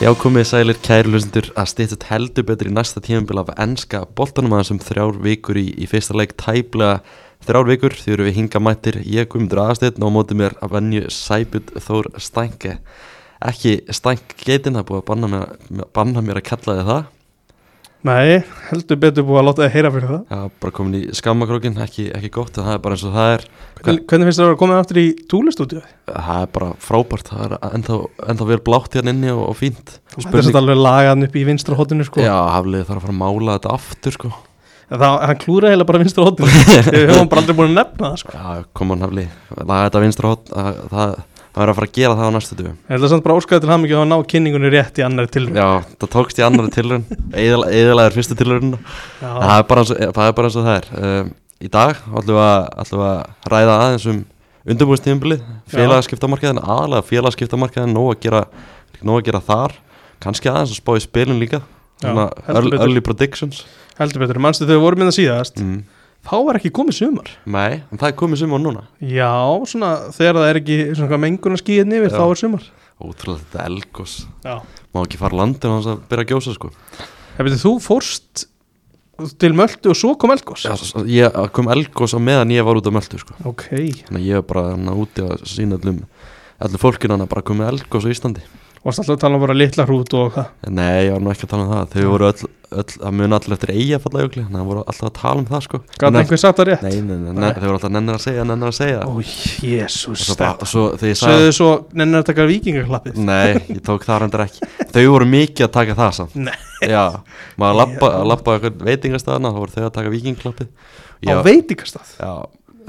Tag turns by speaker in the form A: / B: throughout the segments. A: Já, komið sælir kæru lusendur að stýttast heldur betur í næsta tímabil af enska boltanum aðeins um þrjár vikur í, í fyrsta leik tæplega þrjár vikur því eru við hinga mættir ég Guðmundur aðstætt og á móti mér að venju Sæbjörn Þór Stænke ekki Stænk geitin, það er búið að banna mér, banna mér að kalla þið það
B: Nei, heldur betur búið að láta þið heyra fyrir það
A: Já, bara komin í skammakrókin, ekki, ekki gott en það er bara eins og það er
B: Hvern, Hvernig finnst þér að vera komið aftur í túlistúdíu?
A: það er bara frábært, það er ennþá, ennþá vel blátt hérna inni og, og fínt
B: Það er þetta alveg lagaðan upp í vinstra hotinu sko
A: Já, hafliði þarf að fara að mála þetta aftur sko
B: En Það, hann klúra heila bara vinstra hotinu Við höfum bara aldrei búin að nefna það sko
A: Já, kom hann hafli, laga þetta vinstra hótt það, það, það er að fara að gera það á næstu dögum
B: Ég held að samt bara óskaði til hann mikið að ná kynningunni rétt í annari tilvæg
A: Já, það tókst í annari tilraun eðalaður fyrstu tilraun það er bara eins og það er, bara eins og það er. Um, Í dag ætlum við að, ætlum við að ræða aðeins um undirbúinstíðumbilið félagaskiptamarkaðin, aðalega félagaskiptamarkaðin nóg að gera, nóg að gera þar kannski aðeins að spá í spilin líka
B: Já,
A: Svona
B: heldur
A: early,
B: betur.
A: early predictions
B: Heldur betur, mannstu þegar við vorum með það síðast
A: mm.
B: Þá var ekki komið sumar
A: Nei, en það er komið sumar núna
B: Já, svona þegar það er ekki svona menguna skíðin yfir
A: Já.
B: þá er sumar
A: Ótrúlega þetta elgos
B: Já
A: Má ekki fara landin hans að byrja að gjósa sko
B: Hefur þú fórst til Möltu og svo kom Elgos
A: Já, s- s- ég kom elgós á meðan ég var út á möltu sko.
B: Ok,
A: þannig að ég var bara hann úti að sína allum allum fólkinu hann að bara komið elgós á Íslandi
B: varst alltaf að tala um bara litla hrút og hvað
A: En nei, ég var nú ekki að tala um það þau voru öll, öll að muna allir eftir eiga fallajökli þannig að það voru alltaf að tala um það sko
B: Gat
A: Nenna-
B: einhver satt að rétt?
A: nei, nei, nei, nei, þau voru alltaf nennir að segja, nennir að segja
B: Ó, jésús
A: og svo, bara, svo þegar ég
B: Sögðu
A: sagði
B: þau svo, nennir að taka vikingaklappið
A: nei, ég tók það reyndar ekki þau voru mikið að taka það samt
B: Nei.
A: já, maður labba, að labba eitthvað veitingastæðana þá voru þau að taka vikingklappið
B: Á veitingastað
A: já,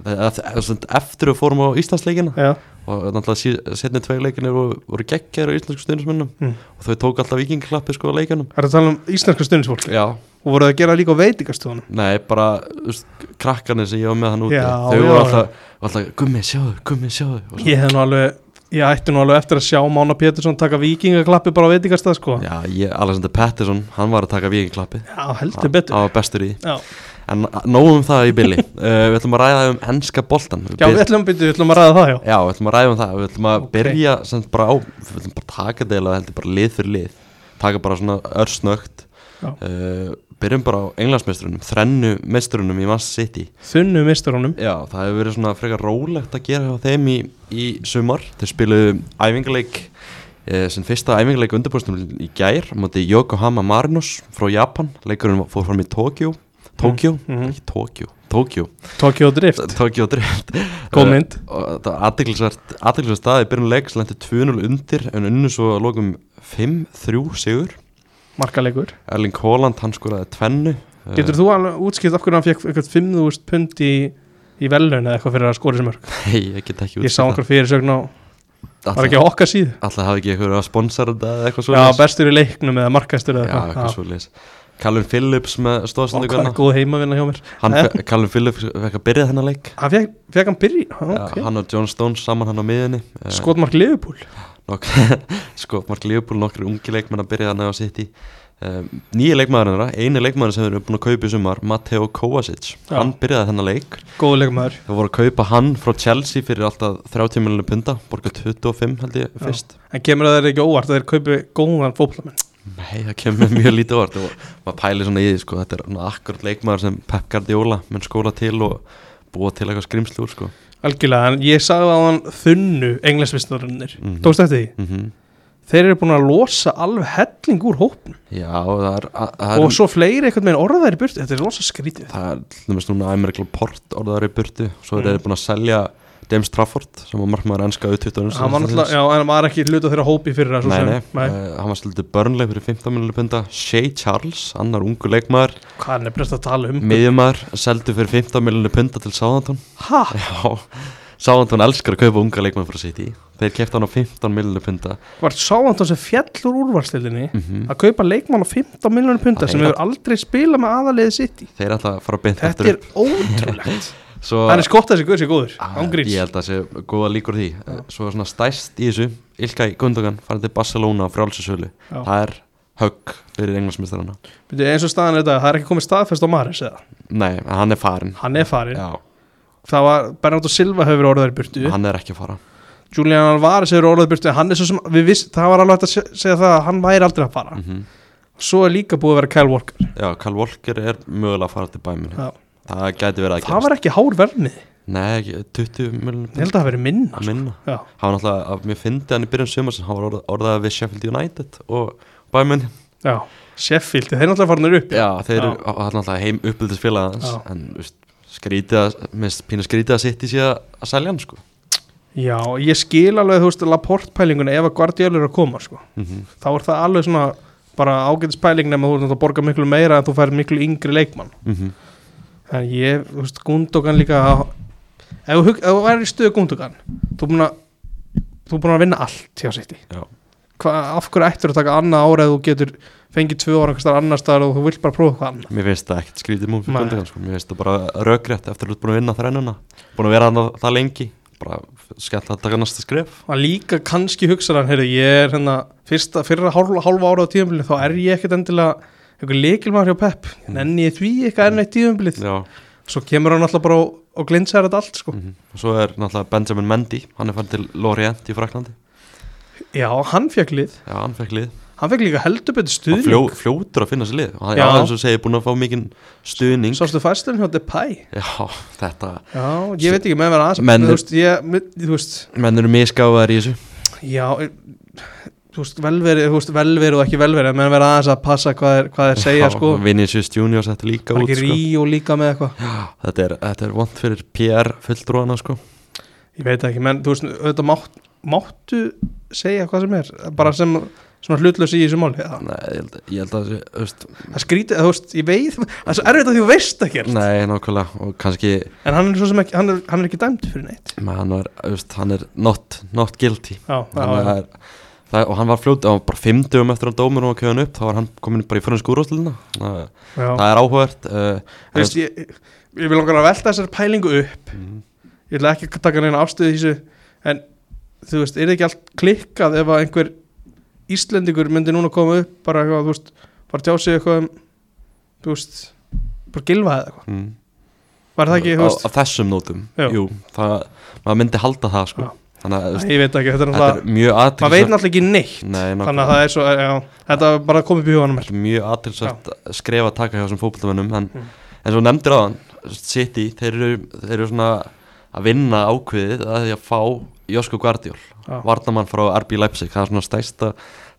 A: eftir við fórum á Íslandsleikina
B: Já,
A: og náttúrulega setni tvei leikinir voru, voru geggjæri á íslensku stundismennum
B: Mm.
A: og þau tók alltaf vikingklappi sko á leikunum
B: það er að tala um íslenska stundisfólk
A: já,
B: og voru það að gera það líka á veitingastöðunum
A: nei bara úst, krakkanir sem ég var með hann úti
B: Já,
A: þau
B: já,
A: voru
B: já.
A: alltaf, alltaf gummi sjáðu, gummi sjáðu og svo-
B: Ég hef nú alveg, ég ætti nú alveg eftir að sjá Mána Pétursson taka vikingaklappið bara á veitingastað sko Já,
A: já, ég, Alexander Pettersson, hann var að taka vikingklappi
B: heldur betur
A: hann var bestur í því.
B: Já,
A: en nógum það í billi uh, við ætlum að ræða um enska boltan
B: já við ætlum, byrju, við ætlum að ræða það já
A: já, við ætlum að ræða um það við ætlum að
B: Ok.
A: byrja sem bara á við ætlum bara að taka deila heldur bara lið fyrir lið taka bara svona örsnögt
B: Já.
A: uh, byrjum bara á englandsmestrunum þrennu mestrunum í Man City
B: Þunnu mistur honum
A: já, það hefur verið svona frekar rólegt að gera hjá þeim í, í sumar þeir spiluðu æfingarleik eh, sem fyrsta æfingarleik undirbúrstum í gær á móti Yokohama Marinos frá Japan leikurinn fór fram í Tokjó Tokjó,
B: mhm.
A: ekki Tokjó Tokjó,
B: Tokyo Drift,
A: Tokjó drift
B: góð mynd
A: Eh, og þetta var athyglisvert athyglisvert staði, byrjun leiks lendi 2-0 undir en unnu svo að lokum 5-3 sigur,
B: Markalegur
A: Erling Haaland hann skoraði tvennu Eh,
B: Getur þú alveg útskipt af hverju hann fekk eitthvað 5.000 pund í, í velun eða eitthvað fyrir að skora sem mörg
A: Nei, ég get ekki
B: Ég sá einhver fyrirsögn á, var ekki
A: Alltaf
B: á okkar síð
A: hafi ekki eitthvað að sponsora þetta eða eitthvað svo
B: Já, bestur í leiknum eða markastur
A: Já,
B: eða
A: eitthvað svo Callum Phillips með
B: Og
A: stóðsendu
B: hvað er góð heimavinna hjá mér
A: hann, fe- Callum Phillips fekk að byrja þennan leik
B: Hann fekk, fekk hann byrja
A: Já,
B: okay.
A: hann og John Stones saman hann á miðinni Eh,
B: Skotmark Liverpool
A: nok sko, Mark Leopold, nokkri ungi leikmenn að byrja hann á City um, nýja leikmaður hennara, eini leikmaður sem þeir eru búin að kaupa í sumar Mateo Kovacic,
B: Já.
A: hann byrjaði þennan leik
B: Góð leikmaður
A: þeir voru að kaupa hann frá Chelsea fyrir alltaf 30 miljonir punta, borga 25 held ég
B: Já.
A: fyrst,
B: En kemur það þeir ekki óvart að þeir kaupi góðan fótbolamenn
A: nei það kemur mjög lítið orð og maður pæli svona í því sko, þetta er svona akkurat leikmaður sem Pep Guardiola menn skóla til og búa til eitthvað skrimslu úr sko
B: Algjörlega, en ég sagði að hann þunnu englisvistarinnir mm
A: Mhm.
B: Tókst eftir því?
A: mm
B: Þeir eru búin að losa alveg helling úr hópn
A: já, það er, að- það
B: Og
A: er um
B: svo fleiri einhvern veginn orðaðir í burtu Þetta er losa skrítið
A: það er til dæmis núna Amerikla Port orðaður í burtu svo
B: Mm.
A: er þeir búin að selja James Trafford sem var markmaður ennska auðvitaður
B: Hann var náttúrulega, já, en hann var ekki hluta þeirra hópi fyrir það svo
A: um- Nei,
B: sem-
A: nei, uh, hann var slutið börnleik fyrir 15 miljonir punda Shea Charles, annar ungu leikmaður
B: Hvað er nefnilegst að tala um?
A: miðjumar, seldu fyrir 15 miljonir punda til Sáðantón
B: Ha?
A: Já, Sáðantón elskar að kaupa unga leikmaður frá City Þeir kefti hann á 15 miljonir punda
B: Var sáandum sem fjall úr úrvarsliðinni
A: Mhm.
B: að kaupa leikmann á 15 miljónum punta
A: Það
B: sem
A: er
B: hefur aldrei spilað með aðaliðið sitt í
A: Þeir ætla að fara beint
B: Þetta
A: eftir
B: er ótrúlegt
A: Svo,
B: Hann er skott að þessi guður sé góður
A: Ah,
B: Ángríns
A: Ég held að það sé góða líkur því Svo svona stæst í þessu Ilkay Gundogan farið til Barcelona á frjálsinsölu
B: Já.
A: Það er högg fyrir englansmistarana
B: Byrju, Eins og staðan er þetta, það er ekki komið staðfest á Maris eða
A: Nei, en hann er farin
B: Hann er farin
A: Já,
B: Það var Bernardo Silva hefur orðið þær burtu
A: hann er ekki að fara
B: Julian Alvarez hefur orðið burtu hann er svo sem, við viss, það var alveg hægt að se- segja það að hann væri aldrei að fara
A: mm
B: svo er líka búið að vera Kyle Walker
A: Já, Karl Volker er mögulega að fara til bæminu
B: Já.
A: Það gæti verið að
B: það var ekki hár vermið,
A: Nei, ekki, 20
B: ég held að það hafi verið minna sko.
A: minna
B: Já.
A: Það var náttúrulega, að mér fyndi hann í byrjun sumar sem hann var orð- orðaði við Sheffield United og bæminn
B: Já. Sheffield, þeir náttúrulega farinir upp
A: Já, þeir eru
B: Já.
A: og það er náttúrulega heim uppbyldisfélagans
B: Já.
A: en þú veist, skrítið að, minnst pínu skrítið að sitt í síða að selja hann sko
B: Já, ég skil alveg, þú veist, Laporte-pælingun ef að Guardiola er að koma, sko
A: mm
B: þá er það alveg svona bara ágætispæling nema þú ert að borga miklu meira en þú fær miklu yngri leikmann
A: mhm.
B: en ég, þú veist, Gundogan líka ef þú hug- ef þú væri í stöðu Gundogan þú er búin að þú er búin að vinna allt hjá City
A: Já.
B: Hva, af hverju ættir að taka annað ára ef þú getur fengið tvö ára einhverstaðar annar staðar og þú vilt bara prófa hvað annað
A: Mér finnst það ekkert skrítið múið fyrir
B: Nei.
A: Gundogan sko. Mér finnst það bara rökrétt eftir að þú ert búin að vinna þrænuna búin að vera hann það lengi bara skemmt að taka næsta skref
B: og líka kannski hugsa hann, heyrðu, ég er hérna fyrsta, fyrra hálfa, hálfa ára á tíðanbilið þá er ég ekkert endilega einhver leikilmaður hjá Pep,
A: Mm.
B: en ég því eitthvað enn eitt tíðanbilið
A: Já,
B: svo kemur hann alltaf bara og, og glinsaður þetta allt sko.
A: mm og svo er náttúrulega Benjamin Mendy hann er fann til Lorient í Fraklandi
B: já, hann fekk lið
A: Já, hann fekk lið
B: hann fekk líka heldur betur
A: hann
B: stuðning
A: fljó, fljótur að finna sér lið og hann er
B: Já.
A: aðeins og segir búin að fá mikinn stuðning
B: sástu fæsturinn hjá Depay
A: Já, þetta
B: já, ég veit ekki með vera aðeins
A: Menn-
B: þú veist, ég, mi- þú veist
A: menn eru misgáðar í þessu
B: já eh, þú veist, velverið, þú veist, velverið og ekki velverið menn vera aðeins að passa hvað er, hvað er segja sko,
A: Vinicius Junior setti líka
B: var
A: út
B: ekki
A: sko.
B: Ríó líka með eitthvað
A: Þetta er, þetta er vond fyrir PR fulltrúana sko
B: ég veit ekki, menn, þú veist, auðvitað mátt, máttu segja hvað sem er bara sem svona hlutlaus í þessu máli það,
A: Nei, ég held, ég held að þessi, veist,
B: það skrítið, þú veist, ég veit það er svo erfitt að því þú veist ekki
A: nei, nákvæmlega og kannski,
B: en hann er svo sem ekki, hann er, hann er ekki dæmd fyrir neitt
A: maður, hann er, veist, hann er not, not guilty
B: já,
A: Þannig að það er, það, og hann var fljótt, hann var bara fimm dögum eftir að dómur og köðan upp, þá var hann komin bara í fyrir skúrúsluna það,
B: já.
A: það er áhugavert uh,
B: Þú veist, ég, ég, ég vil langar að velta þessari pælingu upp
A: Mhm.
B: ég ætla ekki að taka neina afstöðu í þessu en þú veist, er það ekki allt klikkað ef að einhver Íslendingur myndi núna koma upp bara eitthvað, þú veist, bara tjá sig eitthvað um, þú veist, bara gilfa eða eitthvað,
A: mm,
B: var það ekki,
A: á,
B: þú veist
A: á þessum nótum,
B: Já.
A: jú það, maður myndi halda það sko
B: Já.
A: þannig að þú
B: Æ,
A: veist,
B: ég veit ekki, þetta
A: þetta
B: er
A: er
B: náttúrulega
A: mjög
B: maður veit
A: aðtilsvægt
B: náttúrulega ekki neitt
A: Nei, nákvæmlega.
B: þannig að það er svo, já, þetta er bara komið upp í huganum mér
A: Þetta er mjög aðtilsvægt skref að taka hjá þessum fókbaltamönnum en,
B: Mm.
A: en svo nefndir á hann City, þeir eru, þeir eru svona að vinna ákveðið að því að fá Josko Guardiol,
B: Já.
A: varnamann frá RB Leipzig, það er svona stæsta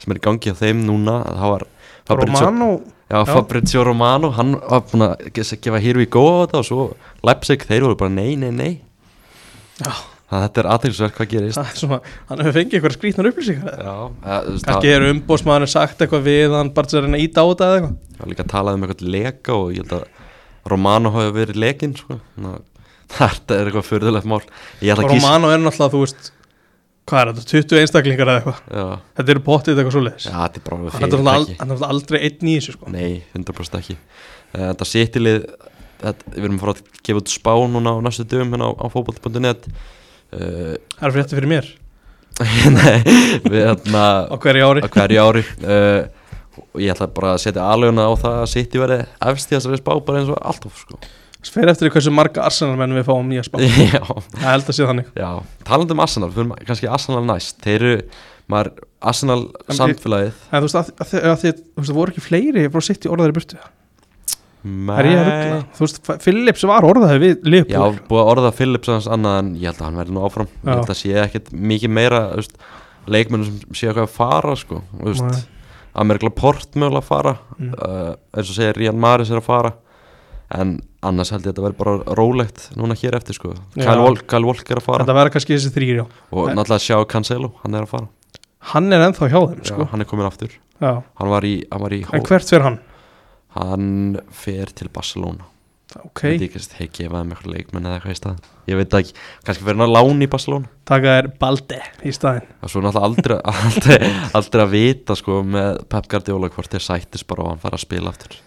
A: sem er í gangi á þeim núna að það var Fabrizio,
B: Romano,
A: já,
B: já.
A: Fabrizio Romano hann var búin að ge- gefa hér við góða þetta og svo Leipzig, þeir voru bara nei, nei, nei
B: Já.
A: Þannig að þetta er aðtilsvægt hvað gerist
B: það er svona hann hefur fengið eitthvað skrýtnar upplýsingar eða?
A: Já, eða, þú veist, það-
B: kannski er umbósmaður sagt eitthvað við hann bara til að reyna að íta á þetta eða eitthvað
A: Það var líka að talað um eitthvað leka og ég held að Romano hafi verið lekinn sko. Ná, Þetta er eitthvað fyrðulegt mál Ég ætla að gísa
B: Romano er náttúrulega, þú veist hvað er þetta, 20 einstaklingar eða eitthvað
A: Já,
B: þetta eru pottið eitthvað svo leiðis
A: Já, þetta er bara
B: hann er
A: fyrir
B: náttúrulega
A: ekki
B: al- hann er náttúrulega aldrei einn í þessu sko.
A: Nei, 100% ekki Eh, Þetta sittilið þetta, Við erum að fara að gefa út spá núna á næstu dögum hérna á, á fótboll.net uh,
B: það er frétti fyrir mér
A: Nei, við hérna
B: á hverju ári
A: á hverju ári uh, og ég ætla bara að setja alveguna á það að sitti verið efst í þessari spá bara eins og alltaf sko.
B: það fer eftir því hversu marga Arsenal menn við fáum nýja spá
A: Já,
B: það held að sé þannig
A: Já, talandi um Arsenal, fyrir ma- kannski Arsenal næst Þeir eru, maður, Arsenal
B: En-
A: samfélagið
B: en þú veist, að, að, að, að, þú veist það voru ekki fleiri frá sitt í orðaðri burtu er ég að ruggla
A: Nei.
B: þú veist, F- Phillips var orðaði við
A: Já,
B: Liverpool
A: búið að orða Phillips aðeins annað en ég held að hann verði nú áfram Ég
B: Já.
A: held að sé ekkit mikið meira þú veist, leikmennum sem sé eitthvað að fara sko, þú veist, Amerikla Port mögulega að fara
B: Mm.
A: uh, eins og segir Rían Maris er að fara en annars held ég að þetta verði bara rólegt núna hér eftir sko
B: Já.
A: Kyle Walk, Kyle Walk er að fara
B: þetta verður kannski þessi þrýri
A: og
B: en-
A: náttúrulega sjá Cancelo, hann er að fara
B: hann er ennþá hjá þeim sko.
A: Já, hann er komin aftur
B: Já.
A: hann var í, hann var í
B: en hvert fer hann?
A: Hann fer til Barcelona
B: ok,
A: okay. Ég veit ekki hvort þeir gefa þeim eitthvað leikmenn eða eitthvað í stað Ég veit það ekki, kannski fer hann að lána í Barcelona
B: taka þér Balde í staðin
A: Það er svo náttúrulega aldrei, aldrei, aldrei að vita sko með Pep Guardiola hvort þeir sættis bara og hann fara að spila aftur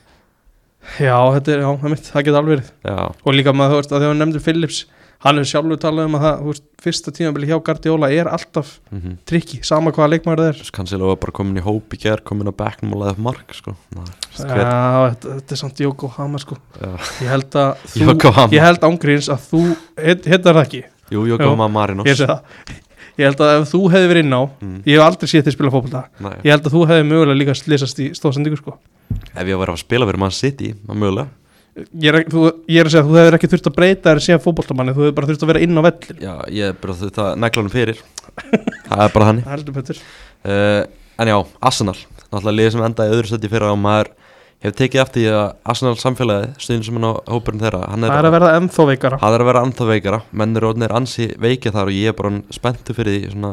B: já, þetta er, já, það er mitt, það geta alveg verið
A: Já,
B: og líka maður, þú veist, að þegar hann nefndir Phillips hann hefur sjálfur talað um að það, þú veist, fyrsta tímabili hjá Guardiola er alltaf
A: mm -hmm.
B: trikki, sama hvaða leikmaður það er
A: Cancelo var bara komin í hóp í ger, komin á bekknum og laðið upp mark sko Ná, veist hver,
B: Já, þetta, þetta er samt Jóko Hama sko
A: Já.
B: Ég held að þú,
A: Yokohama.
B: ég held ángríns að þú, heit- heitar það ekki
A: Jú, jú,
B: Jú.
A: koma að Marinos
B: Ég sé það ég held að ef þú hefði verið inn á
A: Mm.
B: ég hef aldrei séð þið spila fótbolta
A: Nei.
B: ég held að þú hefði mögulega líka slýsast í stóðsendingu sko.
A: Ef ég var að spila fyrir mann City, maður mögulega
B: ég, er, ekki- þú, ég er að segja að þú hefur ekki þurft að breyta þér síðan fótboltamanni, þú hefur bara þurft að vera inn á vellin
A: Já, ég er bara þetta neglanum fyrir Það er bara hann
B: heldur betur
A: uh, En já, Arsenal Náttúrulega liðið sem endaði í öðru seti fyrir og maður hefur tekið eftir því að Arsenal samfélagið stuðin sem hann á hópurinn þeirra hann
B: það er að verða ennþá veikara
A: það er að vera anþá veikara menn eru orðinir ansi veikið þar og ég er bara spenntu fyrir því svona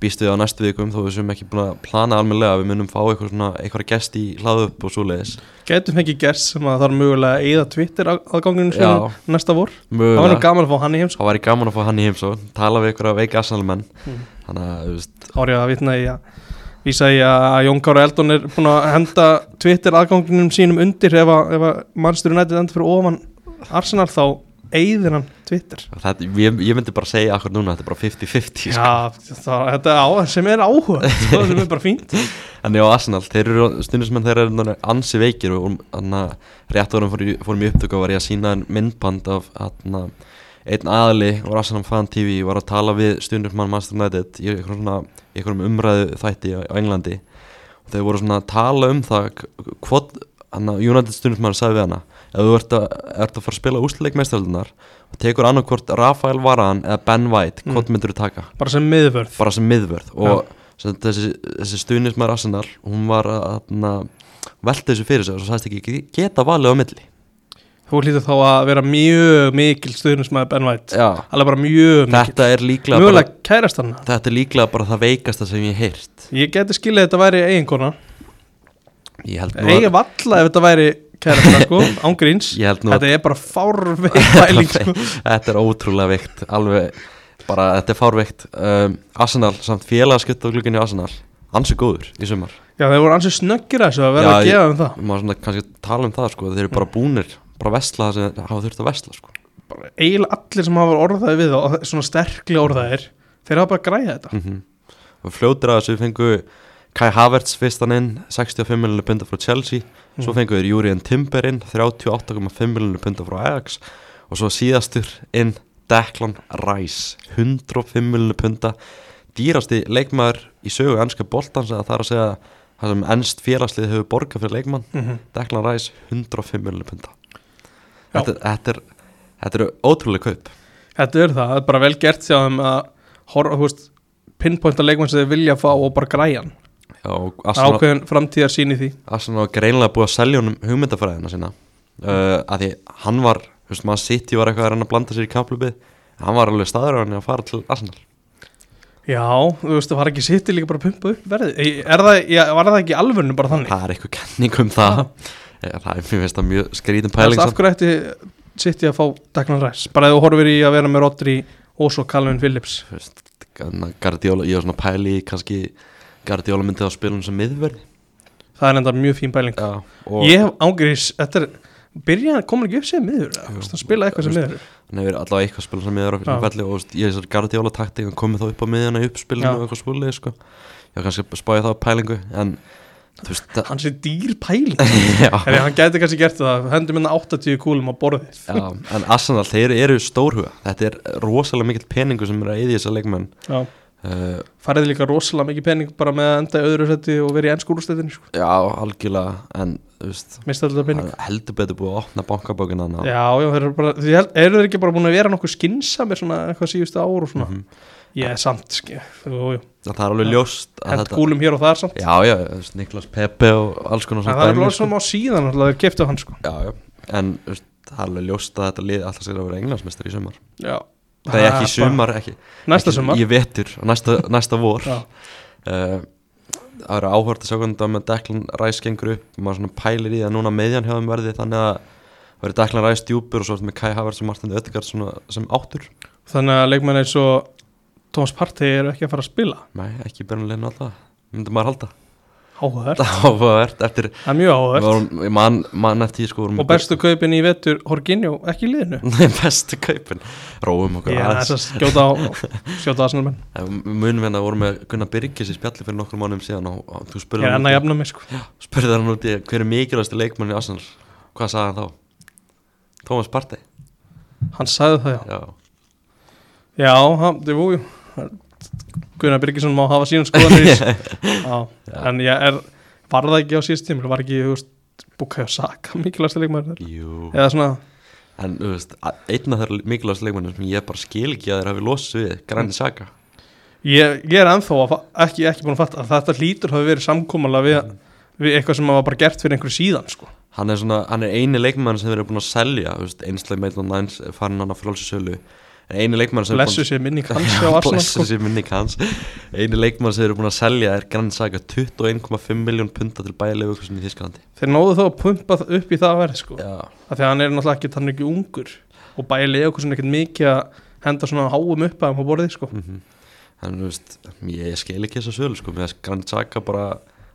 A: býst við á næstu vikum þó við sem ekki búin að plana almennilega að við munum fá eitthvað svona eitthvað gest í hlaðu upp og svo leiðis
B: gætum ekki gerst sem að það er mögulega eða Twitter aðganginu
A: Já.
B: sem næsta vor það var nú
A: mögulega,
B: gaman að fá hann í heims
A: þá væri gaman að fá hann í heimsó tala við eitthvað veika asanalmenn
B: Mm.
A: þannig að, þú veist,
B: árið að vitna í að vísa í að Jón Kára Eldon er búin að henda Twitter aðganginum sínum undir ef að, ef að mannstur nættið endur fyrir ofan Arsenal þá eyðir hann Twitter
A: þetta, ég, ég myndi bara segja akkur núna, þetta er bara 50-50 sko.
B: Já, það, þetta er á, sem er áhuga sko, sem er bara fínt
A: En já, Arsenal, þeir eru stundismenn þeir eru náttúrulega ansi veikir og anna, rétt árum fórum í, fórum í upptöku og var ég að sína myndband af anna, einn aðli og Arsenal Fan TV var að tala við stundismann Master United í einhverjum, svona, í einhverjum umræðu þætti á á Englandi og þeir voru svona að tala um það k- hvað anna, United stundismann sagði við hana ef þú ert að, ert að fara að spila úsleikmeistaröldunar og tekur annarkvort Rafael Varan eða Ben White, hvað mm. myndur þú taka?
B: bara sem miðvörð
A: bara sem miðvörð og sem sagt þessi, þessi stuðnismar Arsenal hún var að þarna, velta þessu fyrir sig og svo sagðist ekki ge- geta valið á milli
B: þú hlýtur þá að vera mjög mikil stuðnismæði Ben White
A: Já.
B: alveg bara mjög mikil
A: þetta er líklega bara,
B: mjögulega kærast hann
A: þetta er líklega bara það veikasta sem ég heirt
B: ég geti skilið að þetta væri eiginkona
A: ég held nú
B: eigi
A: að,
B: valla ef þetta væri kærast hann sko, ángríns
A: ég held nú að
B: þetta er bara fárveik pæling sko.
A: þetta er ótrúlega veikt alveg bara þetta er fárveikt um, Arsenal samt félagaskipt á glukkinni Arsenal ansi góður í sumar
B: Já, þeir voru ansið snöggir að þessu að vera
A: Já,
B: að
A: ég-
B: gefa um það
A: maður svona kannski tala um það sko þeir eru bara búnir bara vesla það sem hafa þurft að vesla sko
B: Bara Eiginlega allir sem hafa orðaði við og svona sterkli orðaðir Þeir hafa bara græðið þetta
A: og fljótir að þessu fengu Kai Havertz fyrstan inn 65 miljonir punda frá Chelsea svo fengu þeir Júriðan Timber inn 38,5 miljonir punda frá Ajax og svo síðastur inn Declan Rice 105 miljonir punda dýrasti leikmaður í sögu ennska boltans eða það er að segja það sem ennst félagslið hefur borgað fyrir leikmann Declan Rice 105 miljonir punda
B: Já.
A: þetta, þetta er Þetta eru ótrúlega kaup
B: Þetta er það, það er bara vel gert því að þeim að horfa, þú veist, pinpointa leikmann sem þeir vilja fá og bara græjan
A: Já, og
B: Það er
A: Arsenal-
B: ákveðin framtíðar sín í því
A: Arsenal var greinlega búið að selja honum hugmyndafræðina sína uh, að því hann var, þú veist maður City var eitthvað að reyna að blanda sér í kaplubið hann var alveg staður á hann að fara til Arsenal
B: Já, þú veist, það var ekki sittir líka bara að pumpa upp verðið Í- Er það, já, var það ekki í alvörinu bara þannig?
A: það er eitthvað kenning um það Eh, það er mér veist að mjög skrítum
B: Það
A: pæling
B: er af hverju ætti sitt að fá Dagnar Ræs Bara ef þú horfir í að vera með Rodri og svo Calvin Phillips
A: Gardiola, ég var svona að pæli í kannski Gardiola myndið á spilun sem miðverð
B: Það er enda mjög fín pæling
A: Já,
B: Ég hef ángriðis, þetta er byrjaðan komur ekki upp sem miður eða, þú veist, hann spilaði eitthvað sem
A: Þú
B: miður
A: hann hefur allavega eitthvað spilun sem miðverð
B: Já.
A: og þú veist, ég þessar Gardiola taktik hann komið þá upp á miðjana í uppspilinu
B: Já.
A: og eitthvað spúlið sko. ég var kannski að spája þá pælingu en þú veist það-
B: hans er dýr pæling
A: Já.
B: Heri, hann gæti kannski gert það, hendur minna 80 kúlum á borðið
A: Já, en Arsenal, þeir eru stórhuga Þetta er rosalega mikill peningur sem er að eyði þessa leikmenn
B: Já.
A: uh,
B: farið líka rosalega mikið pening bara með að enda í öðru seti og verið í ennsku úrstæðinu sko.
A: Já, algjörlega En, þú veist
B: mista alltaf pening
A: hann heldur betur búið að opna bankabókin hann
B: Já, já, þeir eru, bara, þeir held- eru þeir ekki bara búin að vera nokkuð skinsamir svona eitthvað síðustu ár og svona
A: Mhm.
B: Ég er samt, ski, jú, jú.
A: Það er alveg ljóst að
B: hend kúlum hér og þar samt
A: Já, já, þú veist, Niklas Pepe og alls konar
B: En
A: svona
B: það er
A: dæmi,
B: alveg
A: sko.
B: svona á síðan alltaf þeir keftu hann sko.
A: Já, já, en þú veist, það er alveg ljóst að þetta liði alltaf sér að vera englandsmeistar í sumar
B: Já.
A: Það er ekki í
B: bara-
A: sumar, ekki
B: Næsta
A: ekki-
B: sumar
A: Ég vetur, næsta, næsta vor
B: Já.
A: Eh, Það eru áhört að sjá hvernig það með Declan Rice gengur upp maður svona pælir í það núna meðjan hjá þeim verði þannig að verði Declan Rice djúpur og svo ertu með Kai Havertz og Martin Ödegard svona sem áttur
B: Þannig að leikmenn eins og Thomas Partey eru ekki að fara að spila
A: Nei, ekki bernlegin alltaf, myndi maður halda
B: Áhugavert,
A: Það var eftir
B: það er mjög áhugavert
A: vorum- ég man, man eftir því sko vorum
B: Og bestu kaupin í vetur Horginjó, ekki í liðinu
A: Nei, bestu kaupin, róum okkur
B: Ég er
A: aðeins
B: þess að skjóta á skjóta aðsnur menn
A: En Munum hérna vorum við Gunnar Byrgis í spjalli fyrir nokkrum mánum síðan og, og þú
B: Ég
A: spurði
B: er
A: hann, um út
B: enn að
A: í-
B: jafna mig sko
A: spurði hann út í hver er mikilvægasti leikmann í Arsenal Hvað sagði hann þá? Thomas Partey
B: Hann sagði það já
A: Já
B: Já, hann, það er vújú Gunnar Birgisson má hafa síðan skoðanir í- Já, en ég er var það ekki á síðust tímul, var ekki þú veist, Bukayo Saka mikilvægst leikmaður þar?
A: Jú,
B: eða svona,
A: en þú veist, a- einn af þeirra mikilvægast leikmennir sem ég bara skil ekki að þeir hafi losið við, Granit Saka
B: ég, ég er ennþá að, fa- ekki, ekki búin að fatta að þetta hlýtur hafi verið samkómalega við, við eitthvað sem var bara gert fyrir einhverju síðan sko.
A: hann er, svona, hann er eini leikmann sem þeir eru búin að selja þú veist, einslega meitlan næns farin hann á frálsisölu en eini leikmann sem
B: blessu sér minni kannski á Arsenal
A: blessu
B: sko.
A: sér minni hans eini leikmann sem þeir eru búin að selja er Granit Saka 21,5 miljón punta til bæjarlegu í Þískalandi
B: þeir náðu þá að pumpa það upp í það verð sko.
A: já,
B: af því að hann er náttúrulega ekki, hann er ekki ungur og bæði lega okkur svona ekkert mikið að henda svona háum upp að hann á borðið sko.
A: mm en þú veist ég, ég skil ekki þessa sölu sko, með þess Granit Saka bara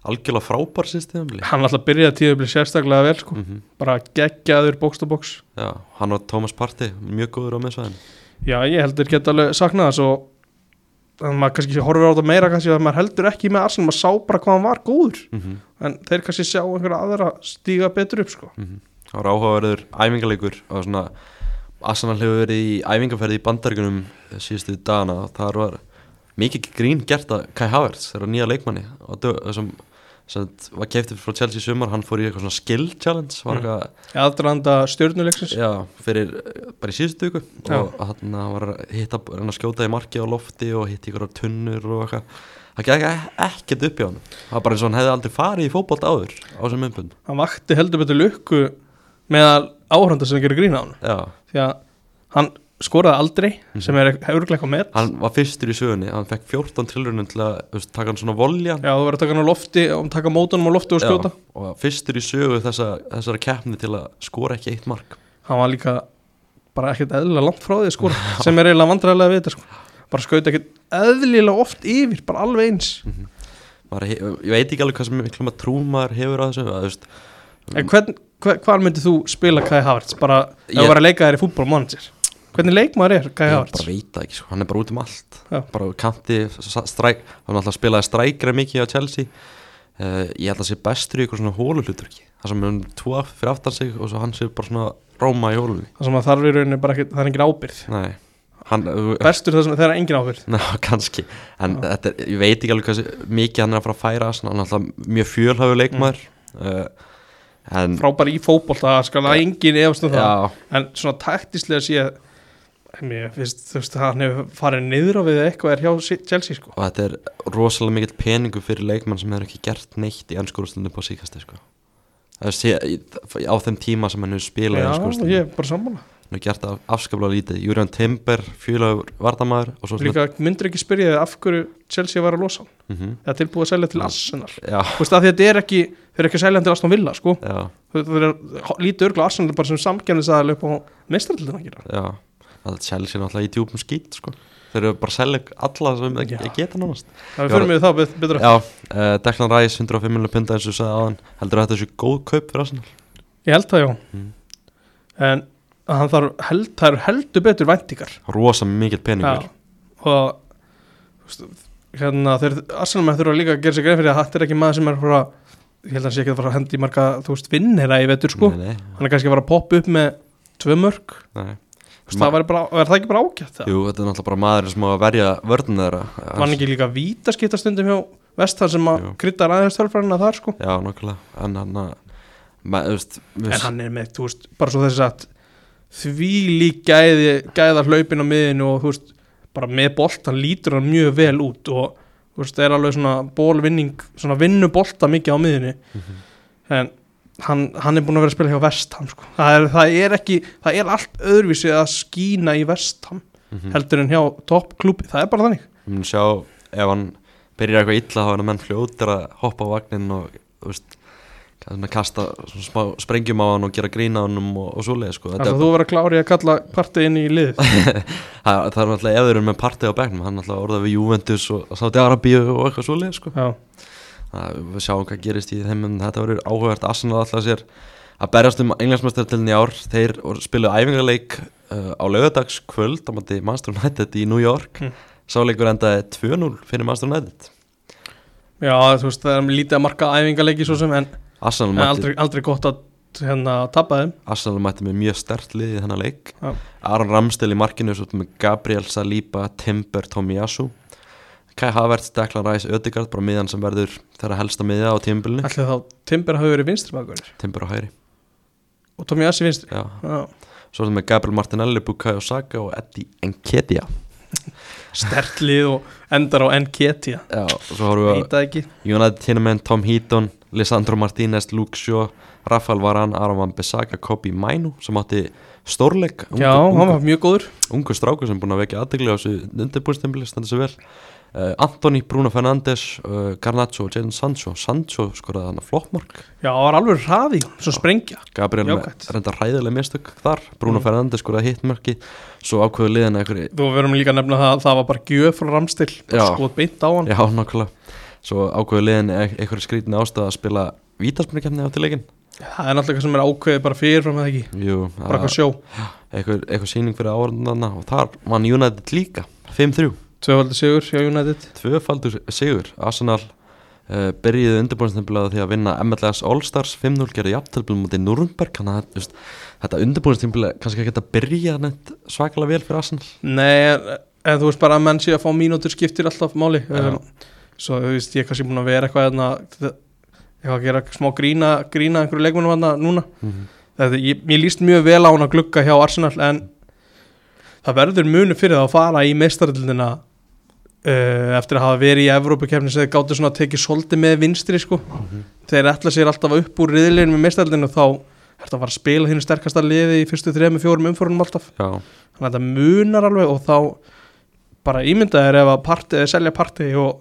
A: algjörlega frábær sýstíðanbili
B: hann er alltaf byrjaði tíu að bli sérstaklega vel sko.
A: mm -hmm.
B: bara geggjaður box to box
A: já, hann og Thomas Partey mjög góður á meðsvæðin
B: já ég heldur geta alveg saknað þess og þannig að maður kannski horfir á þetta meira kannski að maður heldur ekki með Arsenal maður sá bara hvað hann var góður
A: mm -hmm.
B: en þeir kannski sjá einhverja aðra stíga betur upp sko.
A: Það var áhugaverður æfingarleikur og svona Arsenal hefur verið í æfingarferði í bandargunum síðustu dagana og þar var mikið grín gert að Kai Havertz þeirra nýja leikmanni og dö, sem, sem var keiftið frá Chelsea í sumar hann fór í eitthvað svona skill challenge var
B: Mm.
A: eitthvað,
B: aðdralanda stjörnuleiksins
A: já, fyrir eh, bara í síðustu viku
B: Já.
A: og hann var að hitta, reyna að skjóta í marki á lofti og hitta ykkur tunnur og eitthvað það gekk e- ekkert upp hjá hann það var bara eins og hann hefði aldrei farið í fótbolt áður á þessum umbund
B: hann vakti heldur betur lukku meðal áhranda sem gerir grína á hann
A: já
B: því að hann skoraði aldrei sem er hefurlega eitthvað með
A: hann var fyrstur í sögunni hann fekk 14 tilrunum til að þú veist, taka hann svona volja
B: Já, þú verður að taka hann á lofti og taka mótunum á lofti og skjóta
A: og var fyrstur í sögu þessa, þessara keppni til að skora ekki eitt mark
B: Hann var líka bara ekkert eðlilega langt frá því að skora sem er eiginlega vandræðilega við þetta sko. bara skauta ekkert eðlilega oft yfir bara alveg eins
A: Mhm. Maður, he- ég veit ekki alveg hvað sem miklum að trúmaður hefur að þessu að, þú veist,
B: En hvern, hver, hvar myndir þú spila Kai Havertz bara ef þú
A: Ég-
B: verður að leika þér í fútbol manager Hvernig leikmaður er Kai
A: ég
B: Havertz?
A: bara veit það ekki sko, hann er bara út um allt
B: Já.
A: bara á kanti, sa- stræk, hann alltaf spilaði strækra mikið á Chelsea uh, ég held að sé bestur í eitthvað svona hóluluturki það sem hann tvo af- fyrir aftan sig og svo hann sé bara svona róma í hólunni
B: Það sem að þarf í rauninni bara ekkert, það er engin ábyrð
A: nei, hann,
B: Bestur það sem það er engin ábyrð
A: Ná, kannski, en þetta er, ég veit ekki alveg hvað mikið hann er að fara að færa svona, hann er alltaf mjög fjölhafu leikmaður
B: Mm.
A: uh, en
B: Frábær í fótbol, það skal að engin efast um það
A: já,
B: en svona taktislega sé mér finnst þú veist hann hefur farið niður á við eitthvað er hjá Si- Chelsea sko
A: og þetta er rosalega mikill peningu fyrir leikmann sem hefur ekki gert neitt í ennskórústundinu på síkast sko. Það er sé- í- á þeim tíma sem hann hefur spilað í
B: já
A: ennskórústundinu
B: ég er bara sammála
A: hann hefur gert af, afskaplega lítið Júriðan Timber, fjölhafu vardamaður og svo svona
B: líka myndir ekki spyrja þig af hverju Chelsea var að losa hann
A: mm
B: eða tilbúið að selja til
A: Mm.
B: Arsenal
A: já,
B: þú veist að þetta er ekki þau eru ekki að selja hann til Aston Villa sko
A: já,
B: þau þau eru að lítið örgla Arsenal bara sem samkjæmnis að löpa á mestrarlituna að gera
A: já það er Chelsea náttúrulega í djúpum skýt sko. þeir eru bara að selja alla sem
B: Já.
A: þeir geta nánast
B: það við fyrir mig það bet- betur já.
A: Já, uh, Declan Rice 105 miljonar punta eins og þú sagði aðan heldur þetta séu góð kaup fyrir Arsenal
B: ég held það já
A: Mm.
B: en hann þarf held, það eru heldur betur væntingar
A: rosa mikið peningur
B: Já, og þú veist, hérna, þeir, Arsenal menn þurfa líka að gera sér grein fyrir að þetta er ekki maður sem er frá, ég held að hann sé ekki að fara að hendi marga, þú veist, vinnera í vetur sko
A: nei,
B: hann er kannski að fara að poppa upp með tvö mörg,
A: nei, nei.
B: þú veist, það væri bara, var það ekki bara ágætt það,
A: Jú, þetta er náttúrulega bara maður sem á að verja vörðin þeirra
B: var hann ekki líka vítaskipta stundum hjá vestar sem að
A: Jú.
B: kryddar aðeins tölfræðina þar sko,
A: Já, nokkulega En hann að ma- þú veist, þú
B: en
A: veist-
B: hann er með, þú veist bara svo þess að því lík gæði, gæðar hlaupin á miðinu og þú veist, bara með bolt hann lítur hann mjög vel út og þú veist, er alveg svona bólvinning svona vinnu bolta mikið á miðinu
A: Mhm.
B: en hann, hann er búin að vera að spila hjá Vestham sko. það, er, það er ekki, það er allt öðruvísi að skína í Vestham
A: Mhm.
B: heldur en hjá toppklúpi, það er bara þannig
A: Við munum sjá ef hann byrjar eitthvað illa þá er hann menn fljótur að hoppa á vagnin og þú veist, svona kasta svona smá sprengjum á hann og gera grín á hann og, og svoleið sko. Þetta
B: þannig
A: er
B: að þú verður að klári að kalla partið inn í liðið
A: það, það er náttúrulega ef þeir eru með partið á begnum hann er náttúrulega orðað við Juventus og Saudi Arabíu og eitthvað svoleið sko.
B: Já.
A: Það- við sjáum hvað gerist í þeim en þetta verður áhugavert Arsenal alltaf sér að berjast um englandsmestartilin í ár þeir voru- spiluðu æfingarleik uh, á lögadags kvöld á mati Manchester United í New York
B: Mm.
A: mm. sáleikur endaði 2-0 fyrir Manchester United
B: Já, þú veist, það er lítið að marka æfingaleiki svo sem en,
A: Arsenal
B: en
A: mætti,
B: aldrei, aldrei gott að hérna, tappa þeim
A: Arsenal mætti með mjög stert lið í þennan leik
B: Já.
A: Aron Ramstil í markinu svo með Gabriel Saliba, Timber, Tomiyasu Kai Havertz, Declan Rice, Ödegard bara miðan sem verður þeirra helsta miða á tímabilinu
B: Ætli þá Timber hafi verið vinstri bakur
A: Timber á hægri
B: og Tommy Assi vinstri
A: Já.
B: Já.
A: Svo sem er Gabriel Martinelli, Bukayo Saka og Eddie Nketiah
B: Sterkt lið og endar á NKT
A: Já, og svo horfum við á
B: Vita ekki
A: United Tinnament, Tom Heaton, Lisandro Martínez, Luke Shaw, Rafael Varane, Aron Van Bissaka, Kobi Mainu sem átti stórleik
B: Já, hann var mjög góður
A: ungu stráku sem búin að vekja aðdegli á þessu undirbúrstempli, standa sér vel uh, Antoni, Bruno Fernandes, uh, Garnacho og Jadon Sancho, Sancho skoraði hann að flottmark,
B: Já, hann var alveg hraði, svo sprengja
A: Gabriel með-
B: Jákvætt.
A: reyndar hræðilega mistök þar,
B: Mm.
A: Bruno Fernandes skoraði hittmarki, svo ákveðu liðan einhverju,
B: Þú verðum líka að nefna það að það var bara gjöf frá Ramstil,
A: Já.
B: skot beint á hann
A: já nokkulega svo ákveðu liðan einhverju skrítin ástæð að spila vítaspunarkefni á tilegin
B: Það er náttúrulega eitthvað sem er ákveðið bara fyrir frá með ekki
A: Jú,
B: Bara
A: það-
B: eitthvað sjó,
A: eitthvað, eitthvað síning fyrir áhörðunarna og þar vann United líka 5-3,
B: tvöfaldi sigur hjá United
A: tvöfaldur sigur Arsenal uh, byrjiði undirbúinstimplaða því að vinna MLS All-Stars 5-0 gerði jafntöflum mútið Núrnberg þannig að þú veist, þetta undirbúinstimplaða kannski ekki að byrja neitt svakalega vel fyrir Arsenal
B: Nei, en, en þú veist bara að menn sé að fá mínútur skiptir alltaf máli um, Svo þú veist, ég er kannski búin að vera eitthvað hérna, Ég var að gera smá grína, grína einhverju leikmennum hann núna Þetta, ég, ég líst mjög vel á hann að glugga hjá Arsenal en það verður munu fyrir það að fara í meistaröldina uh, eftir að hafa verið í Evrópukefni sem þeir gáttu svona að tekið svolítið með vinstri sko. þeir ætla sér alltaf upp úr riðlinu með meistaröldinu þá er það að fara að spila þínu sterkasta liði í fyrstu þrejum fjórum umfórunum alltaf
A: Já,
B: þannig að þetta munar alveg og þá bara ímynda þér ef að partí, eða selja partí og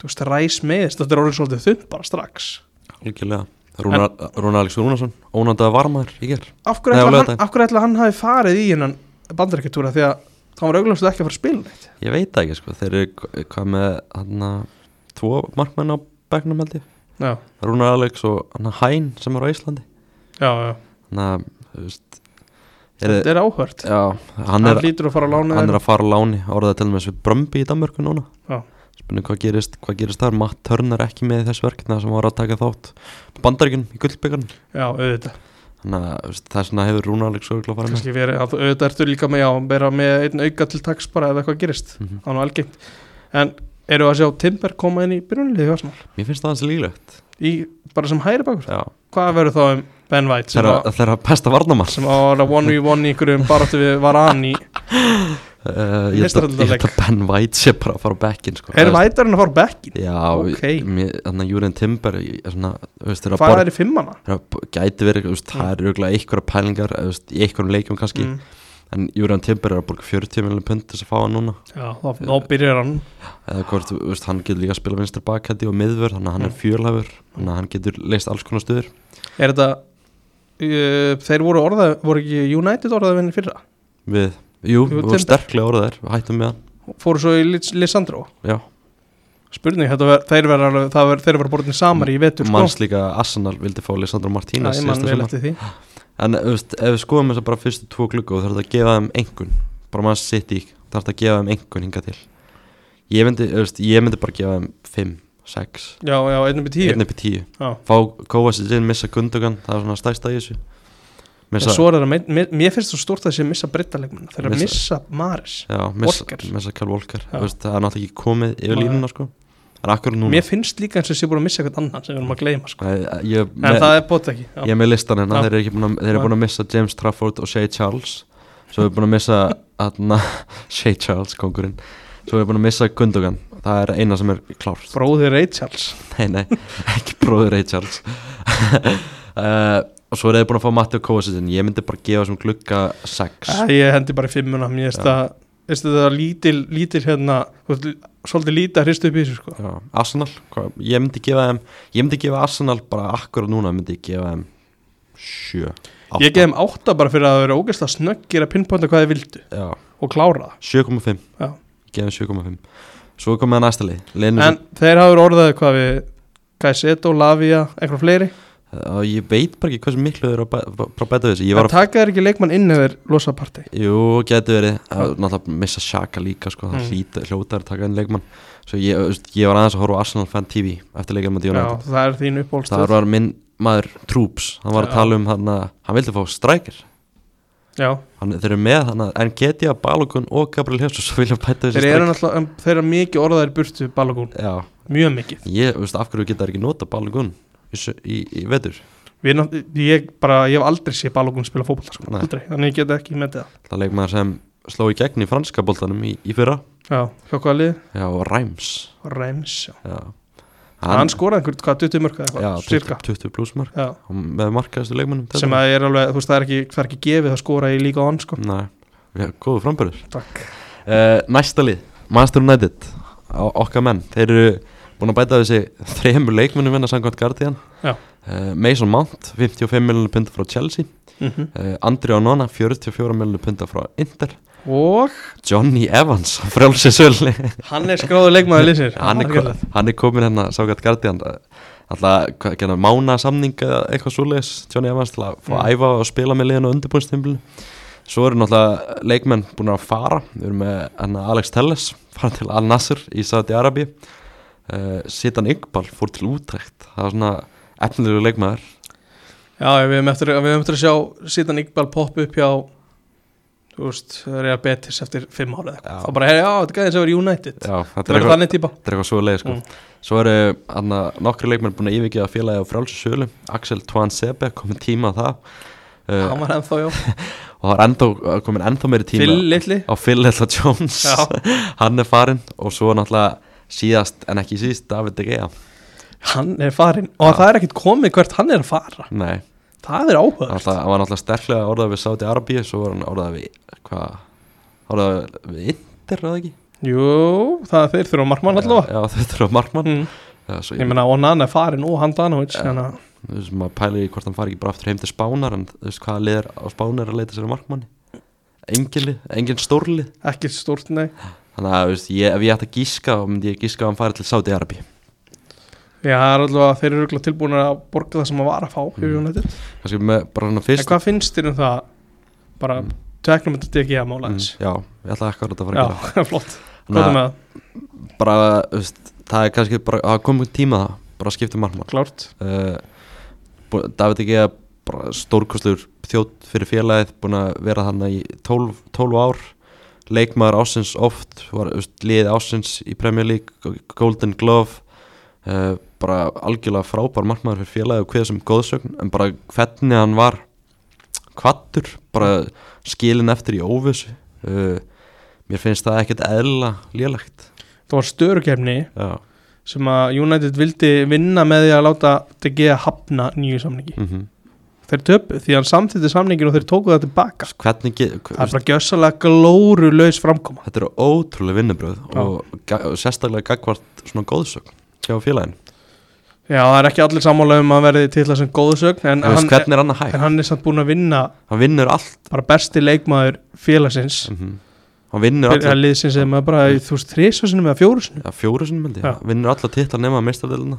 B: þú veist, ræs meðist þetta er orðið svolítið þunn bara strax
A: algjörlega Rúnar, Rúnar Alex Rúnarsson, ónandaða varmaður í ger
B: af hverju
A: Nei, á
B: ætla, hann-
A: laugardaginn.
B: af hverju ætla hann hafi farið í hennan bandarækjartúra því að hann var augljóslega ekki að fara að spila neitt
A: ég veit það ekki sko, þeir eru k- hvað með hann að tvo markmenn á begnum held ég,
B: já,
A: Rúnar Alex og hann að Hæn sem er á Íslandi
B: já, já,
A: þannig að þú veist er,
B: þetta er áhört
A: já, hann,
B: hann,
A: er,
B: hlýtur að fara að lána
A: hann er að fara á láni orðað til með þessu Brömbi í Danmörku núna
B: Já.
A: spurning hvað gerist, hvað gerist þar Matt Turner er ekki með í þessu verkefna sem var að taka þátt bandaríkun í gullbyggarn
B: já, auðvitað,
A: þannig að þú veist, þess vegna hefur Rúna Alex örugglega farið með
B: kannski verið að- auðvitað ertu líka með, já, vera með einn auka til taks bara ef eitthvað gerist,
A: Mhm.
B: hann var algengt en eru að sjá Timber koma inn í byrjunlið hjá Arsenal,
A: mér finnst það hans líklegt
B: í, bara sem hæri bakur
A: Já.
B: hvað verður þá um Ben White sem,
A: þeirra,
B: að,
A: þeirra besta varnamann
B: sem á að 1v1 í einhverjum baráttu við Varane í,
A: uh, ég held að- ég held að Ben White sé bara að fara á bekkin sko.
B: er White hann að fara á bekkin,
A: já,
B: Ok.
A: mér- þannig að Júriðin Timber ég- svona, þú veist, þeirra
B: hvað
A: borð
B: er í fimmana
A: þeirra b- gæti verið, þú veist, það er auðvitað einhverja pælingar, þú veist, í einhverjum leikjum kannski
B: Mm.
A: en Júriðan Timber er að borga 40 miljonum pund til þess að fá hann núna
B: já, þá, þá byrjar hann
A: eða hvort, þú veist, hann getur líka að spila vinstri bakhætti og miðvörð, þannig að hann er fjölhæfur þannig að hann getur leist alls konar stuður
B: Er þetta uh, Þeir voru orðað, voru ekki United orðað vinnir fyrra,
A: við, jú,
B: Jú,
A: jú
B: Timber.
A: og sterklega orðað er, við hættum með hann
B: fóru svo í Lis- Lisandro
A: já,
B: Spurning, þetta ver, þeir verða alveg- það ver, þeir verða borðin samar í vetur sko.
A: manns líka að Arsenal vildi fá Lisandro
B: Já,
A: Martínez
B: ég
A: síðasta
B: man vel
A: sumar.
B: eftir því
A: en, þú veist, ef við skoðum þess að bara fyrstu tvo glugga og þarf að gefa þeim engun bara mann sitt í, þarf að gefa þeim engun hinga til ég myndi, þú veist, ég myndi bara gefa þeim 5, 6,
B: Já, já, einnum í tíu
A: 1 hérna upp í 10
B: Já.
A: fá Kovacic inn, missa Gundogan það er svona stæsta í þessu
B: En svo er það, mér, mér finnst það stórt að þessi missa brittalegmenn Þeir eru að missa Maris
A: Já, missa,
B: Walker.
A: missa Kjall Volker
B: Já.
A: veist, það er náttúrulega ekki komið yfir
B: Nei.
A: línuna sko. en akkur núna
B: Mér finnst líka eins og þessi búin að missa eitthvað annan sem við erum að gleyma sko.
A: Nei, ég,
B: En
A: með,
B: það er bótt ekki já.
A: ég er með listan hérna
B: Já.
A: þeir eru ekki búin að, þeir eru
B: Já.
A: búin að missa James Trafford og Shea Charles svo er búin að missa atna, Shea Charles kongurinn svo er búin að missa Gundogan það er eina sem er klárt
B: Bróðir Rachels
A: nei, nei, ekki bróður Ray Charles uh, og svo er þeir búin að fá Matti og Kovacic inn. ég myndi bara gefa sem glugga 6
B: Æ, Ég hendi bara í fimmuna Mér finnst
A: Já.
B: það, veistu það lítil, lítil hérna, þú veist, Svolítið lítið að hristu upp í þessu sko.
A: Já, Arsenal, hvað, ég myndi gefa þeim ég myndi gefa Arsenal bara akkur núna myndi ég gefa þeim sjö átta.
B: Ég gef þeim átta bara fyrir að það vera ógeðslega snöggir að pinpointa hvað þið vildu
A: Já,
B: og klára
A: 7,5
B: Já.
A: Ég gef þeim 7,5 Svo komið að næsta lið
B: það
A: Lenur,
B: En þeir hafa orðað hvað við Kaiseto, Lavia, einhver fleiri
A: uh, Ég veit bara ekki hversu miklu þau eru að bæ- bara bæta við þessu Ég
B: En
A: var að,
B: taka þeir ekki leikmann inn ef þeir losa partí
A: jú, getur verið að náttúrulega missa Shaka líka sko, það
B: Mm.
A: hlýta, hljóta er að taka inn leikmann Svo ég, þú veist, ég var aðeins að horfa á Arsenal fan TV eftir leikmann
B: Já,
A: United
B: það er þín
A: Það
B: uppbólstöð
A: var minn maður Troops, hann var
B: Já.
A: að tala um hann að hann vildi fá strækir
B: já,
A: Þannig þeir eru með þannig að Engetia, Balogun og Gabriel Jesus vilja bæta þessi
B: þeir eru náttúrulega en þeir eru mikið orðaðir burtu Balogun,
A: Já,
B: mjög mikið
A: ég veist af hverju geta þær ekki nota Balogun í, sö- í, í vetur
B: Við, nátt- ég, bara, ég hef aldrei sé Balogun spila fótbolta sko.
A: Nei.
B: aldrei, þannig ég get ekki metið
A: Það leik maður sem sló í gegn í franska boltanum í, í fyrra
B: það já, hjá hvaða lið?
A: Já, og Reims
B: Reims, já
A: Já,
B: hann, skoraði einhvern, hvað, 20 mörg eða
A: já,
B: eitthvað,
A: 20,
B: cirka
A: 20 pluss mark
B: já,
A: Og með markaðistu leikmannum
B: sem að er alveg, þú veist, það er ekki, það er ekki gefið að skora í líka on, sko
A: Nei, já, góðu frambörður
B: Takk.
A: uh, Næsta lið, Master United á, Okkar menn, þeir eru búin að bæta þessi þremur leikmennum hennar samkvæmt Guardian
B: Já.
A: Eh, Mason Mount, 55 miljonir punta frá Chelsea
B: mm
A: uh, Andri Onona, 44 miljonir punta frá Inter
B: og
A: Johnny Evans, frjálsinsölu
B: hann er skráður leikmaður liðsins
A: hann, er ko- hann er komin hérna sákvæmt gardiðan alltaf hvað, gerði hann, mána samninga eða eitthvað svoleiðis Johnny Evans til að fá að æfa og spila með liðinu undirbúinstimblu svo eru náttúrulega leikmenn búin að fara við erum með hana, Alex Telles fara til Al Nasser í Saudi Arabi uh, Sitan Yngbal fór til útrækt það var svona efnilegu leikmaður
B: já, við hefum eftir, við hefum eftir að sjá síðan Iqbal popp upp hjá þú veist, Real Betis eftir 5 ára
A: Já.
B: eða eitthvað, þá bara, hey, já, þetta gæði sem verið United
A: Já, þetta
B: það
A: er
B: verður
A: eitthvað,
B: þannig típa
A: þetta er eitthvað svoleiðis sko.
B: Mm.
A: svo eru hana, nokkri leikmenn búin að yfirgeða félagi á frálsinsölu Axel Twan Sebe komið tíma á það Eh,
B: hann var ennþá, já,
A: og það er ennþá, komin ennþá meiri tíma
B: Phil litli
A: á Phil Lella Jones
B: Já.
A: hann er farinn og svo náttúrulega síðast en ekki síðast David De Gea
B: hann er farinn og það er ekkit komið hvert hann er að fara
A: nei,
B: það er
A: hann
B: áhugað
A: náttúrulega- hann var náttúrulega sterklega orðað við Saudi Arabia svo var hann orðað við hvað, orðað við Inter eða ekki?
B: jú, það er þeir þurfa markmann allavega
A: Já, þetta er á Markmann
B: Mm.
A: Já, svo
B: ég
A: ég,
B: meina, Onana er farinn og Handanovic þannig að
A: þú veist, maður pælir í hvort hann fari ekki bara aftur heim til Spánar en þú veist hvaða liður á Spánar er að leita sér á Markmanni engin lið, engin stórlið
B: ekki stórt, nei
A: þannig að þú veist, ég, ef ég ætti að gíska þá myndi ég gíska að hann fari til Saudi Arabia
B: Já, það er allavega, þeir eru örugglega tilbúin að borga það sem að var að fá mm. United.
A: kannski með bara hann fyrst
B: En hvað finnst þér um það? Bara,
A: Mm.
B: teknum þetta ekki að mála eins.
A: já, ég ætla ekki að þetta fara að gera
B: Já, flott.
A: Þannig
B: Hvað er
A: að-
B: með það?
A: bara, þú veist, það er kannski bara að koma tíma það, bara að skipta um markmann
B: Klárt.
A: uh, bú- David ekki að stórkostur þjótt fyrir félagið búin að vera þannig í 12, 12 ár leikmaður ásins oft var þú veist, liðið ásins í Premier League Go- Golden Glove uh, bara algjörlega frábær markmaður fyrir félagið og hvað sem góðsögn en bara hvernig hann var kvattur, bara skilin eftir í óvissu uh, mér finnst það ekkert eðla lélegt
B: Það var störukefni
A: Já,
B: sem að United vildi vinna með því að láta DG hafna nýju samningi.
A: mm
B: Þeir töpu því að hann samþýtti samningin og þeir tóku það tilbaka.
A: hvernig ge- hver,
B: Það er bara gjössalega glóru laus framkoma.
A: þetta eru ótrúlega vinnubröð
B: Já.
A: og, ga- og sérstaklega gagvart svona góðsögn hjá félagin
B: Já, það er ekki allir sammála um að verði titla sem góðsögn, en,
A: en veist,
B: hann,
A: hvernig er hann að
B: en
A: hægt,
B: hann er samt búin að vinna
A: hann vinnur allt
B: bara besti leikmaður félagsins
A: mm hann vinnur
B: Það
A: alla,
B: liðsins eða maður bara í, þú veist þrísvarsinum eða fjórusinum
A: ja, fjóru sinni meldi,
B: Já.
A: hann vinnur alla titla nema meistardilina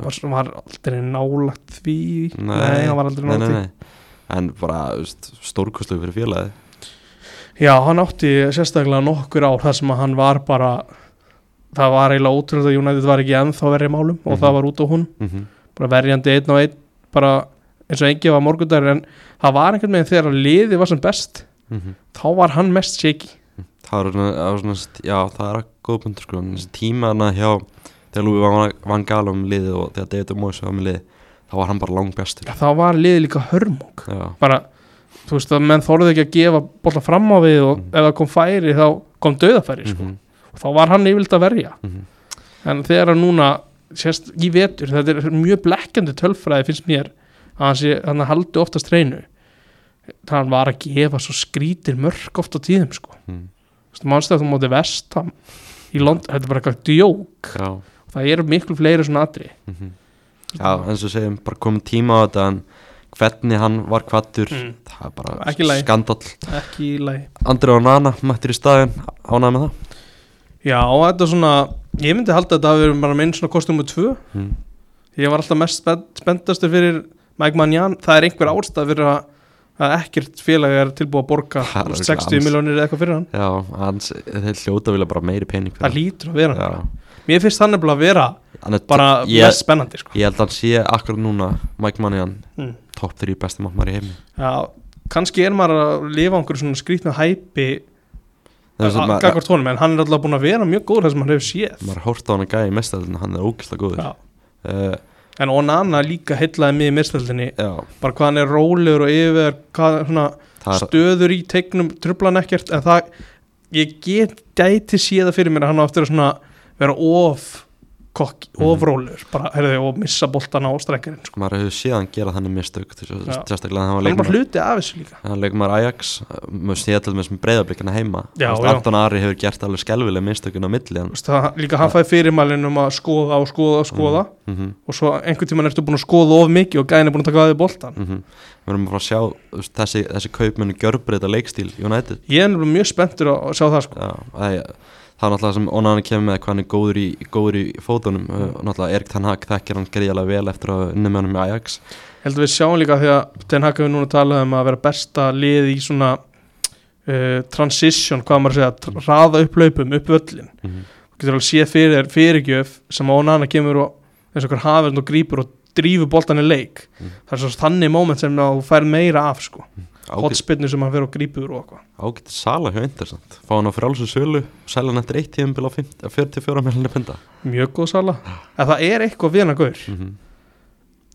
B: var, var aldrei nálagt því
A: Nei.
B: hann var aldrei
A: nei, nei,
B: nálagt
A: nei. en bara stórkoslu fyrir félagi
B: því Já, hann átti sérstaklega nokkur ár þar sem að hann var bara það var eiginlega ótrúlega að United var ekki ennþá verið málum og
A: Mhm.
B: það var út á hún
A: mm -hmm.
B: bara verjandi einn og einn bara eins og engi var morgundagur en það var einhvern veginn þegar að liði var sem best þá var hann mest shaky
A: það er svona, það var svona st- já það er að góð pundur sko en þessi tíma hann að hjá þegar Lúi van, van Galum liðið og þegar David Moyes var með liðið þá var hann bara langbestur
B: þá var liði líka hörmung
A: já,
B: bara, þú veist að menn þorðu ekki að gefa bolla fram á við og ef það kom færi þá kom döðafæri sko.
A: Mhm,
B: og þá var hann yfirlt að verja
A: mhm.
B: en þegar að núna, sérst í vetur þetta er mjög blekkjandi tölfræði finnst mér að hann, sé, hann haldi oftast reynu hann var að gefa svo skrítir mörg oft á tíðum sko.
A: Mhm.
B: Þú veist, mannstu að þú móti vestam í London, þetta er bara eitthvað djók
A: já
B: það eru miklu fleiri svona atri
A: Mhm. Já, eins og segjum, bara komið tíma á þetta en hvernig hann var kvattur
B: Mm.
A: það er bara
B: Ekki í lagi.
A: skandall
B: ekki í lagi
A: Andri og Nana mættir í staðin ánæði með það
B: já, þetta er svona, ég myndi halda að þetta hafi verið bara minn svona kostum og tvö
A: mm.
B: ég var alltaf mest spennt, spenntastur fyrir Mike Manjan, það er einhver ástæð fyrir að, að ekkert félag er tilbúið að borga
A: Það er
B: þú veist,
A: örugglega
B: 60
A: alls.
B: miljónir eða eitthvað fyrir hann
A: Já, hans, þeir hljóta vilja bara meiri pening
B: það lítur að vera hann
A: líka
B: mér finnst hann nefnilega að vera bara
A: ég,
B: mest spennandi sko.
A: ég held að hann sé akkur núna Mike Mannian,
B: mm.
A: topp 3 besti maður í heimi
B: já, kannski er maður að lifa á einhverju svona skrýtna hæpi
A: það er sem maður,
B: gagvart honum, en hann er alltaf búin að vera mjög góður það sem hann hefur séð
A: maður hórt á hann að gæja mestarðin hann er ógæslega góður
B: Já.
A: uh,
B: en Onana líka heillaði mig í mistældinni
A: já,
B: bara hvað hann er rólegur og yfir hvað svona
A: það er,
B: stöður í teiknum trublan ekkert en það, ég get gæti séð það fyrir mér að hann á eftir að svona vera of kokki, of
A: Mhm.
B: rólegur bara, heyrðu, og missa boltan á strekkarinn sko.
A: maður hefur séð hann gera þannig mistök til svo-
B: Já.
A: sérstaklega hann var
B: hann er
A: leikmaður
B: bara hluti af þessu líka
A: hann leikum maður Ajax maður sé til með sem breyðablikana heima
B: Já,
A: Þú veist,
B: já.
A: Anton Ari hefur gert alveg skelvilega mistökun á milli hann
B: Þú veist, það, líka hann fæði fyrirmælin um að skoða og skoða og skoða
A: mm -hmm,
B: og svo einhvern tímann ertu búin að skoða of mikið og gæðin er búin að taka að því boltan
A: mm -hmm. við erum að fara að sjá þú veist, þessi, þessi kaupmennu gjörbreyta leikstíl United
B: ég er nefnilega mjög spenntur að að sjá það sko.
A: já, æ, það er náttúrulega sem Onan kemur með hvað hann er góður í, góður í fótunum mm. náttúrulega Erik Ten Hag þekkir hann greiðalega vel eftir að unni með hann með Ajax
B: heldur við sjáum líka því að Ten Hag hefur núna talað um að vera besta lið í svona uh, transition, hvað maður að segja tr- raða upp laupum, upp völlin
A: mm -hmm.
B: þú getur alveg séð fyrir þér fyrirgjöf sem á nana kemur og eins og hver hafið og grípur og drífur boltan í leik
A: Mhm.
B: það er svo þannig moment sem að þú fær meira af sko,
A: ágætt
B: hotspinnu sem hann fyrir og grípur og eitthvað,
A: ágætt sala hjá Intersand fá hann á frálsum sölu og selja hann eftir eitt tíðumbil á 50 44 miljonir punda
B: mjög góð sala en það er eitthvað við hann að gaur
A: mm -hmm.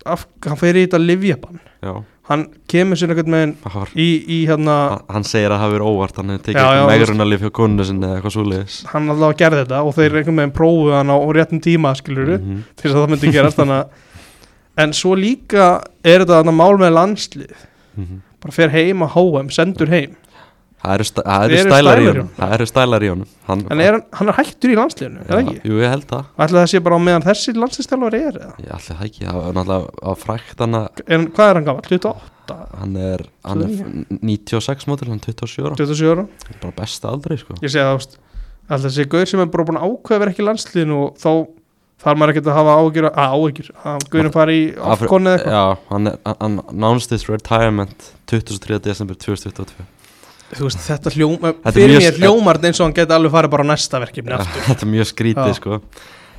B: af, hann fer í þetta livjabann
A: já,
B: hann kemur sér einhvern veginn
A: það var
B: í, í hérna
A: Ha- hann segir að það hafi verið óvart hann hefur tekið
B: Já, já,
A: eitthvað
B: þú
A: megrunarlif hjá konu sinni eða eitthvað svoleiðis
B: hann allavega gerði þetta og þeir einhvern veginn prófuðu hann á réttum tíma skiluru,
A: Mhm.
B: til þess að það myndi gerast þannig að en svo líka er þetta þarna mál með landslið
A: Mhm.
B: bara fer heim að HM, sendur heim
A: það eru sta- það eru
B: Þeir eru
A: stælar í
B: stælar í
A: honum það eru stælar í honum hann,
B: en er, hann- hann er hættur í landsliðinu, er það ekki?
A: jú ég held það
B: Ætli það sé bara á meðan þessi landsliðstjálfur er eða?
A: ég ætli það ekki það er náttúrulega á frækt hann að
B: En hvað er hann gammal? 28?
A: hann er, hann er
B: Svo
A: 96 mótil hann er 27 ára
B: 27 ára?
A: bara besta aldrei sko
B: Ég segi það, ást Ætli það sé gaur sem er bara búin að ákveða að vera ekki í landsliðinu og þá þarf maður ekkert að hafa áhyggjur að- að áhyggjur, að gaurin fari í
A: Afri-
B: afkonni eða eitthvað
A: já hann er hann hann announced his retirement 23. desember 2022
B: Þú veist, þetta hljóm,
A: er mjög-
B: fyrir mér hljómar þetta eins og hann geti alveg farið bara á næsta verkefni aftur.
A: þetta er mjög skrítið
B: Já.
A: sko En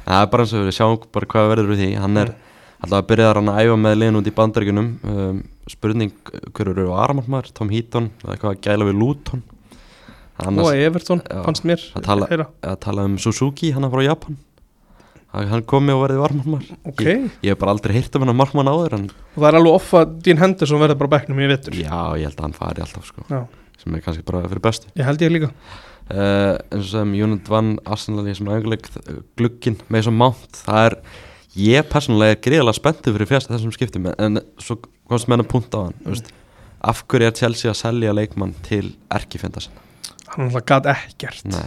A: það er bara eins og við sjáum bara hvað verður við því hann
B: Mm.
A: er alltaf að byrja hann að æfa með liðin út í bandaríkunum um, spurning hverju eru Aramarmar, Tom Heaton eða eitthvað að gæla við Luton
B: og
A: annars
B: Everton,
A: Já,
B: fannst mér
A: að tala-
B: heyra.
A: að tala um Suzuki hann er frá Japan að hann komi og verði Aramarmar
B: ok,
A: ég hef bara aldrei heyrt um hann að markmann áður en
B: og það er alveg offa Dean Henderson verður bara á bekknum í vettur
A: já, ég held að hann fari alltaf sko
B: Já.
A: sem er kannski bara fyrir bestu
B: ég held ég líka
A: uh, eins og sem Unit vann Arsenal í þessum æguleik glukkin með þessum mánt það er, ég persónulega er greiðlega spenntu fyrir fjast þessum skiptum en- en svo komst menn að punta á hann mm. veist, af hverju er Chelsea að selja leikmann til erkifjönda sinna
B: hann alltaf gat ekkert
A: Nei.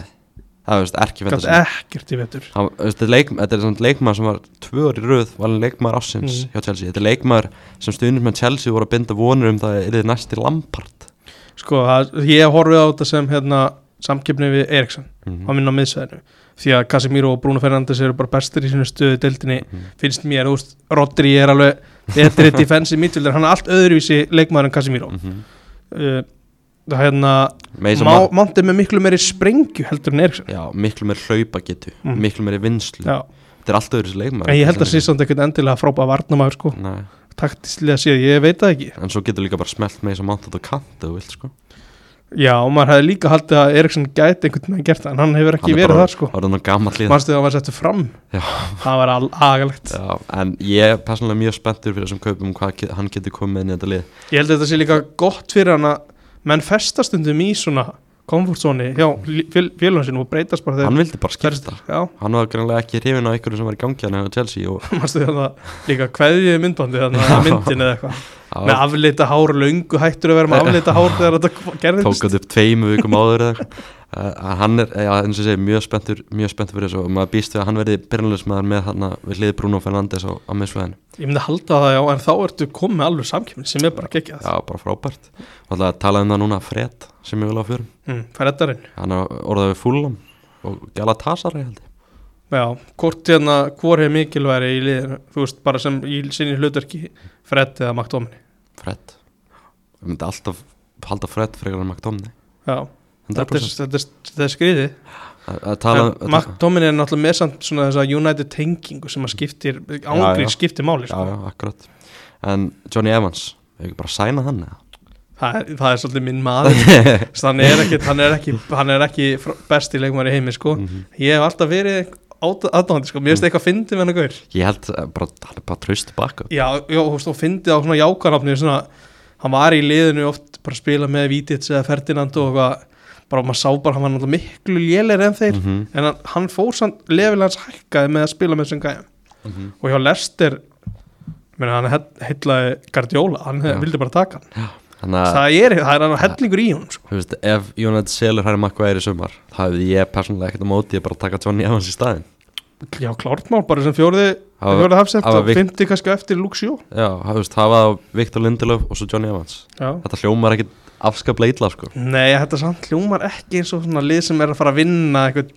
A: það er veist, erkifjönda
B: gat
A: sinna
B: ekkert í vettur
A: Hann- veist, þetta er leik- þetta er samt leikmaður sem var tvö orði röð valin leikmaður ásins
B: Mhm.
A: hjá Chelsea þetta er leikmaður sem stuðnir með Chelsea voru að binda vonur um það er þið næsti Lampard
B: sko, það- ég horfið á þetta sem hérna, samkeppni við Eriksson
A: mm
B: á minna miðsæðinu því að Casemiro og Bruno Fernandes eru bara bestir í sinu stöðu deildinni
A: Mm.
B: finnst mér, þú veist, Rodri er alveg betri defensive midfielder, hann er allt öðruvísi leikmaður en Casemiro mm.
A: -hmm.
B: uh, það er hérna, Má,
A: Má...
B: Mount er með miklu meiri sprengju heldur en Eriksson
A: Já, miklu meir hlaupa getu
B: Mhm.
A: miklu meiri vinslu
B: Já.
A: Þetta er alltaf þessi leikmaður
B: en ég held að sé samt ekkert endilega frábæða varnamaður sko,
A: Nei,
B: taktislega séð, ég veit það ekki
A: En svo getur líka bara smelt með þess að máta þetta kant ef þú vilt sko
B: Já, og maður hefði líka haldið að Eriksson gæti einhvern veginn gert það, en hann hefur ekki
A: Hann er
B: verið
A: bara-
B: þar sko.
A: Það er nú gammal líð
B: Manstu þegar hann var settur fram?
A: Já.
B: Það var al- agalegt.
A: Já, en ég er persónulega mjög spenntur fyrir þessum kaupum hvað get, hann getur komið inn í þetta lið
B: Ég held að þetta sé líka gott fyrir hann að menn festast undum í svona komfortzóni hjá li- fél, félagum sinum og breytast bara þegar
A: Hann vildi bara skipta
B: Já,
A: Hann var greinlega ekki hrifin á einhverju sem var í gangi hann hefur Chelsea og
B: manstu þegar það líka kveðið myndbandi þannig að myndin eða eitthvað með
A: Já,
B: afleita hár, löngu hættur að vera með afleita hár þegar þetta
A: tók
B: gerðist
A: þetta upp tveimu vikum áður eða eitthvað. Uh, hann er, já, eins og ég segi, mjög spenntur, mjög spenntur fyrir þessu og maður býst við að hann verði byrjanlegsmaður með hann við hliði Bruno Fernandes á, á miðsvæðinu
B: Ég myndi halda það já, en þá ertu komið með alveg samkjöfni sem er bara geggjað
A: Já, bara frábært Og alltaf að tala um það núna Fred sem ég vil á fjörum
B: mm, Freddarinn
A: Hann er orðað við Fulham og Galatasaray held ég
B: Já, hvort hérna, hvor er mikilværi í liðinu, þú veist, bara sem í sinni hlutverki Fred eða McDominay
A: Fred Við myndi alltaf halda Fred frekar en McDomni
B: Já, þetta er,
A: 100%
B: þetta er, þetta er skriði
A: Að að tala um að-
B: McDominay er náttúrulega með samt svona þessa United tengingu sem að skiptir,
A: Já, já.
B: ángrín skiptir máli
A: Já,
B: sko.
A: já, akkurat En Johnny Evans, hefur ekki bara sæna hann eða?
B: það er, það er svolítið minn maður Þess, hann er ekki, hann er ekki, hann er ekki fr- besti leikmar í heimi sko.
A: Mhm.
B: ég hef alltaf verið aðdáðandi sko.
A: Mm.
B: mér finnst eitthvað fyndið með hann að gaur
A: Ég held að bara, hann er bara traust baka
B: já, já, þú veist, og fyndið á svona jákanafni svona, hann var í liðinu oft bara að spila með Vítits eða Ferdinand og eitthvað, bara maður sá bara hann var náttúrulega miklu lélir en þeir
A: Mhm.
B: en hann, hann fór samt, lefil hans hækkaði með að spila með þessum gæm
A: Mhm.
B: og hjá Lester meni, hann he- heillaði Guardiola hann
A: Já.
B: vildi bara taka hann
A: Þannig að,
B: það er, það er hann hellingur í hún sko.
A: þú veist, ef United selur Harry Maguire í sumar þá hefði ég persónulega ekkert á móti að bara taka Johnny Evans í staðin
B: já, klártmál, bara sem fjórði
A: Hafa-
B: fjórði hafsett
A: hafa
B: og
A: Vic-
B: fyndi kannski á eftir Luxjó
A: Já, þú veist, hafa Viktor Lindelöf og svo Johnny Evans
B: já
A: Þetta hljómar ekkert afskaplega illa sko
B: Nei, þetta samt hljómar ekki eins og svona lið sem er að fara að vinna einhvern,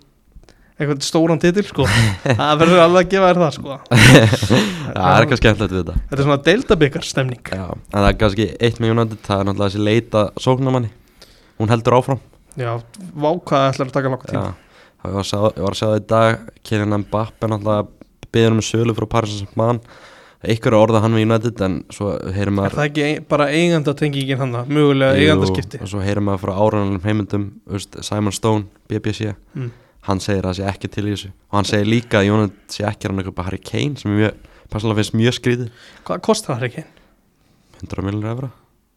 B: einhvern stóran titil sko. það verður alveg að gefa þér það sko.
A: Það er eitthvað skemmtilegt við þetta
B: Þetta er svona deildabikar stemning
A: Já, en það er kannski eitt með United það er náttúrulega þessi leita sóknarmanni hún heldur áfram
B: Já, vákaða ætlar að taka langt tíma
A: Já, þá ég var að sjá, ég var að sjá það í dag Kylian Mbappe náttúrulega byður um sölu frá Paris Saint-Germain einhver orða hann við United en svo heyrum
B: Er
A: maður
B: það ekki ein, bara eiganda tengingin hann mögulega
A: Jú,
B: eigandaskipti
A: og svo heyrum maður frá áraðanum heimildum veist, Simon Stone, BBC
B: mm.
A: hann segir að það sé ekki til í þessu og hann segir líka að United sé ekki hann eitthvað Harry Kane sem ég persónulega finnst mjög skrítið
B: Hvað kostar það ekki?
A: 100 miljonur efra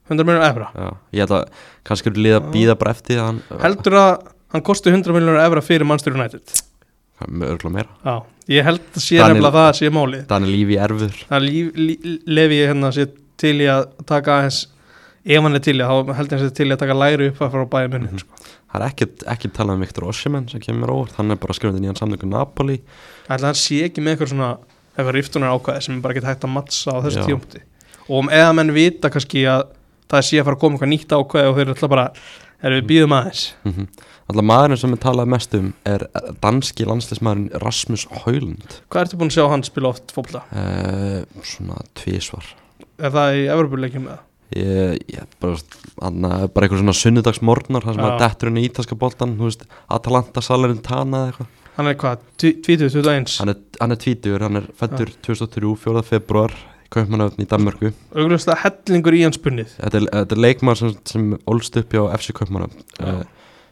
B: 100 miljonar evra
A: Já, ég held að kannski eru liða að býða bara eftir því að hann
B: Heldur að hann kosti 100 miljonar evra fyrir Manchester United
A: örgulega meira
B: Já, ég held að sé
A: Daniel-
B: nefnilega það sé málið
A: Daniel Levy erfiður
B: Það líf, líf, lefi ég hérna sér til í að taka aðeins ef hann er til í að, þá held ég að sér til í að taka læri upp að fara á bæja munni
A: Mhm. Það er ekkert ekki talað um Viktor Ossiman sem kemur óvart, hann er bara skrifandi nýjan samningu Napoli
B: Ætli hann sé ekki með eitthvað svona eitthvað riftunar ákvæði sem er bara ekki hægt að mattsa á þessu
A: Já.
B: tíumti og um eða menn vita kannski að það sé að fara að koma eitthvað nýtt ákvæði og þeir eru alltaf bara, erum við býðum aðeins
A: mm -hmm. Alltaf maðurinn sem er talað mest um er danski landslismæðurinn Rasmus Haulund
B: Hvað ertu búin að sjá hann spila oft fólkla?
A: uh, Svona tvísvar
B: Er það í Evropuleikjum eða?
A: Eh, Ég, ég bara, anna, bara einhver svona sunnudagsmorgnar þar sem
B: Já.
A: að dettur henni í ítalska boltan þú veist, Atalanta salarinn Tana eða eitthvað
B: Hann er hvað, 20, 21
A: hann, er- hann er tvítur, hann er fættur 2003, 4. februar Kaupmannöfn í Danmörku
B: augljóslega hellingur í hans bunnið
A: Þetta er, þetta er leikmaður sem, sem ólst upp hjá FC Kaupmannöfn
B: Já.
A: uh,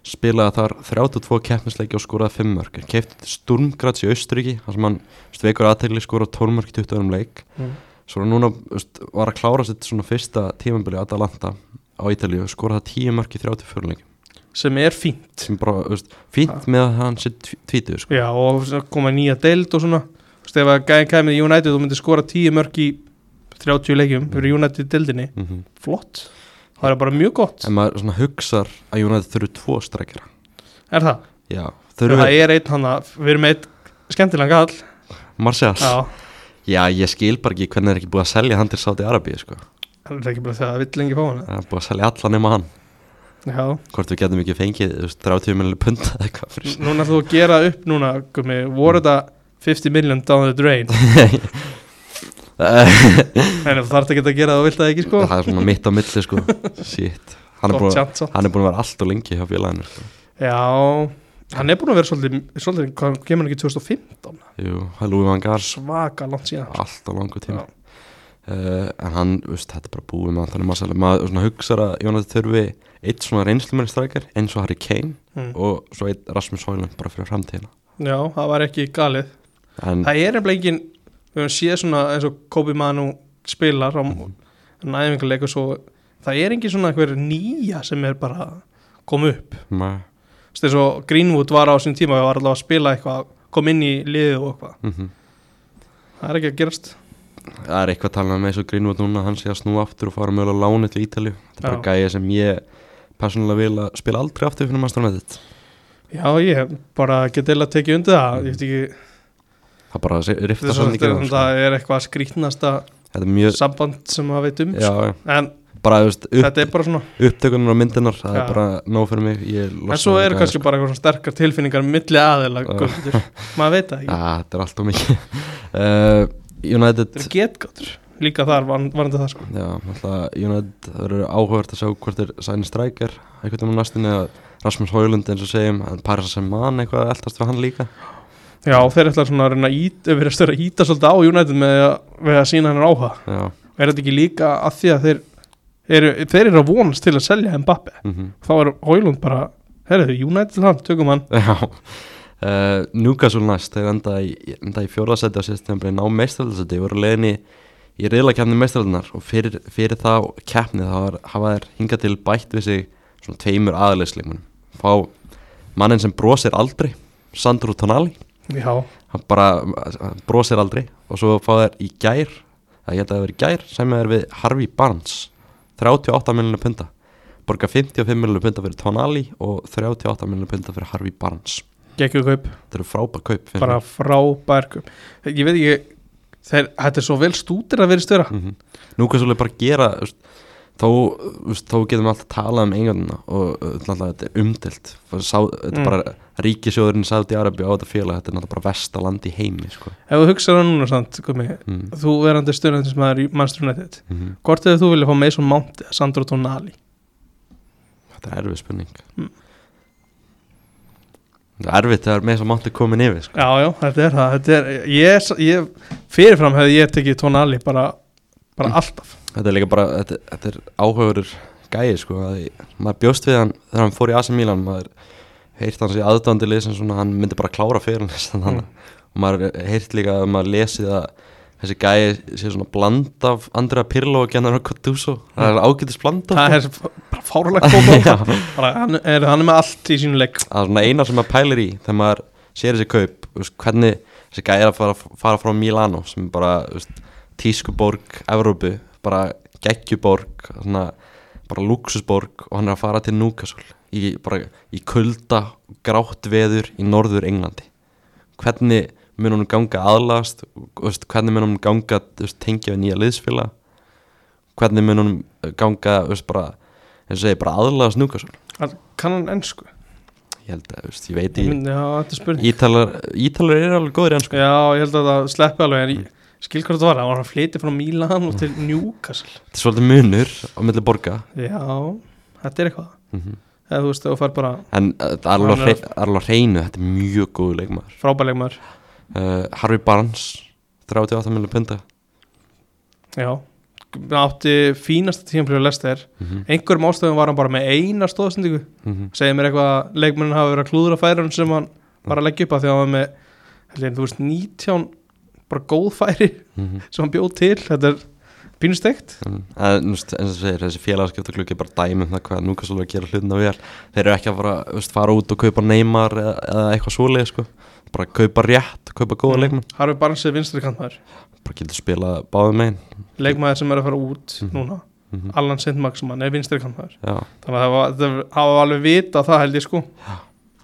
A: spilaði þar 32 keppnisleiki og skoraði 5 mörg keifti Sturmgrats í Austuríki þar sem hann veikur aðtegli skoraði 12 mörg í 20 um leik
B: mm.
A: svo núna veist, var að klára sitt svona fyrsta tímabili Atalanta á Ítalíu og skoraði 10 mörg í 34 leik
B: sem er fínt
A: sem bara veist, fínt
B: Ha.
A: með að hann sitt tvítið sko.
B: Já, og svo koma nýja deild og svona Þú veist, ef að gæði kæmið í United og myndi skora 10 mörg í 30 leikjum fyrir United deildinni,
A: mm
B: flott það er bara mjög gott,
A: en maður svona hugsar að United þurfu tvo strekkjara
B: er það?
A: já,
B: Þurfum
A: þurfu
B: það er einn hann að, við erum eitt skemmtilegan gall,
A: Marseilles
B: já
A: já. ég skil bara ekki hvernig er ekki búið að selja hann til Saudi Arabíu sko.
B: það er ekki bara það að vill lengi fá hann
A: það er búið að selja allan nema hann
B: já,
A: hvort við getum ekki fengið þú veist, 30 miljonir punta eða eitthvað fyrir
B: N- núna þú að gera upp núna, gummi, voru þetta 50 million down the drain en þú þarft ekki að gera það og vilt það ekki sko
A: það er svona mitt á milli sko shit, hann er,
B: gott
A: búin,
B: tjant svo
A: hann er búin að vera allt og lengi hjá félaginu sko.
B: já, hann er búin að vera svolítið, svolítið hvað kemur hann ekki 2015
A: jú, hann Lúi Van Gars
B: svaka langt síðan sko.
A: allt á langu tíma
B: Já.
A: uh, en hann, þú veist, þetta er bara búið með Antoni Marcel maður svona hugsar að Jónati þurfi eitt svona reynslumæri strækjar eins og Harry Kane
B: mm.
A: og svo eitt Rasmus Hoyland bara fyrir framtíðina
B: já, það var ekki galið
A: en
B: Það er nefnilega engin við höfum séð svona eins og Kobe Manu spilar á
A: Mhm.
B: næfingarleik og svo það er engin svona einhver nýja sem er bara kom upp
A: maður
B: Þú veist, eins og Greenwood var á sín tíma og var allavega að spila eitthvað, kom inn í liðið og eitthvað
A: mhm.
B: það er ekki að gerast
A: það er eitthvað talað með eins og Greenwood núna hann sé að snúa aftur og fara mögulega á láni til Ítalju þetta er bara gæja sem ég persónulega vil að spila aldrei aftur fyrir maður stórnættið
B: Já, ég hef bara get eða tekið undir það ég veit ekki,
A: það bara se- rifta
B: þess að
A: svolítið
B: þetta
A: um, sko.
B: það er eitthvað skrýtnasta
A: þetta er mjög
B: samband sem maður veit um
A: já,
B: sko.
A: já.
B: en
A: bara þú veist, upp,
B: þetta er bara svona
A: upptökunar og myndinar það
B: Já.
A: er bara nóg fyrir mig ég
B: en
A: losna
B: svo
A: við
B: eru
A: þetta,
B: kannski bara eitthvað svona sterkar tilfinningar milli aðeila,
A: Já.
B: Guðmundur. maður veit það ekki
A: Já, þetta er allt og mikið uh, United
B: Þetta er getgáttur Líka þar var, varandi það sko
A: Já, alltaf United það verður áhugavert að sjá hvort er Sæni Strækjar einhvern veginn á næstinni eða Rasmus Hoylund eins og segjum en Paris sem mann eitthvað að eldast við hann líka
B: Já, þeir ætla svona að reyna að ít, vera stöður að íta svolítið á United með að, með að sína hennar áhuga
A: Já,
B: Er þetta ekki líka að því að þeir eru, þeir eru að vonast til að selja Mbappe
A: mhm.
B: þá er Hólund bara herriðu, United hann, tökum hann
A: Já uh, Newcastle næst, þeir enda í, enda í fjórðasæti á sérstæmbli ná meistarhaldsæti voru leðinni í reyðlakefni meistarhaldunar og fyrir, fyrir þá keppni þá var, hafa þær hingað til bætt við sig svona tveimur aðleysleikunum fá mannin sem brosir aldrei Sandro Tonali
B: já,
A: hann bara hann brosir aldrei og svo fá þær í gær að ég held að það hafi verið í gær sem er við Harvey Barnes 38 miljonar punta borga 55 miljonar punta fyrir Tonali og 38 miljonar punta fyrir Harvey Barnes
B: gekkju kaup,
A: Þetta eru frábær kaup fyrir
B: bara
A: mig.
B: frábær kaup ég veit ekki þeir, þetta er svo vel stútir að vera störa
A: Mhm. Nú kannski bara gera þú veist, Þó, þú veist, þó getum við alltaf talað um engarnina og uh, náttúrulega þetta er umdelt Sá, Þetta
B: Mm.
A: er bara ríkisjóðurinn Sáti Arabi á þetta félag Þetta er náttúrulega bara vestaland í heimi sko.
B: ef þú hugsaður núna samt, komi
A: mm.
B: þú verandi stöðnættis maður í Manchester United
A: Mm
B: hvort hefur þú vilja fá Mason Mount eða Sandro Tonali
A: Þetta er erfið spurning
B: Mm.
A: Þetta er erfitt þegar með þess að máttu komin yfir sko.
B: já, já, þetta er það þetta er, ég, ég, fyrirfram hefði ég tekið Tonali bara, bara
A: Mm.
B: alltaf
A: Þetta er líka bara, þetta, þetta er áhugaverur gæi sko, að ég- maður bjóst við hann þegar hann fór í AC Milan, maður heyrt hans í aðdöndi lið sem svona, hann myndi bara klára fyrir hann mm. og maður heyrt líka að maður lesið að þessi gæi sé svona bland af Andrea Pirlo og Gennaro Gattuso það er ágætis bland af
B: það er bara fárlega
A: Já.
B: kópa bara, hann, er, hann er með allt í sínu leik
A: að svona eina sem maður pælir í þegar maður sér þessi kaup þú veist, hvernig þessi gæi er að fara, fara frá Milano sem er bara þú veist, tískuborg Evrópu, bara geggjuborg svona, bara luxusborg og hann er að fara til Newcastle í, bara, í kulda, grátt veður í norður Englandi hvernig mun hún ganga aðlast hvernig mun hún ganga þú veist, tengja við nýja liðsfélag hvernig mun hún ganga þú veist, bara, eins og segi, bara aðlast Newcastle
B: Hann- kann hann ennsku
A: ég held að, þú veist, ég veit
B: Ég
A: ég
B: myndi- já, þetta er spurning
A: Ítalar, Ítalar eru alveg góðir í ennsku
B: já, ég held að það sleppi alveg en ég skil hvað þetta var, hann var að flytja frá Milan og til Newcastle
A: Þetta er svolítið munur á milli borga
B: já, þetta er eitthvað
A: mm
B: eða þú veist, þú fær bara
A: En uh, það er alveg á
B: Hann er
A: hrein- það er alveg á hreinu Þetta er mjög góðu leikmaður
B: frábæleik maður
A: uh, Harvey Barnes 38 miljonar punta
B: já, hann átti fínasta tímanfljóð lester,
A: mm -hmm.
B: einhverjum ástöðum var hann bara með eina stóðsendingu segir mér eitthvað að leikmennin hafa verið að klúðra færun sem hann var að leggja upp að því að hann var með heldur, þú veist, 19 bara góð færi sem hann bjóð til þetta er pínustegt
A: En en, þú veist, eins og þú segir, þessi félagskeptaklukki er bara dæmi um það hvað núka svolítið að gera hlutina vel Þeir eru ekki að fara, þú veist, fara út og kaupa neymar eða, eða eitthvað svoleið sko. Bara kaupa rétt, kaupa góða leikmann
B: Harfi Barnes er vinstri kantmaður
A: Bara getur spila báðum megin
B: leikmaður sem er að fara út
A: Mhm.
B: núna
A: Mhm.
B: Allan Sintmaxmann er vinstri kantmaður
A: Já
B: þannig að það var- það hafa alveg vita það held ég sko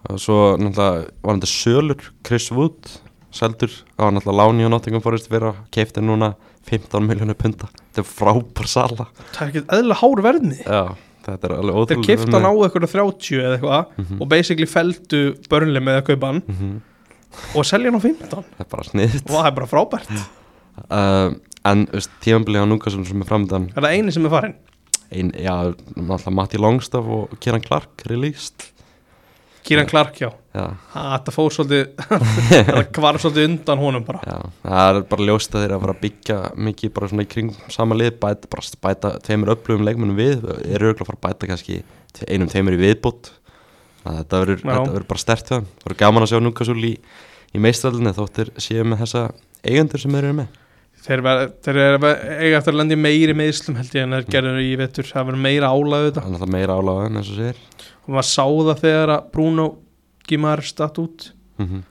A: og svo náttúrulega var þetta Sölur, Chris Wood Seldur, það var náttúrulega láni á Nottingham Forest fyrir að keipta núna 15 miljónu punta, þetta er frábær sala
B: það er ekkert eðla hár verðni
A: Já, þetta er alveg
B: þeir
A: ótrúlega
B: kifta hann á eitthvað 30 eða eitthvað
A: Mhm.
B: og basically feldu börnli með að kaupa hann
A: Mhm,
B: og selja hann á 15
A: Það er bara sniðt
B: og það er bara frábært
A: uh, En veist, tíðanbilið á Núkasun sem er framdann
B: er það eini sem er farin
A: ein, Já, náttúrulega Matti Longstaff og Kieran Clark released
B: Kíran Clark já
A: Já,
B: Ha, Þetta fór svolítið Þetta kvar svolítið undan honum bara
A: já, það er bara ljóst að þeir eru að fara að byggja mikið bara svona í kringum sama lið bæta, bara bæta tveimur upplöfum leikmennum við eru auðvitað að fara að bæta kannski tve- einum tveimur í viðbútt þetta verður
B: Já.
A: þetta verður bara stert við hann það verður gaman að sjá núkasúl í, í meistralinu þóttir séu með þessa eigendur sem þeir eru með
B: Þeir, ver, þeir er, eiga eftir að landa í meiri meðslum held ég en þeir gerður í vetur Það verður meira álæðu þetta
A: þannig að það meira álaga en eins og segir
B: Og maður sá það þegar að Bruno Gimar statt út
A: mm -hmm.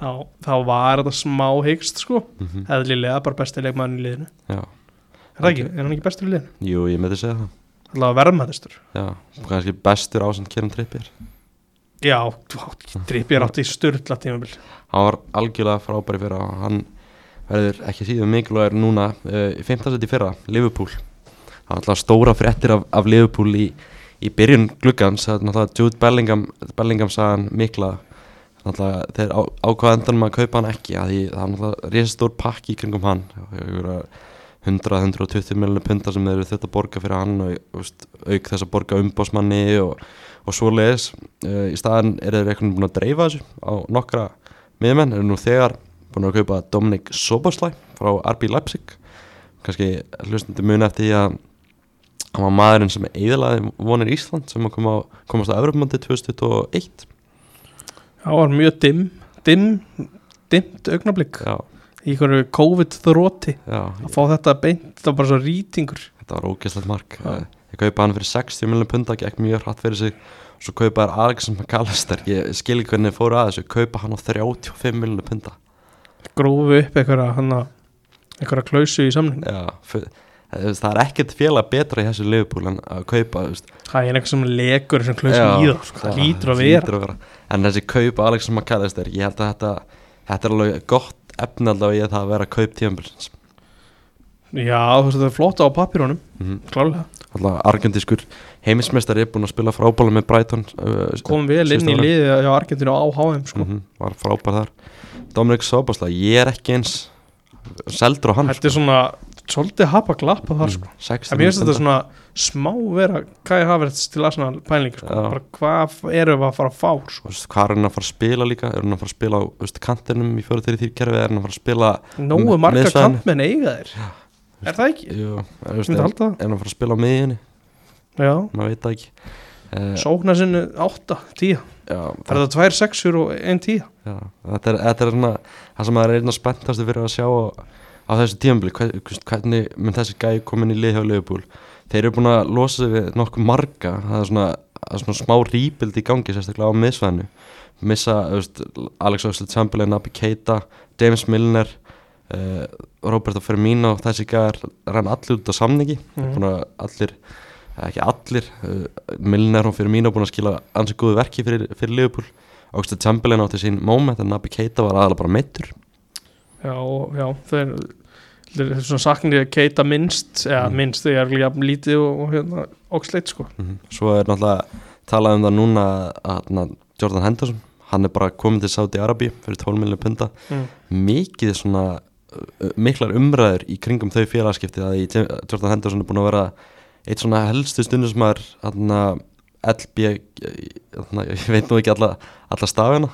B: þá, þá var þetta smá hyggst sko
A: Mm -hmm.
B: Eðlilega bara besti leikmann í liðinu
A: Já,
B: Er það ekki? Er hann ekki bestur í liðinu?
A: jú, ég myndi segja það
B: Það var verðmættistur
A: Já, kannski bestur ásend Kieran Trippir
B: Já, drippið er átt í sturla tímabil
A: hann var algjörlega frábæri fyrra og hann verður ekki síðan mikilvægur núna uh, í 15. seti fyrra, Liverpool það var alltaf stóra fréttir af, af Liverpool í, í byrjun gluggans það er náttúrulega Jude Bellingham, Bellingham sagan mikla náttúrulega þeir á, ákvaða endanum að kaupa hann ekki að því það var náttúrulega risastór pakki í kringum hann 100-120 miljonir punta sem þeir eru þetta að borga fyrir hann og þú veist, auk þess að borga umbásmanni og, og svoleiðis uh, í staðan eru þeir eitthvað búin að dreifa þessu á nokkra miðmenn eru nú þegar búin að kaupa Dominik Soboslæ frá RB Leipzig kannski hlustandi mun eftir því að hann var maðurinn sem eðalaði vonir Ísland sem að koma, komast á Evropamandi 2021
B: það var mjög dimm dimm, dimmt augnablik
A: já,
B: í hverju COVID-þróti
A: já,
B: að fá þetta beint, það var bara svo rýtingur
A: þetta var ógeðslegt mark
B: Já.
A: já. ég kaupa hann fyrir 60 miljonum punda gekk mjög hratt fyrir sig svo kaupa þær Alex McAllister ég skil ekki hvernig þeir fóru að þessu kaupa hann á 35 miljonum punda
B: grófi upp einhverja hana, einhverja klausu í samning
A: já, fyr, það er ekkert félag betra í þessu liðbúl en að kaupa þú veist,
B: það er eitthvað sem legur þessum klausu
A: Já,
B: í það sko. það lítur að vera
A: hlýtur En þessi kaup Alex McAllister Ég held að þetta, þetta er alveg gott efni allavega í það að vera kaup tíðanbilsins
B: já, þú veist það er flotta á papírónum
A: mm -hmm.
B: klálega,
A: Alltaf argendiskur heimismestari er búinn að spila frábæla með Brighton uh,
B: kom vel inn í
A: Síðasta árið.
B: liði á Argentínu á HM sko.
A: Mhm, Var frábær þar Dominic Sobosla, ég er ekki eins seldur á hann sko.
B: þetta er svona svolítið hapa glappa
A: Mhm.
B: þar sko. En mér finnst þetta svona smá vera Kai Havertz til Arsenal pælingi sko.
A: Já.
B: bara hvað erum við að fara að fá sko.
A: Hvað er hann að fara að spila líka? Er hann að fara að spila á þú veist, kantinum í fjóra þeirri þýrkerfi? Er hann að fara að spila
B: Nóu
A: M-
B: marga
A: miðsvæðinu.
B: kantmenn eiga þér Er það ekki?
A: jú, er, þú veist,
B: Ég myndi
A: er,
B: halda það
A: er hann að fara að spila á miðjunni?
B: Já,
A: Maður veit það ekki uh,
B: sókna sinni 8, 10
A: já,
B: Það er það 2, 6 og 1, 10
A: Já, þetta er, þetta er svona, það sem maður er einna spenntastu fyrir að sjá á, á þessu tímabili, hvernig mun þessi gæi komin í lið hjá Leifbúl þeir eru búin að losa sig við nokkuð marga það er svona, það er svona smá rýpild í gangi sérstaklega á miðsvæðinu missa þú veist, Alex Oxlade Chamberlain, Nabi Keita James Milner uh, Roberto Firmino, þessi gæðar rann allir út á samningi
B: Mhm.
A: búin að allir eða ekki allir, uh, Milner og Firmino búin að skila ansi góðu verki fyrir, fyrir Liverpool Águstið Chamberlain átti sín moment en Nabi Keita var aðalega bara meittur
B: Já, og- já, það er Það er svona saknir að keita minnst eða
A: Mm.
B: minnst þegar ég er lítið og, og hérna, oxleitt sko
A: Mhm. svo er náttúrulega talað um það núna að na, Jordan Henderson hann er bara komin til Saudi Arabi fyrir 12 miljonir punta
B: mm.
A: mikið svona uh, miklar umræður í kringum þau félagskipti að í- Jordan Henderson er búin að vera eitt svona helstu stundismar hann LB hann, e, ég veit nú ekki alla, alla stafina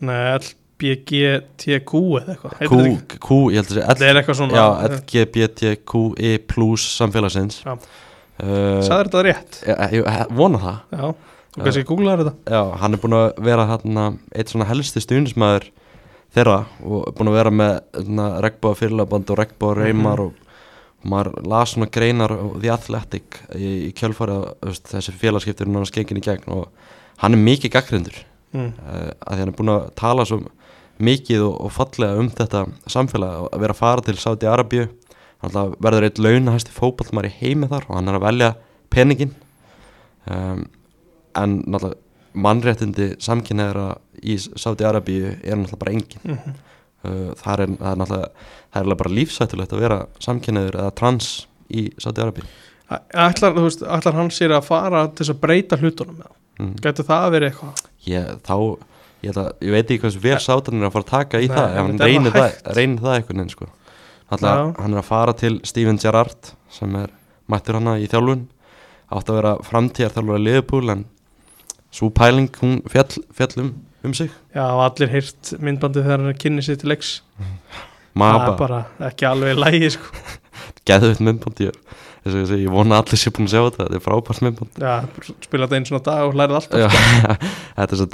B: Nei, LBGTQ eða eitthvað heitir
A: Q,
B: þetta ekki?
A: Q, ég held að
B: Það
A: segja
B: er eitthvað svona
A: já, LGBTQI E plus samfélagsins
B: Já.
A: Uh,
B: Sæður þetta rétt?
A: Ég, ég ég e, vona það
B: Já, þú kannski googlaðar þetta
A: Já, hann er búin að vera hérna eitt svona helsti stuðnismæður þeirra og er búin að vera með regnbóða fyrirlaband og regnbóða reymar og, og maður las svona greinar og The Athletic í, í kjölfarið þú veist, þessi félagskiptir hann skengin í gegn og hann er mikið gaggrindur
B: mm.
A: uh, að því hann er búin að tala svo mikið og, og fallega um þetta samfélag og að vera að fara til Saudi Arabíu hann ætla að verður eitt launahæsti fótballmar í heimi þar og hann er að velja peningin um, en náttúrulega mannréttindi samkynneðra í Saudi Arabíu er náttúrulega bara engin
B: Mm
A: uh, þar er, það er náttúrulega það er eiginlega bara lífsættulegt að vera samkynneður eða trans í Saudi Arabíu
B: Ætlar, þú veist, ætlar hann sér að fara til þess að breyta hlutunum með
A: mm.
B: Gæti það að vera eitthvað?
A: ég, þá, ég, ætla, ég veit ekki hversu vel sátan er að fara að taka í
B: Nei,
A: það ef hann
B: þetta er
A: reynir
B: það
A: það,
B: hægt.
A: reynir það einhvern veginn sko. Alla,
B: Já.
A: hann er að fara til Steven Gerrard sem er mættur hana í þjálfun átt að vera framtíðar þjálfur að liðupúl en svo pæling hún fjall, fjall um, um sig
B: Já, hafa allir heyrt myndbandið þegar hann kynni sér til leiks Það er
A: maður bara
B: bara ekki alveg í lægi sko.
A: geðvitt myndband ég, eins og ég, segi, ég vona að allir sé búin að sjá þetta þetta er frábært myndband
B: Já, spila þetta einn svona dag og lærið alltaf
A: Já, þetta er svo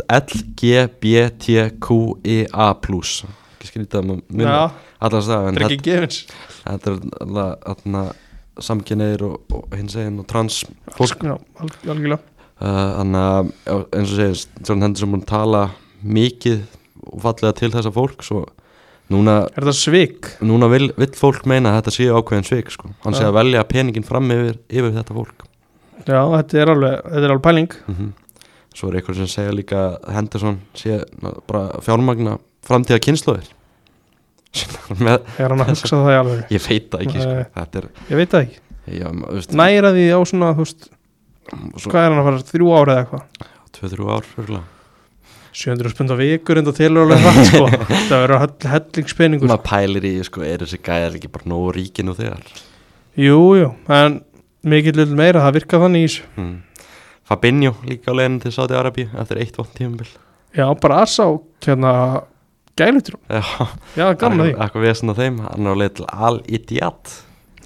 A: LGBTQIA E plus ekki skrítið að maður
B: Já,
A: minna allast það
B: þetta
A: en
B: er ekki gefins
A: Þetta er alveg aðna samkynneir og, og hins eginn og trans fólk Eh,
B: Já, alg- algjörlega
A: Þannig að já, eins og segist, John Henderson búin að tala mikið og fallega til þessa fólk svo núna,
B: Er þetta svik?
A: núna vil, vill fólk meina að þetta séu ákveðin svik sko. hann sé
B: Já.
A: að velja peningin fram yfir, yfir þetta fólk
B: Já, þetta er alveg, þetta er alveg pæling
A: mm Svo er eitthvað sem segja líka að Henderson sé ná, bara að fjármagna framtíða kynnslóðir með,
B: Er hann að hugsa það í alveg?
A: ég veit það ekki sko.
B: Nei.
A: þetta er
B: Ég veit það ekki
A: já, ma- veist,
B: Næra því á svona, þú veist,
A: svo,
B: hvað er hann að fara þrjú ára eða eitthvað?
A: 2-3 ár örgulega
B: 700 spund á vikur enda telur alveg hratt sko Það verður hell- hellingspeningur
A: maður pælir í, sko, er þessi gæjar ekki bara nógu ríkinu þegar
B: Jú, jú, en mikill vil meira, það virkar þannig í þessu.
A: mm. Fabinho líka á leiðinu til Saudi Arabi eftir eitt vott tímabil
B: Já, bara að sá, hérna, gælutur.
A: já,
B: Já, gaman að því.
A: eitthvað vesen á þeim hann er á leið til Al Idiat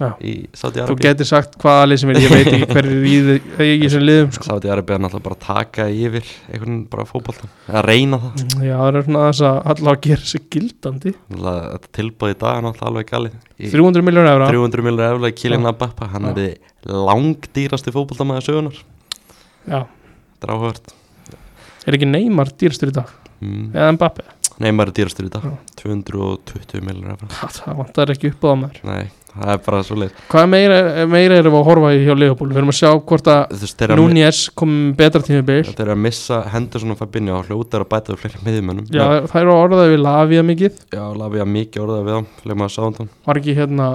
B: Já.
A: í Saudi
B: Þú
A: Arabia
B: getur sagt hvaða lið sem er, ég veit ekki hverju í þe- í þessum liðum sko.
A: Saudi Arabia er náttúrulega bara að taka yfir einhvern bara fótboltan, að reyna það
B: Já, það er svona þess að allavega gera sig gildandi
A: Náttúrulega, þetta tilbúið í dag er náttúrulega alveg galið í
B: 300 miljónu evra
A: 300 miljonar eflega Kylian Abappa, hann
B: Já.
A: er þið langdýrasti fótboltamæður sögunar
B: Já,
A: dráhört
B: er ekki Neymar dýrstur í dag
A: mm.
B: eða Mbappe,
A: Neymar er dýrastur í dag
B: Já.
A: 220 miljonar eflega
B: Ha, það vantar ekki upp á það maður
A: Nei, það er bara svo leið
B: Hvað meira, meira erum við að horfa í hjá Leopold við erum að sjá hvort að
A: Þú veist, þeir eru að mi-
B: Núñez komið betra tímabil
A: þeir eru að missa Henderson og Fabinho og hljótar að bæta við fleiri miðjumönnum
B: Já, það eru að orðaði við Lavia mikið
A: Já, lafið að mikið orðað við hann Leif maður sáðan
B: var ekki hérna,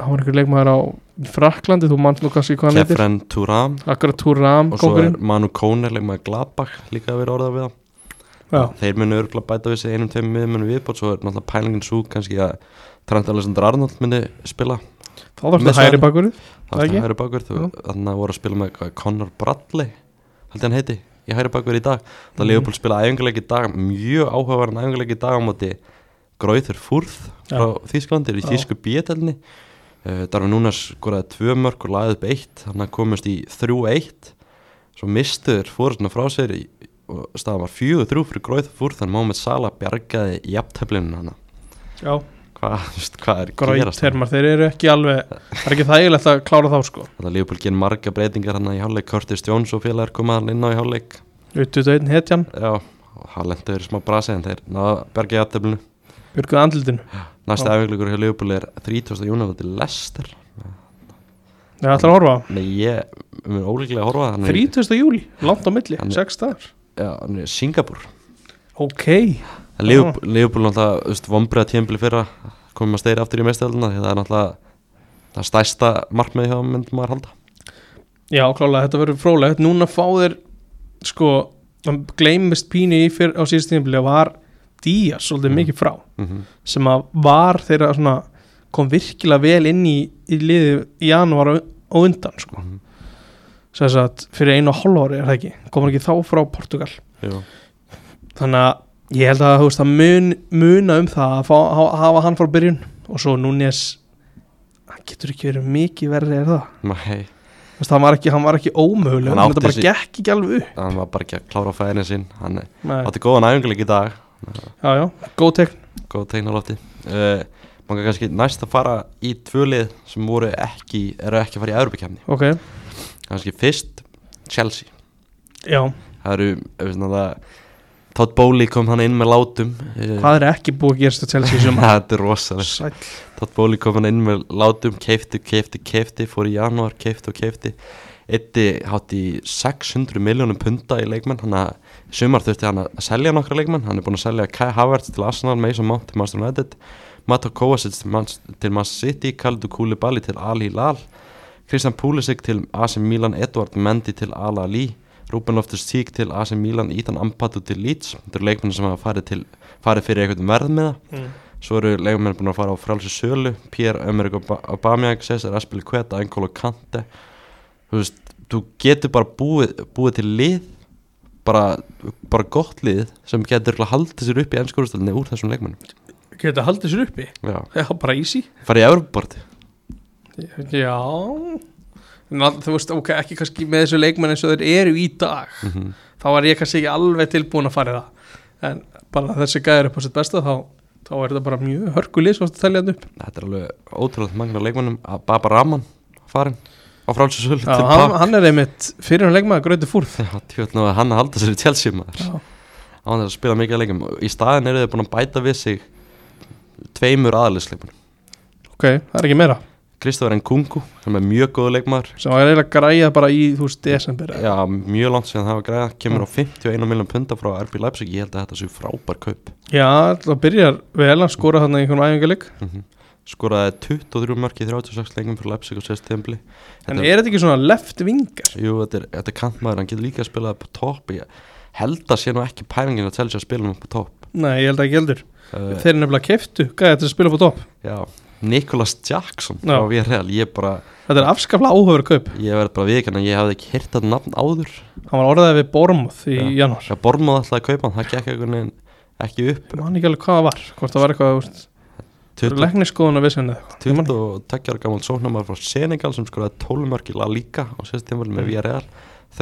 B: hann var einhver leikmaður á Fraklandi, þú mann nú kannski hvað hann heitir
A: Kefren Turam
B: Akkurat Turam,
A: og svo er
B: kongurinn
A: Manu Kóner Leif maður Gladbach líka að vera orðað við hann
B: Já,
A: Þeir munu örgulega bæta við sig einum tveim miðjumönnum viðbót svo er náttúrulega pælingin svo kannski að Trent Alexander Arnold muni spila
B: þá þarf
A: Með
B: það hæri
A: Sane.
B: bakurinn
A: Það er
B: Ekki?
A: hægri bakur,
B: Jú.
A: þannig að það voru að spila með hvað, Conor Bradley, held ég hann heiti, í hægri bakur í dag. Það
B: Mhm.
A: mm. Leopold spilaði æfingarleik í dag, mjög áhugaverðan æfingarleik í dag á móti Gráður Fúrð frá Þýskalandir í
B: Já.
A: Þýsku bíetelni. Uh, Darfi núna skoraði tvö mörg og lagði upp eitt, þannig að komist í 3-1. Svo mistuður fórusna frá sér í, og staðan var 4-3 fyrir Gráður Fúrð, þannig að Mohamed Salah bjargaði jafnteflinu hana.
B: Já,
A: Hvað, þú veist, hvað er að
B: græt
A: gerast? þarna?
B: hermar, þeir eru ekki alveg það er ekki þægilegt að klára þá sko
A: Þetta Leopold gerir marga breytingar hann í hálfleik Curtis Jones og félagar koma hann inn á í hálfleik
B: 21 hetjan,
A: Já, og hann lendi verið smá brasi en þeir náða bergið aftöflinu
B: björguð andlutinu
A: Næsta
B: Já.
A: æfingleikur hjá Leopold er 30. júna til Lester
B: Það ætlar að horfa á.
A: Nei, ég mun ólíklega að horfa á það. hann er,
B: 30. júli, langt á milli,
A: Hann-
B: 6 dagar
A: já, hann er Singapur
B: Ok,
A: Leopold, Leopold náttúrulega, þú veist, vombriða tíðanbili fyrra komum að steyra aftur í meðstæðalina því það er náttúrulega það stærsta markmið hjá honum, myndi maður halda
B: já klálega, þetta verður frólægt Núna fá þeir sko, hann gleymist pínu í fyrr á síðust tímabili og var Díaz svolítið
A: Mhm.
B: mikið frá
A: mm
B: sem að var þeirra svona kom virkilega vel inn í, í liðið í janúar á á undan sko.
A: Mhm.
B: sem þess að fyrir einu og hálf ári er það ekki, komur ekki þá frá Portugal
A: Jú,
B: þannig að ég held að þú veist að mun, muna um það að fá, ha- hafa hann frá byrjun og svo Núnes hann getur ekki verið mikið verið er það
A: nei,
B: Þú veist, hann var ekki, hann var ekki ómöguleg
A: Hann
B: hann
A: átti
B: þetta bara
A: sig-
B: gekk ekki alveg upp
A: hann var bara ekki að klára fæðinu sín hann
B: Nei,
A: átti góðan æfingleik í dag
B: já, já, góð tekn
A: góð tegnalótti uh, maður kannski næst að fara í tvölið sem voru ekki, eru ekki að fara í Evropakefni,
B: ok,
A: kannski fyrst Chelsea,
B: já,
A: það eru ef við svona það, Todd Bowley kom hann inn með látum eh,
B: hvað er ekki búið að gerast að Chelsea sem
A: þetta er rosalega
B: sæll,
A: Todd Bowley kom hann inn með látum, keifti, keifti, keifti fór í januar, keifti og keifti eitti hátt í 600 miljónum punta í leikmenn hann að í sumar þurfti hann að selja nokkra leikmenn hann er búin að selja Kai Havertz til Arsenal Mason Mount til Manchester United Mato Kovacic til Man- til Manchester City Kaldu Koulibaly til Al Hilal Christian Pulisic til AC Milan Edward Mendy til Al Ali Ruben Loftus-Cheek til AC Milan Ethan Ampadu til Leeds þetta eru leikmenn sem hafa farið, til, farið fyrir eitthvað verðmiða
B: Mm.
A: Svo eru leikmenn búin að fara á frálsir sölu Pierre Emerick Ob- Aubameyang Cesar Aspili Kveta, Angolo Kante Þú veist, þú getur bara búið, búið til lið bara, bara gott lið sem getur örugglega haldið sér upp í ennskóðustölinni úr þessum leikmennum
B: getur það haldið sér uppi
A: Já,
B: já, bara easy
A: farið í Evropaborti
B: Já Ná, Þú veist, ok, ekki kannski með þessu leikmenn eins og þeir eru í dag
A: mm -hmm.
B: þá var ég kannski ekki alveg tilbúin að fara í það en bara þessi gæður upp á sitt besta þá, þá er þetta bara mjög hörkulið svo að telja þetta upp
A: Þetta er alveg ótrúlega magna leikmennum að Baba Raman farin á frálsir sölu
B: Já,
A: til
B: hann,
A: Baba
B: hann er einmitt fyrir hann leikmaður gröti fúrð
A: Tjóðnum að hann að halda sér í Chelsea maður
B: Já,
A: á þess að spila mikið að leikum í staðin eru þau búin að bæta við sig tveimur aðalisleikmenn
B: ok, það er ekki meira
A: Kristofur Nkunku sem er mjög góðu leikmaður
B: sem var eiginlega græjað bara í, þú veist, desember
A: Já, mjög langt síðan það var græða kemur
B: Mm.
A: á 51 miljón punta frá RB Leipzig ég held að þetta sé frábær kaup
B: Já, það byrjar vel að skora þarna í einhvern æfingarleik
A: skoraði 23 mörk í 36 leikum fyrir Leipzig og sérst templi
B: en
A: Þetta-
B: er þetta ekki svona left vingar?
A: Jú, þetta er, þetta er kantmaður, hann getur líka að spila upp á topp ég held að sé nú ekki pælingin að telja sér að spila hann upp á topp
B: Nei, ég held að ekki heldur
A: uh,
B: Þeir nefnilega keftu, gæði þetta að spila upp á topp
A: Já, Nikolas Jackson
B: Já.
A: frá VRL, ég bara
B: Þetta er afskaplega áhöfur kaup
A: ég verð bara viðkjörn að ég hafði ekki hirt þetta nafn áður
B: Hann var orðaðið við Bormuth í
A: Já.
B: janúar
A: Já, Bormóð alltaf að kaupa hann, það gekk einhvern veginn ekki upp
B: Ég man ekki alveg hvað það var Hvort það var eitthvað úst,
A: 22
B: Lækniskoðun að vissin eða eitthvað
A: 22 ára gammal sóknarmar frá Senegal sem skoraði 12 mörg í La Liga á sérst tímafæli
B: Mm.
A: með VRL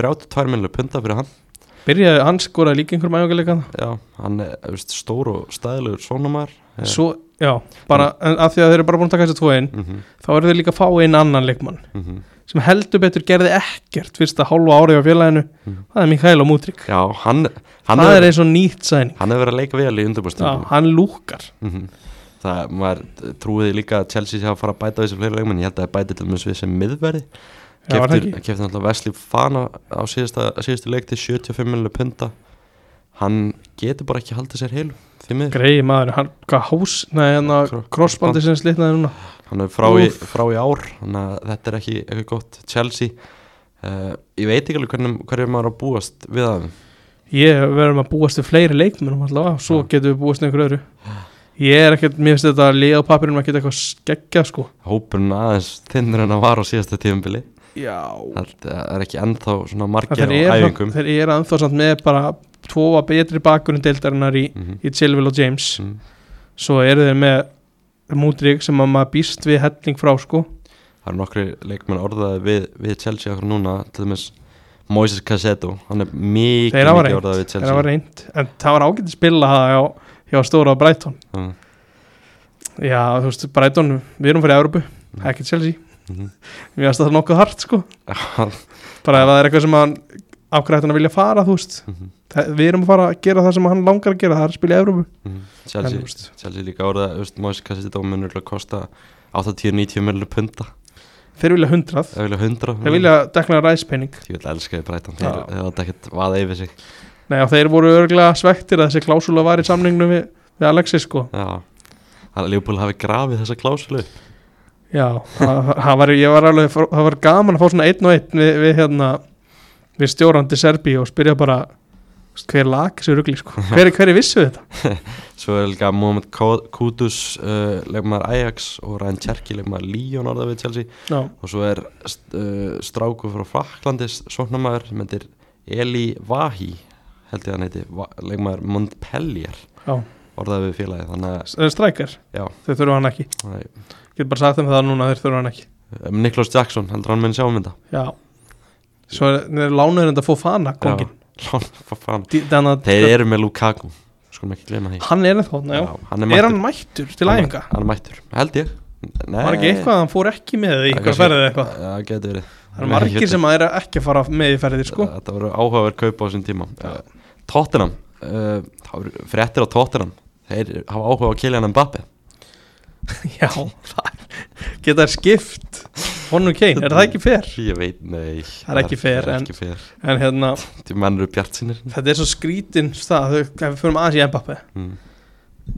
A: 32 minnlega punta fyrir hann
B: Byrjaði hans skoraði líka einhverjum æfingarleika
A: já, hann er þú veist, stór og stæðilegur sóknarmar
B: Svo, já, bara en af því að þeir eru bara búin að taka þessi tvo inn
A: mm -hmm,
B: þá eru þeir líka að fá einn annan leikmann
A: mm -hmm.
B: sem heldur betur gerði ekkert fyrsta hálfa árið á félaginu
A: Mhm.
B: það er Mikael og Mútrik
A: já, hann hann
B: það Mm. er
A: hefur
B: eins og nýtt sæning
A: hann hefur verið að leika vel í
B: já,
A: undurbúrstum
B: hann lúkar
A: mm það, maður trúiði líka að Chelsea sé að fara að bæta þessi fleiri leikmenn, ég held að það bæti til dæmis við sem miðverði
B: Já, var það
A: keftir,
B: ekki?
A: keftir náttúrulega Wesley Fana á síðasta, síðustu leik til 75 miljonar punta hann getur bara ekki haldið sér heilu því miður,
B: greiði maður, hann, hvað hás nei, hann að
A: Kro-
B: crossbandi sem slitnaði núna
A: hann er frá í,
B: Úff.
A: frá í ár þannig að þetta er ekki eitthvað gott Chelsea, uh, ég veit ekki alveg hvernig, hverju maður á að búast við það
B: ég verðum að búast við fleiri leikmennum allavega, svo
A: Já.
B: getum við búast við einhverju öðru ég er ekkert, mér finnst þetta að liða á papirinum ekkert eitthvað skeggja sko
A: hópurinn aðeins þinnur en að var á síðasta tíðumbili
B: já,
A: það er ekki ennþá svona margir á
B: þeir eru
A: æfingum
B: þeir eru anþá samt með bara tvo betri bakurinn deildarinnar í,
A: mm
B: í Chilwell og James
A: -hmm.
B: svo eru þeir með mútrík sem að maður býst við helling frá sko
A: Það eru nokkri leikmenn orðaði við, við Chelsea okkur núna, til dæmis Moises Cassetto, hann er mikið,
B: Þeir hafa
A: mikið
B: reynt,
A: orðaði við
B: það
A: Chelsea
B: var reynd en það var ágætt að spila það hjá, hjá Stóra og Brighton
A: Mm,
B: já, þú veist, Brighton, við erum fyrir Európu
A: Mm.
B: ekki Chelsea
A: mhm.
B: mér finnst það nokkuð hart sko bara ef það er eitthvað sem hann ákveðið hann að vilja fara, þú veist
A: Mhm,
B: það, við erum að fara að gera það sem hann langar að gera það er að spila í Európu
A: mhm.
B: En,
A: Chelsea,
B: þú veist,
A: Chelsea líka orðaði veist, Moises Cassetto munur að kosta 80-90 millir punta
B: þeir vilja 100
A: eða vilja 100
B: þeir vilja dekla ræspenning
A: Ég vil elska þið Brighton,
B: Já.
A: þeir þeir átti ekkert vaða yfir sig
B: Nei, og þeir voru örglega svektir að þessi klásula var í samningnum við, við Alexis sko
A: Já Þannig að Leopold hafi grafið þessa klásulu
B: Já, það það var, ég var alveg, það var gaman að fá svona einn og einn við, við hérna, við stjórandi Serbi og spyrja bara veist, hver lag þessu rugli, sko, hver, hver er vissu þetta?
A: Svo er líka Mohamed Ko- Kudus uh, leikmaður Ajax og Ryan Cherky leikmaður Lyon orðaði við Chelsea
B: Já,
A: og svo er st- uh, stráku frá Fraklandis sóknarmaður sem heitir Eli Vahi held ég að hann heiti, Va- leikmaður Montpellier
B: já,
A: orðaði við félagi þannig að
B: það er strækar,
A: já,
B: þau þurfa hann ekki,
A: nei,
B: ég get bara sagt þeim það núna, þeir þurfa hann ekki.
A: um, Niklas Jackson heldur hann minn sjáum þetta
B: Já, svo er, þeir lánaður þetta að fá fana, kongin,
A: Lón,
B: þannig
A: þeir
B: að
A: eru með Lukaku skulum ekki glema því
B: hann er ennþá, já,
A: hann er
B: er
A: mættur
B: hann mættur til æfinga?
A: hann er mættur, held ég Nei,
B: Var ekki eitthvað að hann fór ekki með
A: það
B: í eitthvað
A: kannski-
B: ferðið eitthvað?
A: það getur verið
B: Það er margir sem að er ekki að fara með í ferðið, sko.
A: Þetta voru áhugaverð kaup á þessum tíma
B: Já.
A: uh, Tottenham uh, Það voru fréttir á Tottenham Þeir hafa áhuga á Kylian Mbappe
B: Já, geta þær skipt honum Kane, er það ekki fer?
A: Ég veit, nei
B: Það er ekki fair,
A: Það er
B: en-
A: ekki fair
B: En hérna,
A: Því menn eru bjart sinir
B: þetta er svo skrítin stað, þau, ef við förum aðeins í Mbappe
A: mm.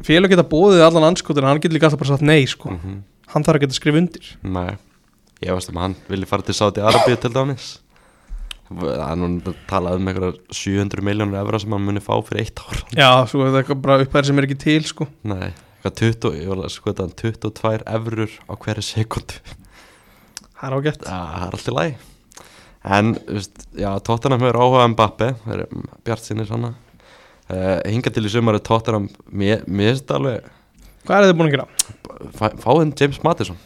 B: Félag geta bóðið allan anskotin, hann getur líka alltaf bara sagt nei, sko
A: mm -hmm.
B: Hann þarf að geta skrifa undir
A: Nei Ég veist um að hann vilji fara til Saudi Arabíu til dæmis Það er núna talað um einhverjar 700 miljónur evra sem hann muni fá fyrir eitt ár
B: Já, svo er það eitthvað bara upphæðir sem er ekki til, sko
A: Nei, hvað 20, ég var að skoða hann 22 evrur á hverju sekundu
B: Það er ágætt
A: Það er alltaf læg En, þú veist, já, Tottenham hefur áhuga um Bappe, það er bjart sinni svona uh, Hinga til í sumar er Tottenham, mér mér finnst alveg
B: Hvað er þið búin að gera?
A: fá- Fáinn James Maddison,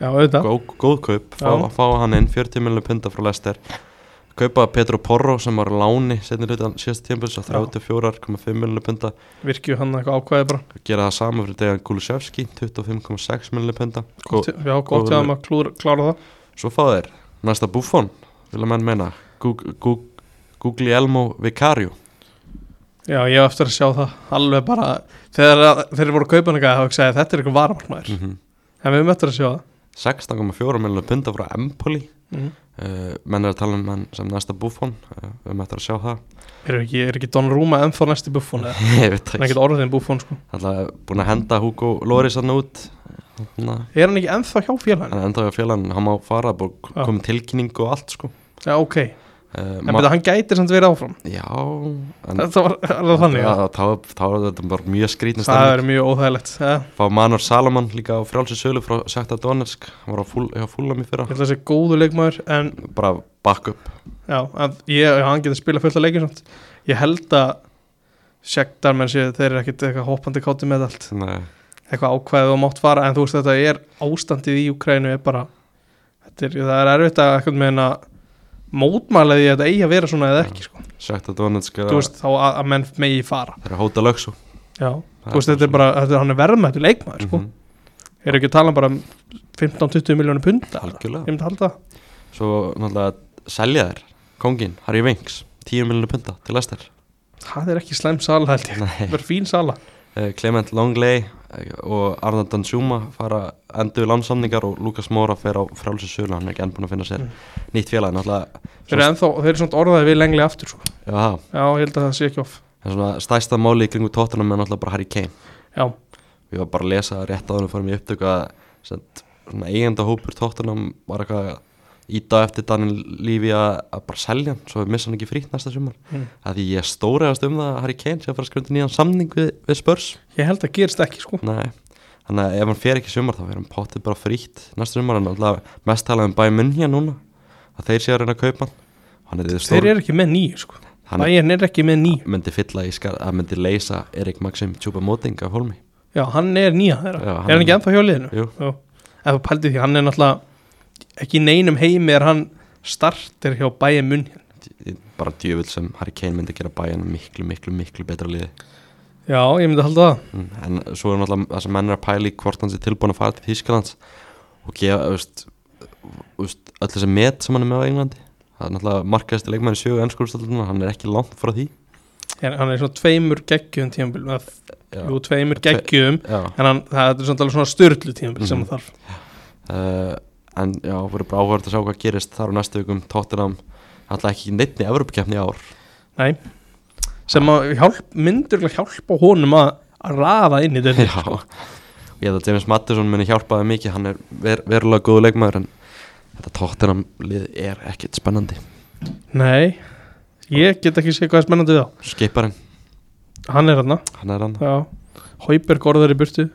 B: Já, auðvitað
A: góð, góð kaup fá,
B: Já.
A: fá hann inn, 40 miljonum punta frá Lester Kaupa Petro Porro sem var á láni setni hlutan síðast tímpils á 34,5 miljonum punta
B: Virkju hann eitthvað ákvæði bara
A: Gera það sama fyrir Dejan Kulusevski, 25,6 miljonum punta
B: gott, Já, gott
A: góð-
B: hjá hann að klúra, klára það
A: Svo fá þeir næsta Buffon, vilja menn meina Google Elmo Vicario
B: Já, ég hef eftir að sjá það alveg bara Þegar að- þegar þeir voru að kaupa hann eitthvað, þá hugsaði ég, þetta er eitthvað varamarkmaður
A: mm -hmm.
B: En við höfum eftir að sjá það
A: 16,4 miljonar punta frá Empoli
B: mm.
A: uh, menn er að tala um hann sem næsta Buffon uh, við erum eftir að sjá það
B: Er ekki, er ekki Don Rúma ennþá næsti buffon eða?
A: ég veit
B: Hann er
A: það ekki
B: ekkert orðin búfón sko
A: alltaf búin að henda Hugo Loris hann út Na,
B: Er hann ekki ennþá hjá
A: hann
B: félaginu?
A: er enda á fjölan, hann má fara og
B: Já.
A: komið tilkynning og allt sko
B: Já, ok
A: uh,
B: En betur hann gæti samt verið áfram
A: já en,
B: Það var er það þannig já.
A: það, það, það var þetta bara mjög skrýtn
B: Það
A: stærn
B: er mjög óþægilegt ja.
A: fá Manor Salaman líka á frjálsi sölu frá Sækta Donetsk, hann var á fúl, hjá fúlam í fyrra
B: Ég held að það sé góðu leikmaður En
A: bara back up
B: já, að ég, já, hann getur spilað fullt að leikir samt Ég held að Sjektar menn séu þeir eru ekkit eitthvað hoppandi kátti með allt
A: Nei,
B: eitthvað ákveðið og mátt fara en þú veist þetta er ástandið í Ukrænu er bara, þetta er, það er erfitt að eitthvað meina mótmælaði þetta eigi að vera svona eða ekki sko.
A: sagt að Donetsk er
B: þú
A: að
B: veist þá að, að menn megi fara
A: það er að hóta lögsu
B: já, þú veist þetta er bara, þetta er, hann er verðmættu leikmaður sko,
A: Mhm,
B: er ekki að tala bara um 15-20 miljónu punta ég
A: algjörlega
B: myndi halda, það.
A: svo náttúrulega selja þær kongin Harry Winks 10 miljonir punta til Lester
B: það er ekki slæm sala held ég,
A: Nei.
B: það er fín sala
A: Eh, Clement Longley eh, og Arnold Danzuma fara endur við landsamningar og Lukas Móra fer á frálsins sölu, hann er ekki enn búin að finna sér
B: Mm.
A: nýtt félag, náttúrulega
B: þeir eru ennþá, þeir eru svona orðaði við lengli aftur sko.
A: já,
B: já, ég held að það sé ekki off
A: það er svona stæsta máli í kringu tóttunum er náttúrulega bara Harry Kane
B: já,
A: við varum bara að lesa rétt áður en við fórum í upptöku að sem, svona eigendahópur tóttunum var eitthvað að íta á eftir Daniel Lífi að, að bara selja hann svo við missa hann ekki frýtt næsta sumar
B: Mm.
A: að því ég stóriðast um það að Harry Kane sé að fara að skrönda nýjan samning við, við spörs
B: ég held að gerist ekki sko.
A: Nei, þannig að ef hann fer ekki í sumar þá verður hann pottið bara frítt næsta sumar en alltaf mest talað um bæ munn hér núna að þeir séu að reyna að kaupa hann hann er því
B: þeir
A: stór
B: eru ekki með nýju sko.
A: hann
B: Bayern er ekki með nýju
A: myndi fylla í skar að myndi leysa Erik Maxim Tjúpa Móting af hólmi
B: Já, hann er nýja þeirra.
A: Já, hann
B: er hann ekki
A: er-
B: ennþá hjá liðinu?
A: Jú.
B: Jú. Ef þú pældir því, hann er náttúrulega ekki í neinum heimi er hann starter hjá Bayern München.
A: bara djöfull sem Harry Kane myndi gera bæjan miklu, miklu, miklu betra liði
B: Já, ég myndi halda það.
A: Mm, en svo er náttúrulega það sem menn er að pæla í hvort hans er tilbúin að fara til Þýskalands og gefa veist, veist, öll þessi met sem hann er með á Englandi það er náttúrulega markaðist leikmæri sögu ennskurðstalluna, hann er ekki langt frá því
B: En hann er svona tveimur geggjum tímabil. eða-
A: Já.
B: Jú, tveimur
A: Tve-
B: geggjum,
A: Já,
B: en hann, það er svona, alveg svona styrlu tímabil sem
A: Mhm.
B: hann þarf.
A: uh, en já, verður bara áhverjast að sjá hvað gerist þar á næstu vikum Tottenham alltaf ekki neittni Evrópakefni ár
B: Nei. Sem að hjálp, myndurlega hjálpa honum að að raða inn í
A: Já,
B: þetta.
A: og ég held að James Mattisson muni hjálpaði mikið, hann er ver verulega góðu leikmaður en þetta Tottenham lið er ekkit spennandi
B: Nei, ég get ekki séð hvað er spennandi við það.
A: Skiparinn,
B: Hann er hann,
A: hann er hann
B: já. Hauberg orðar í burtu.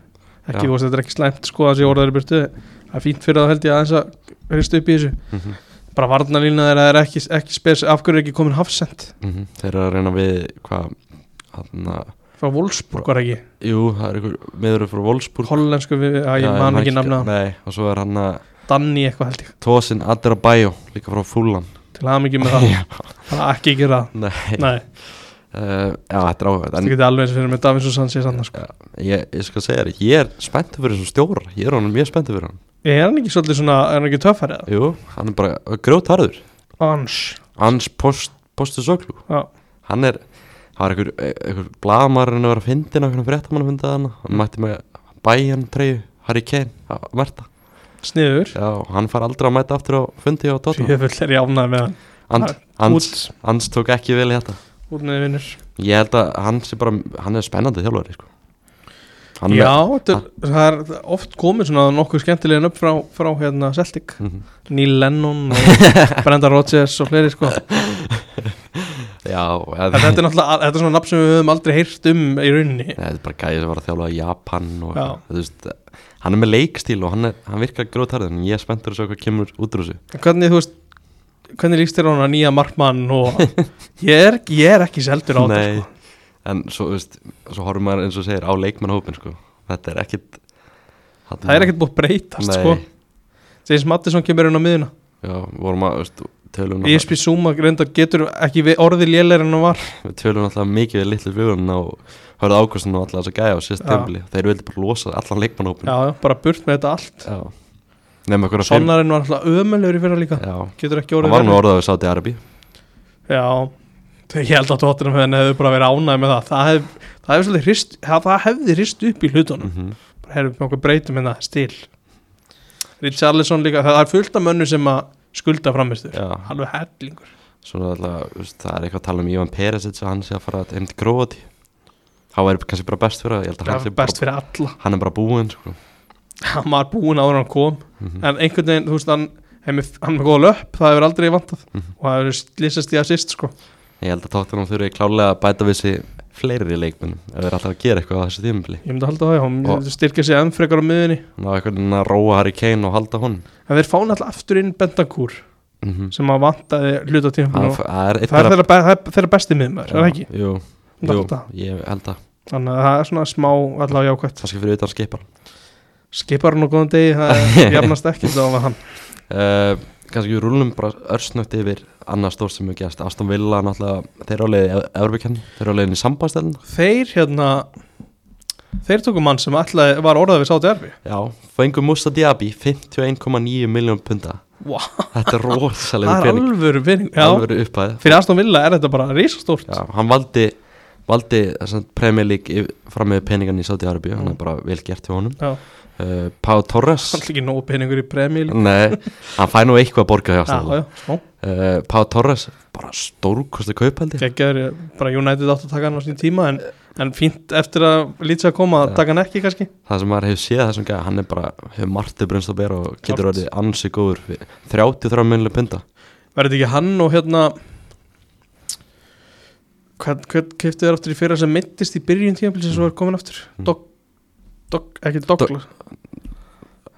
A: Já.
B: ekki, þú veist, þetta er ekki slæmt sko að sé orðar í burtu það er fínt fyrir það held ég aðeins að hrista upp í þessu
A: mm -hmm.
B: bara varnalína þeirra er ekki, ekki spes af hverju er ekki komin hafsend
A: mhm. Þeir eru að reyna við hvað hann
B: frá Wolfsburg var ekki,
A: Jú, það er einhver meður frá Wolfsburg
B: hollensku við, að
A: Já,
B: ég man ekki
A: man
B: nafna á.
A: Nei, og svo er hann að
B: Danni eitthvað held ég,
A: Tosin Aderabæjó, líka frá Fúlan
B: til aðeins ekki með það
A: Já.
B: það er ekki gera það,
A: Nei,
B: nei,
A: Uh, já, þetta er áhugað
B: þetta
A: En
B: geti alveg eins og fyrir með Davinson Sanchez annars sko.
A: ég, ég skal segja þér, ég er spenntið fyrir þessum stjóra Ég er honum mjög spenntið fyrir hann
B: er hann ekki svolítið svona, er hann ekki töffar eða?
A: Jú, hann er bara grjótarður
B: Ans,
A: Hans post, postu soglu
B: já,
A: Hann er, það var einhver, einhver blaðmarinn að vera að fyndin Okkur fréttamann að funda hann Hann mætti með bæjan treyju, Harry Kane að merta
B: sniður
A: Já, og hann far aldrei að mæta aftur á fundi á Tottenham
B: sjöfull er ég ánæði með hann
A: Hans, hans,
B: út,
A: hans tók ekki vel í þetta
B: út með vinnur
A: Ég held að hans er bara, hann er spennandi þjálfari sko. Hann
B: já, þetta er, það er oft komið svona nokkuð skemmtilegin upp frá, frá hérna Celtic
A: mm
B: Neil Lennon og Brenda Rogers og fleiri sko En
A: Já, eða,
B: þetta er náttúrulega, þetta er svona nafn sem við höfum aldrei heyrt um í rauninni
A: Nei, þetta er bara gæði sem var að þjálfa í Japan og
B: Já.
A: þú veist, hann er með leikstíl og hann, er, hann virkar grótarðin en ég er spenntur að sjá hvað kemur út úr þessu
B: En Hvernig, þú veist, hvernig líst þér á hana nýja markmann og ég er, ég er ekki seldur á þetta
A: Nei,
B: sko
A: en svo, þú veist, svo horfum maður eins og segir á leikmannhópin sko. þetta er ekkit
B: Það er ekkert búið að breytast sko Þegar Mattisson kemur inn á E miðuna
A: Já, vorum að, þú veist, tölum náttúrulega-
B: Ísby Suma reyndar getur ekki við orðið léleir en hann var
A: við tölum alltaf mikið við litlu flugun og hörðu ákvæmstunum og alltaf þess að gæja á sérst
B: Já.
A: templi þeir vildi bara losa allan leikmannhópin
B: Já, já, bara burt með þetta allt
A: Já. nema ykkur að
B: Sonnarinn var alltaf ömulegur í fyrra líka
A: Já,
B: Getur ekki
A: það
B: orðið
A: var nú
B: verri.
A: orðað við Saudi Arabi
B: Já, ég held að tóttunum henni hefði bara verið ánæg með það Það, hef, það, hef svolítið hrist, það, það hefði hrist upp í hlutunum
A: mm
B: bara herfum við okkur breytum hérna stil Richarlison líka, það er fullt af mönnu sem að skulda framistur,
A: Já,
B: alveg hellingur
A: svona alltaf, þú veist, það er eitthvað að tala um Ivan Perisic að hann sé að fara heim til Gróti þá er kannski bara best fyrir það, ég held að hann
B: það
A: sé
B: er best
A: bara,
B: fyrir alla
A: hann er bara búinn sko.
B: hann var búinn áður en hann kom
A: Mhm.
B: en einhvern veginn, þú veist, hann hann er með- hann er með góða löpp, það hefur aldrei vantað
A: Mhm.
B: og það hefur lýsast í assist sko
A: ég held að tóttunum þurfi klálega að bæta við sig fleiri leikmennum ef þeir eru alltaf að gera eitthvað á þessu tímabili
B: ég myndi halda það, já, hann
A: Og-
B: myndi styrkja sig enn frekar á miðunni
A: ná eitthvað að róa Harry Kane og halda honum
B: en þeir fána alltaf aftur inn Bentancur
A: mm
B: sem að vantaði hluta tíma
A: það, það er eitt
B: það er þeirra, be- það er þeirra besti miðmaður, er það ekki?
A: jú,
B: Ég myndi
A: jú,
B: halda það.
A: ég held að
B: þannig að það er svona smá allavega jákvæmt
A: kannski fyrir utan skipar
B: skipar hann á góðan degi, það jafnast ekki þá var hann
A: uh, kannski við rúlum bara örsnögt yfir annað stór sem hefur gerst Aston Villa náttúrulega þeir eru á leiði Evropakenni, þeir eru á leiðin í sambandstælun
B: þeir hérna þeir tóku mann sem alltaf var orðað við sáti erfi
A: já, fengum Musa Diaby 51,9 miljón punta
B: wow.
A: þetta er rosalega
B: það er
A: pening
B: alvöru pening já,
A: alveg upphæð
B: fyrir Aston Villa er þetta bara risastórt
A: Já, hann valdi, valdi þessum Premier League yfir- fram með peningan í Saudi-Arabíu, hann er
B: Mm.
A: bara vel gert hjá honum
B: Já.
A: uh, Pau Torres
B: Það er ekki nóg peningur í premjál
A: Nei, hann fæ nú eitthvað að borga hjá
B: Já,
A: stæðan
B: já, smá
A: uh, Pau Torres, bara stórkosti kaupaldi
B: Gekkjaður, ég- bara United átt að taka hann á sín tíma en, en fínt eftir að lítið að koma að taka hann ekki kannski
A: Það sem maður hefur séð þessum gæði, hann er bara hefur margt brunst að bera og getur
B: Klárt.
A: orðið ansi góður fyrir 33 munlega punta
B: Verður þetta ekki hann og hérna Hvern, hvern keftu þér aftur í fyrra sem mittist í byrjun tímafélis sem svo er komin aftur
A: Mm.
B: Dog, dog, ekki Douglas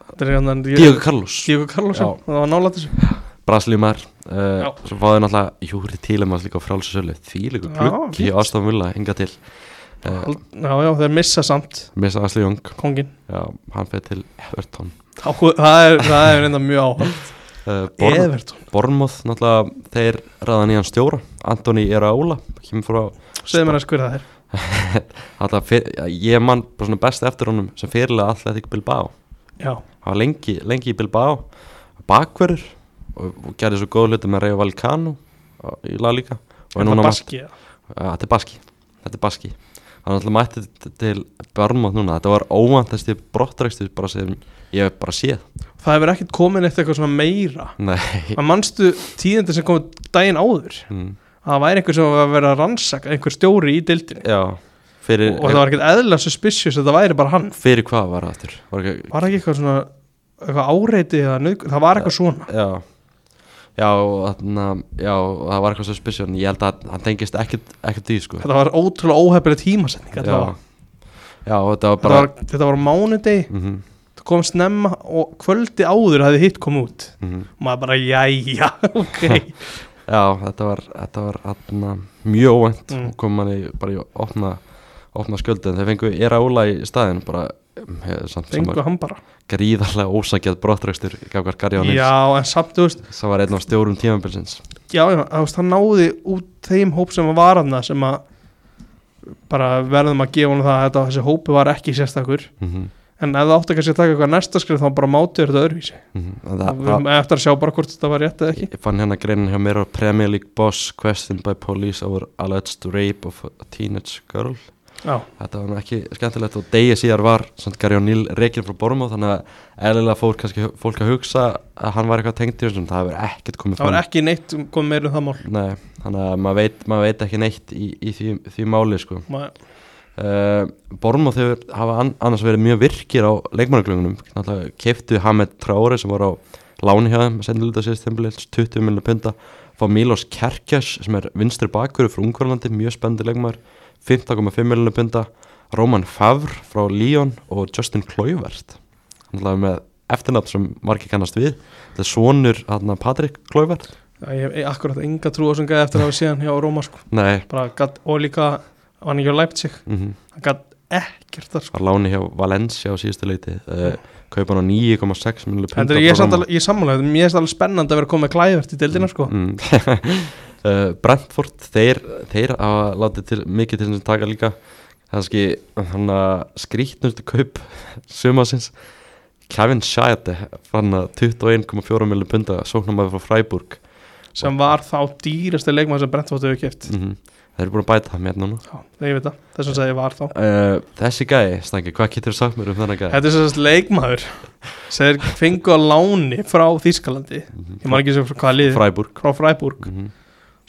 B: Þetta er hérna hann
A: Diego Carlos,
B: Diego Carlosson, það var nálægt þessu
A: Braslíumar uh,
B: Já.
A: Svo fáði náttúrulega Júri Tílemans líka á frálsölu Því líka
B: Já,
A: gluggi
B: fínt.
A: á Aston Villa, hinga til uh,
B: Al- Já, já, þeir missa samt
A: Missa Asli Jung
B: kongin
A: Já, hann fyrir til Everton
B: Á- Það er, það er reynda mjög áhald
A: uh, Born,
B: Everton,
A: Bornmoth, náttúrulega þeir ræða nýjan stjóra Antoni Iraola kemur frá,
B: segðu mér að skurða þér
A: alltaf, fyr, já, ég man bara svona best eftir honum sem fyrirlega Athletic Bilbao
B: Já,
A: hann var lengi, lengi í Bilbao bakverður og, og gerði svo góð hluti með Rayo Vallecano uh, í lag líka og er
B: þetta
A: núna
B: baski
A: mætt- Já, þetta er baski þetta er baski hann alltaf mætti t- til Bornmoth núna þetta var óvantasti brottrækstu bara sem ég hef bara séð
B: Það hefur ekkert komin eftir eitthvað svona meira
A: nei
B: að mannstu tíðindi sem komið daginn áður
A: mm,
B: að það væri einhver sem var að vera að rannsaka einhver stjóri í dildinni
A: já fyrir,
B: og það var ekkert eðla suspicious að það væri bara hann
A: fyrir hvað var það aftur var ekki,
B: var ekki eitthvað svona eitthvað áreiti eða nöðg það var eitthvað svona
A: já já, og þarna, já, og það var eitthvað suspicion ég held að hann tengist ekkert ekkert því sko
B: þetta var ótrúlega óhefileg tímasetning þetta
A: já.
B: var.
A: já, og þetta var
B: Þetta,
A: bara
B: var, þetta var á mánudegi
A: mhm, mhm.
B: það kom snemma og kvöldi áður hefði hitt komið út og maður bara jæja ok
A: mhm. já, þetta var, þetta var atna, mjög óvænt
B: Mm.
A: og kom manni bara í opna opna skjöldu, en þeir fengu era óla í staðin bara um, hef, samt sem
B: fengu
A: var
B: hann bara
A: gríðarlega ósakjað brottrækstur gafkvært Garjón Nils,
B: já en samt þú veist
A: sem var einn af stjórum tímabilsins
B: já, já, þú veist, hann náði út þeim hóp sem að var hann sem að bara verðum að gefa hann það að þetta, þessi hópi var ekki sérstakur
A: mm -hmm.
B: en ef það átti kannski að taka eitthvað næsta skrif þá bara mátu þetta öðruvísi
A: mhm. það,
B: við
A: það,
B: erum eftir að sjá bara hvort þetta var rétt eða ekki
A: Ég fann hérna greinin hjá mér á Premier League boss questioned by police over alleged rape of a teenage girl
B: já,
A: Þetta var nú ekki skemmtilegt og degi síðar var samt Gary O'Neill reikinn frá Bormóð þannig að eðlilega fór kannski fólk að hugsa að hann var eitthvað tengt í þessum, það hefur ekkert komið
B: það var ekki neitt komið meira um það mál
A: Nei, þannig að maður veit, maður veit ekki neitt í, í því, því máli sko.
B: Maður-
A: uh, Bormóð hefur hafa an, annars verið mjög virkir á leikmannaglöfunum náttúrulega keiftu Hamed Traore sem var á láni hjá þeim, sendiluta síðast tempilegis 20 miljonar punta, fá Milos Kerkjas sem er vinstri bakverður frá Ungverlandi mjög spennandi leikmaður, 15,5 miljonar punta, Róman Favr frá Lyon og Justin Kloivert náttúrulega með eftirnafn sem margir kannast við, þetta er sonur hana, Patrik Kloivert,
B: Já, ég hef akkurat enga trú á þessum gæði eftir að hafa síðan hjá Róma sko.
A: nei
B: bara gatt og líka var hann ekki á Leipzig
A: mm
B: hann gatt ekkert þar sko.
A: var láni hjá Valencia á síðustu leiti uh, kaupa hann á 9,6 miljonar punta
B: en þetta er ég, samt alveg- ég sammála þetta, mér er alveg spennandi að vera komið klæðvert í deildina sko.
A: mm. uh, Brentford þeir, þeir hafa látið til, mikið til sem taka líka kannski hann að skrítnustu kaup sumasins Kevin Shade fann að 21,4 miljonar punta sóknum að frá Freiburg
B: sem var þá dýrasti leikmann sem Brentford hefur keft
A: mm þeir eru búin að bæta það með núna
B: Já, ég veit það, þess að ég var þá
A: uh, þessi gæi, Stangi, hvað getur þú sagt mér um þennan gæi?
B: Þetta er sérst leikmaður sem þeir fengu á láni frá Þýskalandi ég maður ekki sem frá hvaða liði
A: Mhm. Freiburg
B: frá Freiburg
A: mm -hmm.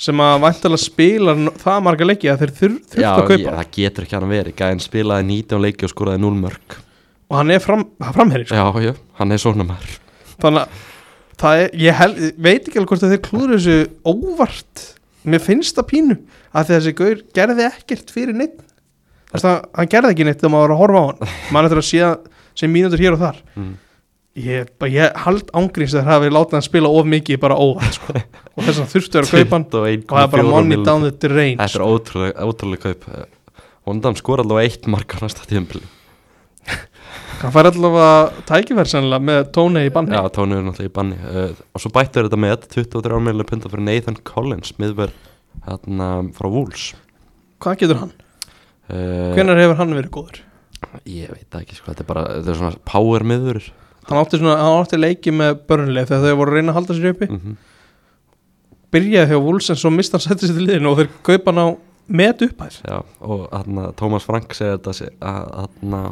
B: sem að væntalega spila n- það marga leiki að þeir þur, þurft
A: Já,
B: að
A: ég,
B: kaupa
A: það getur ekki hann verið Gæðin spilaði 19 leiki og skoraði 0 mörg
B: og hann er fram, framherri sko.
A: Já, já, hann er svona maður
B: þannig að það er, ég hel, veit ekki alveg hvort að þeir klúður þessu óvart mér finnst það pínu að þessi gaur gerði ekkert fyrir neitt þess að hann gerði ekki neitt þegar maður var að horfa á hann maður eftir að sé, sé mínútur hér og þar
A: mm.
B: Ég, bara- ég hald ángríns þegar hafi látið hann spila of mikið bara óvart sko. og þess að þurftu að vera að kaupa hann og það er bara money down the drain sko.
A: Þetta er ótrúlega, ótrúlega kaup eh, Vondan skora allavega eitt mark á næsta tímpil
B: Hann fær allavega tækifæri sennilega með tóni í banni
A: Já, tónu er náttúrulega í banni uh, Og svo bættur þetta með 23 miljonar punta fyrir Nathan Collins miðverð hérna frá Wolves
B: Hvað getur hann?
A: uh,
B: Hvenær hefur hann verið góður?
A: Ég veit það ekki sko, þetta er bara þetta er svona power miður
B: Hann átti, svona, hann átti leiki með börnuleg þegar þau voru að reyna að halda sér uppi
A: mm -hmm.
B: Byrjaði hjá Wolves en svo mista hann setti sér til liðinu og þeir kaupa hann á met upphæð
A: Já, og hérna Thomas Frank segir þetta sé- að hérna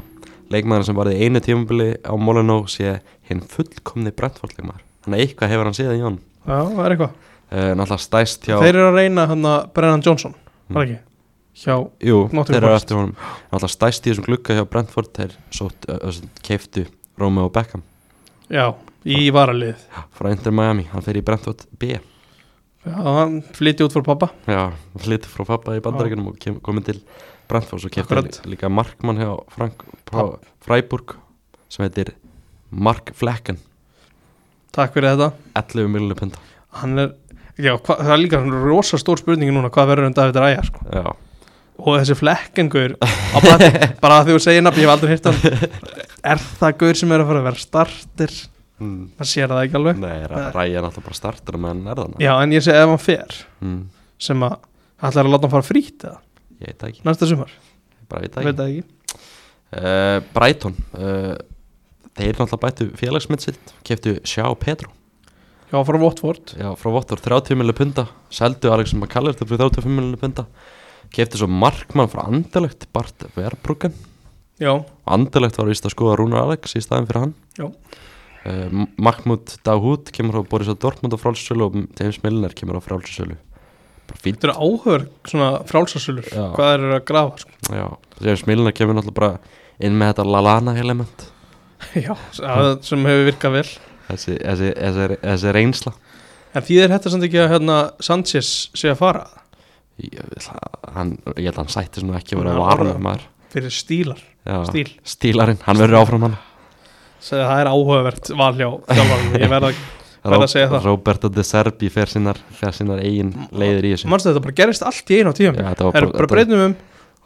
A: leikmaður sem varði einu tímabili á Molinó sé hinn fullkomni Brentford leikmaður Þannig að eitthvað hefur hann séð í hann
B: Já, það er eitthvað
A: uh, Náttúrulega stæst hjá
B: Þeir eru að reyna hann að Brennan Johnson mm. ekki? Hjá,
A: Jú,
B: Nottingham
A: þeir eru
B: Forest.
A: eftir honum Náttúrulega stæst í þessum glugga hjá Brentford Þeir sótt, uh, keiftu Rómi og Beckham
B: já, í varalið
A: frá Inter Miami, hann fer í Brentford B
B: Já, hann flytti út fyrir pappa
A: Já, flytti frá pappa í bandaríkunum og kem, komið til Brentford svo kefti
B: Akkurat.
A: hann líka markmann hjá Frank, frá Freiburg sem heitir Mark Flecken
B: Takk fyrir þetta
A: 11 miljonir punta
B: hann er, já, hva, það er líka svona rosa stór spurningi núna hvað verður um David Ræja sko.
A: Já,
B: og þessi flekkengur á plati, bara að því þú segir nafn, ég hef aldrei hýrt hann er það gaur sem er að fara að vera startir
A: mm.
B: maður sér það ekki alveg
A: Nei,
B: Hmm. Nei.
A: Ræja er náttúrulega bara startur meðan er þannig
B: já, en ég segi ef hann fer
A: mm.
B: sem að ætlar að láta hann fara frýtt eða
A: Ég veit það ekki,
B: næsta sumar,
A: ég bara veit það
B: veit
A: ekki
B: það ekki
A: uh, Brighton uh, Þeir náttúrulega bættu félagsmynd sitt keftu Sjá Petro
B: já, frá Watford,
A: Já, frá Vottor 30 miljonar punta Seldu Alexander McCallert fyrir 35 miljonar punta Kefti svo markmann frá Andalögt Bart Verbruggen
B: já,
A: Andalögt var vist að skoða Rúnar Alex í staðin fyrir hann
B: Já.
A: uh, Mahmoud Dahoud kemur á Borisa Dortmund á frálsölu og James Milner kemur á frálsölu Bara fínt
B: þetta eru áhör svona frálsarsölur,
A: Já.
B: hvað þeir eru að grafa sko.
A: Já, James Milner kemur náttúrulega bara inn með þetta Lalana element
B: já, að- sem hefur virkað vel
A: Þessi, þessi, þessi, þessi reynsla
B: en því þeir hættar samt ekki að hérna, Sanchez sé að fara
A: Ég, hann, ég held að hann sætti svona ekki að vera
B: Hann er
A: varna
B: orðað.
A: maður
B: fyrir stílar,
A: Já.
B: stíl
A: Stílarinn, hann verður áfram hann
B: Segðu, það er áhugavert val hjá þjálfarnum ég verða, Verð að segja það.
A: Roberto De Serbi fer sínar, fer sínar eigin leiðir í þessu
B: mannstu þetta bara gerist allt í einu á tíum
A: Já,
B: ja,
A: þetta, var bara,
B: er bara
A: þetta,
B: breytnum um,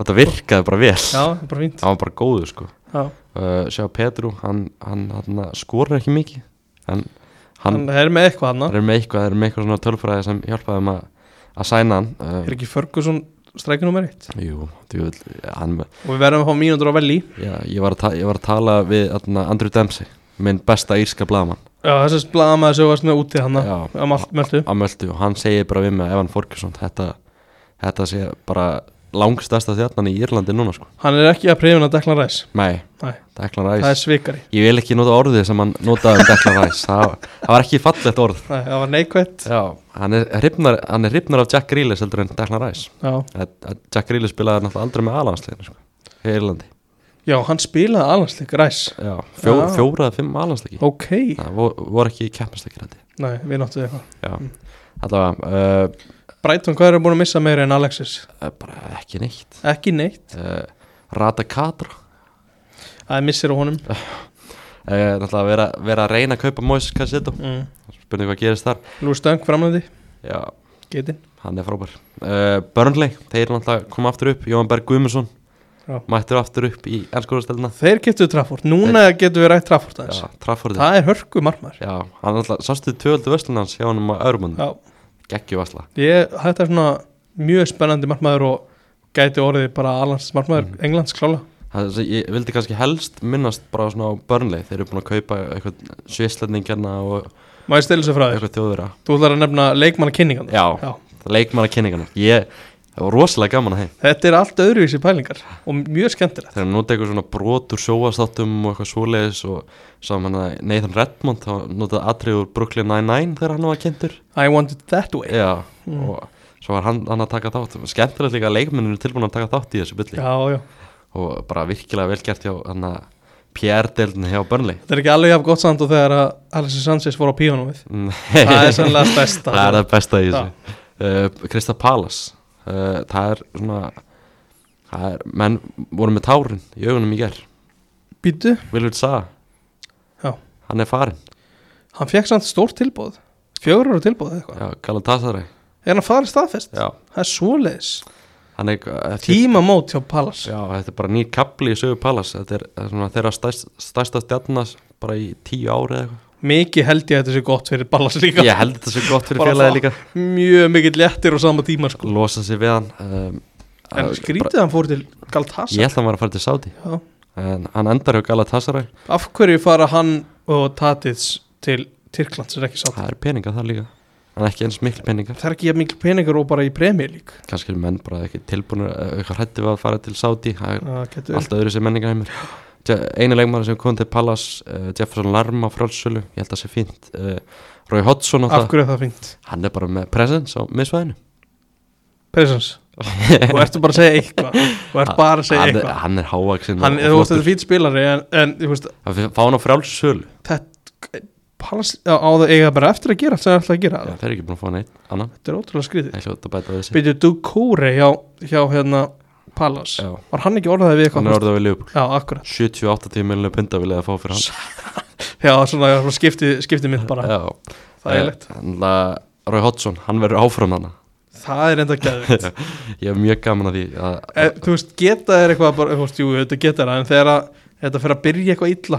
A: þetta virkaði bara vel
B: já, það er bara fínt
A: hann var bara góður sko
B: já.
A: uh, sjá Petru, hann, hann, hann skorur ekki mikið hann, hann,
B: hann er með eitthvað hann
A: er með eitthvað, er með eitthvað svona tölfræði sem hjálpaði um að, að sæna hann uh,
B: er ekki Ferguson strækið nummer eitt
A: jú, djúvill, hann
B: og við verðum að fá mínútur á velli
A: já, ég, var að ta- ég var að tala við atna, Andrew Dempsey, minn besta írska blaðmann
B: já, þessi blamaði sem varst með úti hann
A: Já.
B: um allt mjöldu
A: að möldu og hann segir bara við með Evan Forgesson þetta, þetta sé bara langstasta þjarnan í Írlandi núna sko
B: hann er ekki að prifin að dekla ræs
A: Nei,
B: Nei.
A: Declan
B: það
A: Rice
B: er svikari,
A: Ég vil ekki nota orðið sem hann notaði um Declan Rice það, það var ekki fallegt orð
B: Nei, það var neikvætt
A: Já, hann er hrifnar, hann er hrifnar af Jack Grealish heldur en Declan Rice
B: já.
A: að, að Jack Grealish spilaði náttúrulega aldrei með alansleginu sko, í Írlandi
B: já, hann spilaði allansleik ræs
A: Já, fjó,
B: Já.
A: fjóra eða fimm alansleiki
B: ok,
A: Það voru, voru ekki keppnastekir þetta
B: nei, við náttu eitthvað
A: Já, allavega uh,
B: Brighton, hvað eru búin að missa meira en Alexis?
A: eh, bara ekki neitt
B: ekki neitt,
A: uh, Rata Katra
B: það er missir á honum
A: uh, Náttúrulega vera, vera að reyna að kaupa Moises Cassetto
B: mm.
A: Spurning hvað gerist þar
B: Lúi Stöng framlöndi,
A: Já,
B: geti
A: hann er frábær uh, Burnley, þeir náttúrulega koma aftur upp Jóhann Berg Guðmundsson
B: Já.
A: mættur aftur upp í ennskóðastelina
B: Þeir getur Trafford, núna getur við rætt Trafford aðeins
A: Traffordin
B: Það er hörku marmar
A: Já, hann náttúrulega, sástu tvöldu vöslunans hjá hann á Örmund,
B: Já,
A: geggju vösla
B: ég, þetta er svona mjög spennandi marmaður og gæti orðið bara alans marmaður
A: Mm.
B: Englands klála
A: Það, sem ég vildi kannski helst minnast bara svona á Burnley, þeir eru búin að kaupa eitthvað svislendingarna og
B: Má ég stila sér frá þér?
A: eitthvað þjóðverða
B: Þú ætlar að nefna leikmanna kynningan
A: Já, leikmanna kynningarna Ég, það var rosalega gaman að þeim
B: Þetta er allt öðruvísi pælingar og mjög skemmtilegt
A: þegar hann nota eitthvað svona brot úr sjóastáttum og eitthvað svoleiðis og saman að Nathan Redmond þá notaði atrið úr Brooklyn Nine-Nine þegar hann var kynntur
B: I want it that way
A: já,
B: Mm.
A: og svo var hann, hann að taka þátt skemmtilegt líka að leikmennin er tilbúin að taka þátt í þessu bylli
B: Já, já
A: og bara virkilega vel gert hjá hann að PR-deildin hjá Burnley
B: Þetta er ekki alveg jafn gott samt og þegar að Alexis Sanchez fór á píónumið Það er sannlega stærsta
A: það er það besta í þessu uh, Krista Palas uh, það er svona það er, menn voru með tárin í augunum í ger
B: Býtu,
A: Vilvur Saga
B: Já.
A: hann er farin
B: hann fekk samt stórt tilbóð Fjögur ára tilbóð eða eitthvað
A: Já, Galatasaray
B: Er hann farið staðfest?
A: Já,
B: Það er svoleiðis
A: hann er uh, þetta-
B: tímamót hjá Pallas
A: Já, þetta er bara nýr kapli í sögu Palace Þetta er eh, svona, þeirra stærst, stærsta stjarnas bara í tíu ári eða eitthvað
B: mikið held ég að þetta sé gott fyrir Pallas líka
A: Ég held þetta svo gott fyrir
B: Bara
A: félagi
B: það.
A: líka
B: mjög mikill léttir á sama tíma sko.
A: Losa sig við hann um,
B: en
A: að- bara-
B: skrítið að hann fór til
A: Ég
B: Galtasa
A: held að hann var að fara til Saudi En hann endar hjá Galatasaray
B: af hverju fara hann og Tatits til Tyrkland sem er ekki sátt
A: Það er peninga það líka En ekki eins mikil peningar
B: það er ekki jafn mikil peningar og bara í premjör lík
A: Kannski eru menn bara ekki tilbúinir Eitthvað hrætti við að fara til Saudi Það er allt öðru sem menningar heimur Einu leikmann sem kom til Palace uh, Jefferson Larma frálsölu Ég held að það sé fínt uh, Rói Hodgson á
B: af
A: það
B: hverju er það fínt
A: Hann er bara með presence á miðsvæðinu
B: Presens og ertu bara að segja eitthvað og ert bara að segja
A: hann,
B: eitthvað
A: hann er hávaksinn
B: hann, þú veist þetta er fýtt spilari en, en þú veist
A: Það fá hann á frjálssölu
B: þetta Pallas á, á það eiga bara eftir að gera allt sem það er alltaf að gera
A: Já, þeir eru ekki búin að fá hann eitt Anna,
B: þetta er ótrúlega skrítið
A: ég hljóta að bæta við þessi
B: byrju Dukóri hjá, hjá hérna Pallas
A: Já,
B: var hann ekki orðaði við
A: hann er
B: eitthvað
A: orðið að við Liverpool
B: já akkurat
A: 70-80 miljonar punta vil ég að fá fyrir hann
B: já svona svona skipti, skipti mynd bara
A: Já,
B: það er leitt
A: Þannig að Rói Hodgson, hann verður áfram hann
B: það er enda gæðið
A: Ég hef mjög gaman að því að,
B: Eh, þú veist geta er eitthvað bara, þú veist jú þetta geta er það en þegar að, þetta fer að byrja eitthvað illa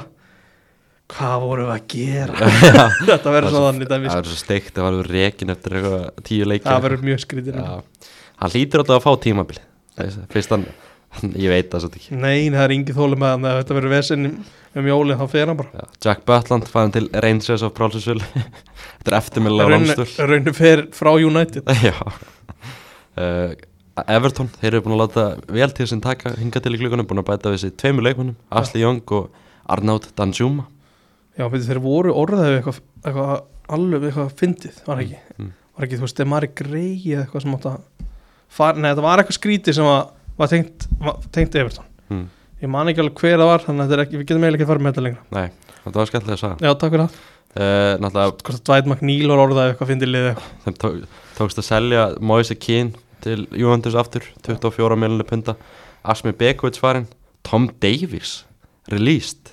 B: hvað vorum við að gera þetta verður
A: Það er
B: svo
A: svo-
B: þannig dæmis.
A: Það verður svo steikt að verður rekin eftir eitthvað tíu leikir
B: það verður mjög skrítið
A: Já. Hann hlýtur alltaf að fá tímabili Fyrst hann, ég veit það svolítið ekki
B: Nein, það er ingi þólum að ef þetta verður vesinn um jólin þá fer hann bara
A: Já, Jack Butland fæðin til Rangers of Prálsinsvölu Þetta er eftirmillega
B: Rauninu
A: ránstöl
B: rauninu fer frá United
A: Já uh, Everton, þeir eru búin að láta vel til sem taka hinga til í klukunum, búin að bæta við þessi tveimur leikmannum, Asli Young og Arnátt Danjuma
B: Já, veitir, þeir voru orðaðið við eitthvað, eitthvað alveg við eitthvað fyndið, var það ekki
A: Mm, mm.
B: var ekki, þú veist, Demari Grey eða eitthvað sem átt að fara, nei, þetta var eitthvað skrítið sem að, var tengt, var tengt Everton
A: mm.
B: ég man ekki alveg hver það var, þannig að þetta er ekki við getum eiginlega ekki að fara með þetta lengra
A: Nei, þetta var skemmtilega að sagja
B: Já, takk fyrir það,
A: uh, Náttúrulega,
B: hvort að Dwight McNeil var orðaðið við eitthvað fyndið liðið eitthvað.
A: þeim tó, tókst að selja Moise Keane til Juventus aftur 24 miljonir punta Asmi Bekovic farinn, Tom Davies released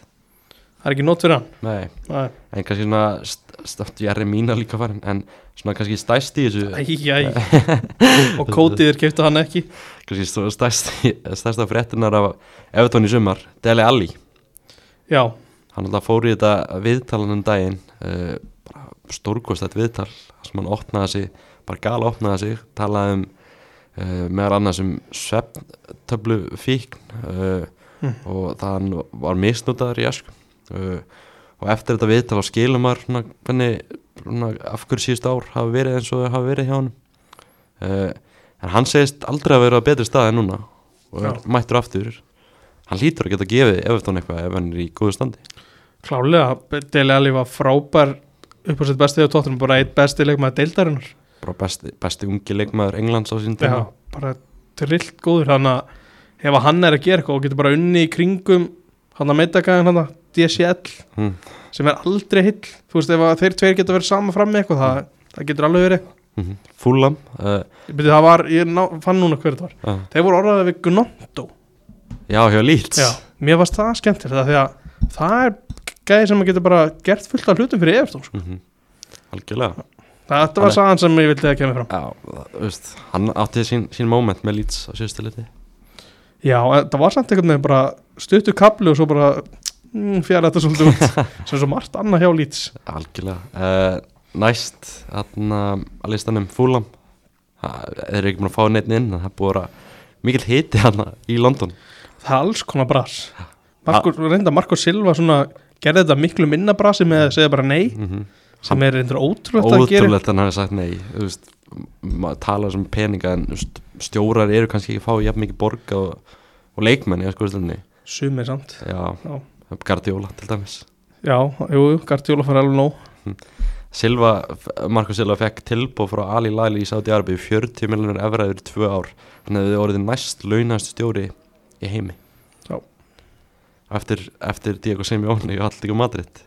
B: það er ekki nót fyrir hann
A: Nei,
B: Nei.
A: en kannski svona stótt ég er mína líka farin en svona kannski stæst í þessu
B: Æ, æ, og kótiðir keftu hann ekki
A: kannski stó- stærst, stærsta fréttinar af Evertón í sumar, Dele Alli
B: Já,
A: hann alltaf fór í þetta viðtalan um daginn uh, bara stórkostætt viðtal þar sem hann opnaði sig, bara gala opnaði sig talaði um uh, meðal annars um svefntöflu fíkn uh,
B: Mm.
A: og það hann var misnútaður í esku uh, og eftir þetta viðtal á skilum var svona, hvernig, svona af hverju síðust ár hafa verið eins og þau hafa verið hjá hann uh, en hann segist aldrei að vera á betri stað en núna og er mættur aftur hann lítur að geta gefið Evertón eitthvað ef hann er í góðu standi
B: klálega, Dele Alli var frábær upp á sitt bestið á tóttunum, bara eitt bestið leikmaði deildarinnar
A: bara besti, besti ungi leikmaður Englands á sín tíma
B: Já, bara trillt góður hann að ef að hann er að gera eitthvað og getur bara unni í kringum hann að meitakaðin hann að DCL
A: Mm.
B: sem er aldrei hill þú veist ef að þeir tveir geta verið saman fram með eitthvað það, það getur alveg verið eitthvað
A: Mhm. Fulham uh,
B: ég, byrja, það var, ég ná, fann núna hver þetta var
A: uh,
B: þeir voru orðaðið við Gnóndó
A: já, hjá Leeds
B: mér varst það skemmtilegt af því að það er gæði sem að getur bara gert fullt af hlutum fyrir Evertón sko.
A: Mhm. algjörlega
B: þetta
A: Hann er-
B: var sagan sem ég vildi að kemja fram
A: já, það, þú veist, hann átti sín, sín moment með Leeds á síðustu liti
B: Já, en það var samt einhvern veginn bara stuttu kaplu og svo bara mm, fjara þetta svolítið út sem svo margt annað hjá Leeds
A: algjörlega uh, næst þarna að listanum Fulham Ha, þeir eru ekki búin að fá neitt inn en það er búið að vera mikill hiti hann í London
B: Það er alls konar bras Markur, reynda Marko Silva svona gerði þetta miklu minna brasi með að segja bara nei
A: mm -hmm.
B: sem er reyndur ótrúlegt að gera
A: ótrúlegt að hann hafi sagt nei þú veist, maður tala um peninga en þú veist, stjórar eru kannski ekki að fá jafn mikið borga og, og leikmenn í skoðstöldinni
B: Sumir samt
A: Já,
B: Já.
A: Guardiola til dæmis
B: Já, jú, jú, Gardióla fær alveg nóg
A: Silva, Marko Silva fekk tilbúð frá Ali Lali í Saudi Arabi 40 miljonar efraður í tvö ár hann hefði orðið næst launast stjóri í heimi
B: Já.
A: Eftir, eftir Diego Simeone og Alltíku Madrid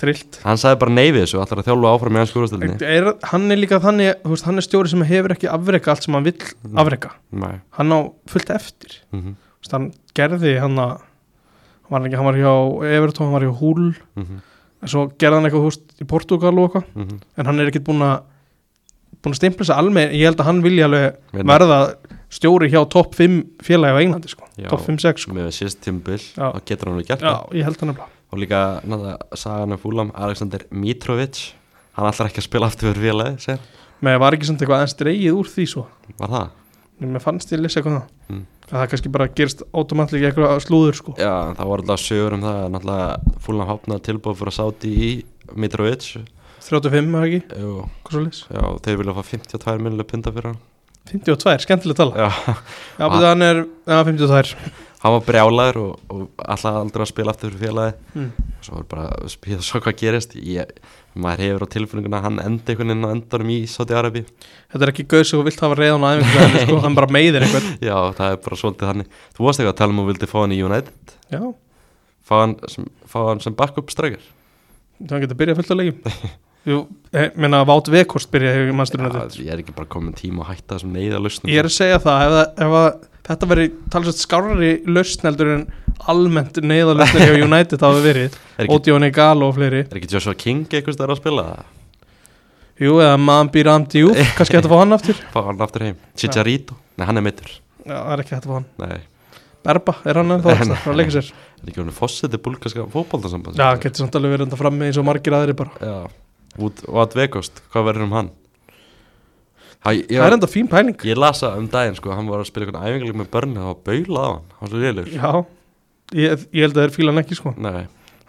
B: Trillt
A: Hann sagði bara nei við þessu, allar að þjálfa áfram í hans skúrastöldinni
B: er, Hann er líka þannig, þú veist, hann er stjóri sem hefur ekki afreka allt sem hann vill afreka
A: Nei
B: Hann á fullt eftir
A: mm -hmm.
B: Þú veist, Hann gerði hann að hann var, ekki, hann var hjá Evertó, hann var hjá Húl
A: Mm -hmm.
B: en svo gerði hann eitthvað húst í Portugal og eitthvað
A: mhm.
B: en hann er ekkert búin að búin að stimpla sig alveg, ég held að hann vilja alveg verða stjóri hjá topp 5 félagi á Englandi sko.
A: Já.
B: topp 5-6 sko.
A: með síðast tímabil
B: Já.
A: og getur hann alveg gert
B: já,
A: það
B: ég held það nefnilega
A: og líka náttúrulega sagan af fúlam Alexander Mitrovic hann ætlar ekki að spila aftur fyrir félagi segir.
B: með var ekki samt eitthvað aðeins dreigið úr því svo
A: hann. var það?
B: en mér fannst ég að lesa eitthvað um það
A: Mm.
B: að það kannski bara gerst automatlík eitthvað slúður sko.
A: Já, en það voru alltaf sögur um það að náttúrulega fúlam hafnaði tilbúið fyrir að sáti í Mitrovic
B: 35 er það ekki,
A: Jú,
B: hvað svo leys
A: já, þeir vilja fá 52 minnileg punta fyrir hann
B: 52, skemmtileg tala já,
A: Já,
B: já betur hann er já, 52
A: hann var brjálaður og, og alltaf aldrei að spila aftur fyrir félagi
B: mm.
A: svo var bara að spila svo hvað gerist ég, maður hefur á tilfinninguna að hann endi einhvern veginn á endanum í Saudi Arabi
B: þetta er ekki gauð sem þú vilt hafa reyðan á æfingu sko, hann bara meiðir eitthvað
A: já, það er bara svolítið þannig þú varst eitthvað að tala um að þú vildi fá hann í United
B: já,
A: fá hann sem, fá hann sem backup strækir
B: það getur byrjað fullt á leikjum Jú, eh, ég meina Vátt Vekost byrjaði í mannsturinn
A: ég er ekki bara komin tíma að hætta þessum neyða lausnum
B: Ég er að segja það ef, það- ef að, þetta veri talsvægt skárari lausn heldur en almennt neyðalausnir hjá United hafa verið
A: er, ekki,
B: Ódjóni Galo og fleiri
A: er ekki Joshua King eitthvað stær að spila það
B: Jú, eða Mambi Ramdi Jú, kannski hægt að fá hann aftur
A: fá hann aftur heim Chicharito, nei hann er mittur
B: Já, það er ekki hægt að fá hann
A: nei,
B: Berba, er hann ennþá
A: Nei, nei,
B: það, frá leika sér
A: er ekki hann fósiti búlgarska fótboltansamband
B: Já, getur samt alveg verið enda frammi eins og margir aðri bara
A: já, út og að vekost hvað verður um hann Hæ, ég,
B: Það er enda fín pæling
A: Ég lasa um daginn sko, hann var að spila einhvern æfingarleik með börn og það var baulað á hann, hann var svo liðlegur
B: Já, ég, ég held að þeir fíla hann ekki sko
A: Nei,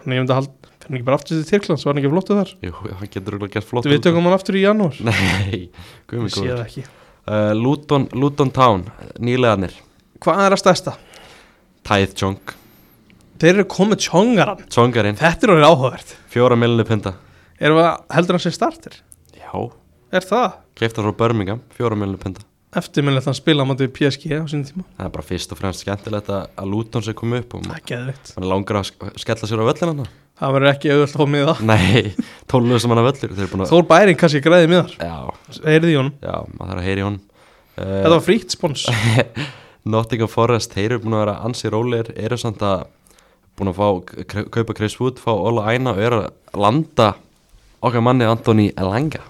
B: Þannig ég myndi að halda, fyrir hann ekki bara aftur til Tyrklands var hann ekki flottu þar
A: jú, hann getur örugglega gert flott
B: Við tökum hann aftur í
A: úr
B: janúar
A: það. Nei, guðmi
B: Ég sé
A: góður
B: það ekki
A: uh, Luton, Luton Town, nýleganir
B: Hvað er að stæsta?
A: Tæð Chong,
B: Þeir eru komið tjongaran
A: Chongarinn,
B: Þetta er orðið áhugavert
A: fjóra millinu pinda
B: Erum við að heldur hann sér starter?
A: Já,
B: Er það?
A: keifta frá Birmingham, fjóra millinu pinda
B: Eftirminnilegt hann spila á móti PSG á sínum tíma
A: Það er bara fyrst og fremst skemmtilegt að að Luton sé komið upp og
B: Það er geðvitt
A: hann langar að sk- skella sér á völlin hann
B: Það verður ekki auðvöld að fá miða
A: Nei, tólnuðu sem hann að völlur, þeir eru búin að
B: Þór Bæring kannski græði miðar
A: Já,
B: Heyrði í honum
A: já, maður þarf að heyri hún
B: Þetta var frítt spons
A: Eh, Nottingham Forest, þeir eru búin að vera ansi rólir, eru samt að búin að fá, kre- kaupa Chris Wood, fá Ola Æna og eru að landa okkar manni Antoni Elanga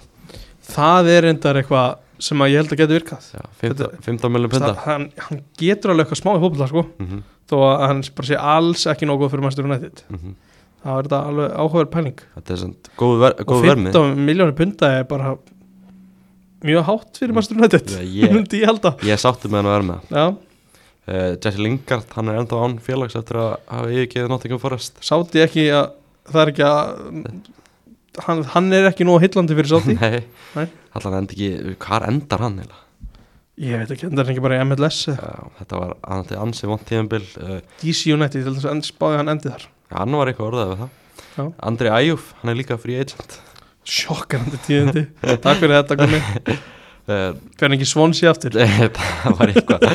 B: Það er endar eitthvað sem að ég held að geta virkað
A: 15 15 miljonum
B: Það-
A: punta
B: hann, hann getur alveg eitthvað smá í fótbolta sko
A: Mhm,
B: Þó að hann bara sé alls ekki nógu góð fyrir Master United
A: mhm.
B: Það er þetta alveg áhugaverð pæling
A: Þetta er samt góð, ver
B: Og
A: góð vermið
B: 15 miljónir punda er bara mjög hátt fyrir Master United
A: Mm. Já, ég-
B: Myndi ég halda
A: Ég sátti með hann að vermið
B: Já,
A: uh, Jesse Lingard, hann er ennþá án félags eftir að hafa yfirgeðið Nottingham Forest
B: sátti ekki að það er ekki að hann, hann er ekki nú hillandi fyrir sátti
A: Nei,
B: Nei.
A: allan endi ekki, hvar endar hann eiginlega?
B: Ég veit ekki, það er ekki bara í MLS eða
A: Já, Þetta var hann til ansi vont tíðanbill uh,
B: DC United, til þess að end- spáði hann endið þar
A: Hann var eitthvað orðað við það
B: Já.
A: Andri Æjúf, hann er líka free agent
B: Sjokkarandi tíðindi Takk fyrir þetta komi
A: uh,
B: Fyrir hann ekki svonsi aftur
A: það var eitthvað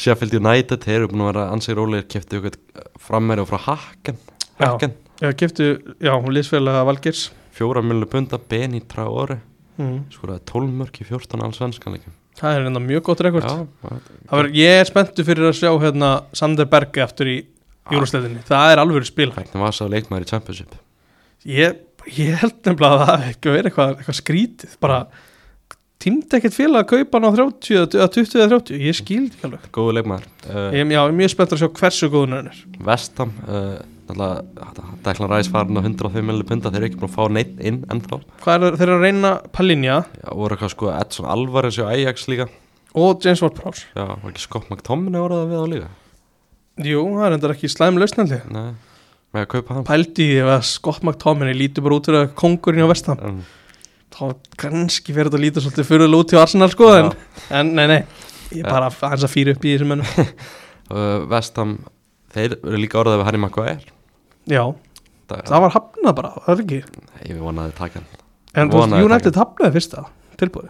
A: Sheffield United, þeir eru búin að vera ansið rólegir keftu ykkur frammeri og frá Haken
B: Já,
A: Haken,
B: já keftu, já, liðsfélaga Valgeirs
A: fjóra millu punda Beni Traore,
B: mm.
A: skoraði 12 mörk í 14 allsvenskanleikum
B: Það er enda mjög gott rekord
A: Já, það-
B: Það var, Ég er spenntu fyrir að sjá hérna Sander Berge aftur í
A: Ah.
B: júrasleitinni Það er alveg spil
A: Ragnar Vasa leikmaður í Championship
B: ég, ég held nefnilega að það hafi ekki verið eitthvað, eitthvað skrítið bara tímdi ekkert félag að kaupa hann á 30 eða 20 eða 30, ég skildi ekki alveg
A: Góðu leikmaður uh,
B: ég, já, ég er mjög spennt að sjá hversu góðun hann er
A: Vestam, uh, Dæklan Ræs farin á 105 millu punda þeir eru ekki búin að fá neitt inn ennþá
B: hvað er þeir eru að reyna Palinja
A: Já, voru eitthvað sko Edson Alvarez og Ajax líka
B: og James Ward-Prowse
A: Já, var ekki Scott McTominay orðað við á líka
B: jú, það er endar ekki slæm lausnandi
A: Nei, með að kaupa hann
B: pældi ég ef að Scott McTominay lítur bara út fyrir að kongurinn á vestam
A: um,
B: þá kannski verður þetta að líta svolítið fyrir út í Arsenal sko en, en nei, nei, ég er bara hans að fýra upp í þessum ennum
A: uh, Vestam, þeir eru líka orðað við Harry Maguire
B: já, það var hafnað bara, það er ekki
A: Ég vonaði að taka hann
B: en þú veist,
A: Vonaði
B: United hafnaði fyrsta tilbúið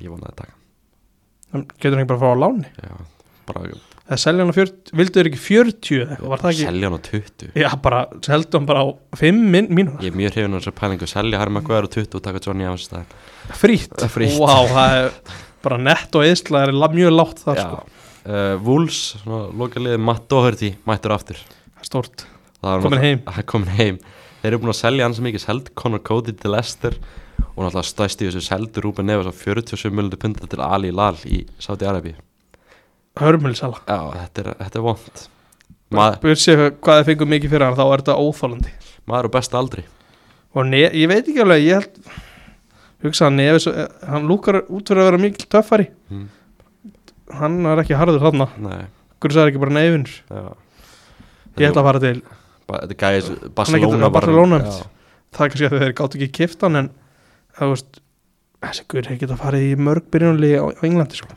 A: Ég vonaði að taka hann
B: En getur hann ekki bara að fara á láni
A: Já, bara
B: eða selja hann á 40, vildu þau ekki 40 eða eitthvað, var það ekki
A: Selja hann á 20
B: já bara, seldu hann bara á 5 mín, mínúna
A: Ég er mjög hrifin á þessar pælingu Selja Harry Maguire á 20 og taka Johnny Evans í staðinn.
B: frýtt,
A: Eh, frítt.
B: Vá, það er bara nett og eðsla er la- mjög látt þar
A: Já
B: sko,
A: uh, Wolves, svona lokaliði Matt Doherty Mættur aftur
B: það er stórt
A: Það var
B: komin
A: náttúrulega-
B: heim,
A: Hann er Komin heim Þeir eru búin að selja hann sem ekki Seld Conor Cody til Leicester Og náttúrulega stæsti þessu seldu Rúben Neves á 47 miljonar punta til Ali Lal í Saudi Arabi
B: hörmulsala
A: Já, þetta er, þetta er vond maður,
B: Bursi hvað þið fengum mikið fyrir hann þá er þetta óþólandi
A: maður á besta aldri
B: og nef, ég veit ekki alveg ég held hugsa hann nefis hann lúkar út fyrir að vera mikil töffari
A: Mm.
B: hann er ekki harður þarna
A: Nei,
B: hvernig sagði ekki bara nefin
A: já
B: ég ætla að fara til
A: bara, Þetta er gæðis
B: getur-
A: Barcelona var-
B: Barcelona,
A: Já.
B: það er kannski að þeir gátt ekki kipt hann en það veist þessi guður hefur getað farið í mörg byrjunli á, á Englandi sko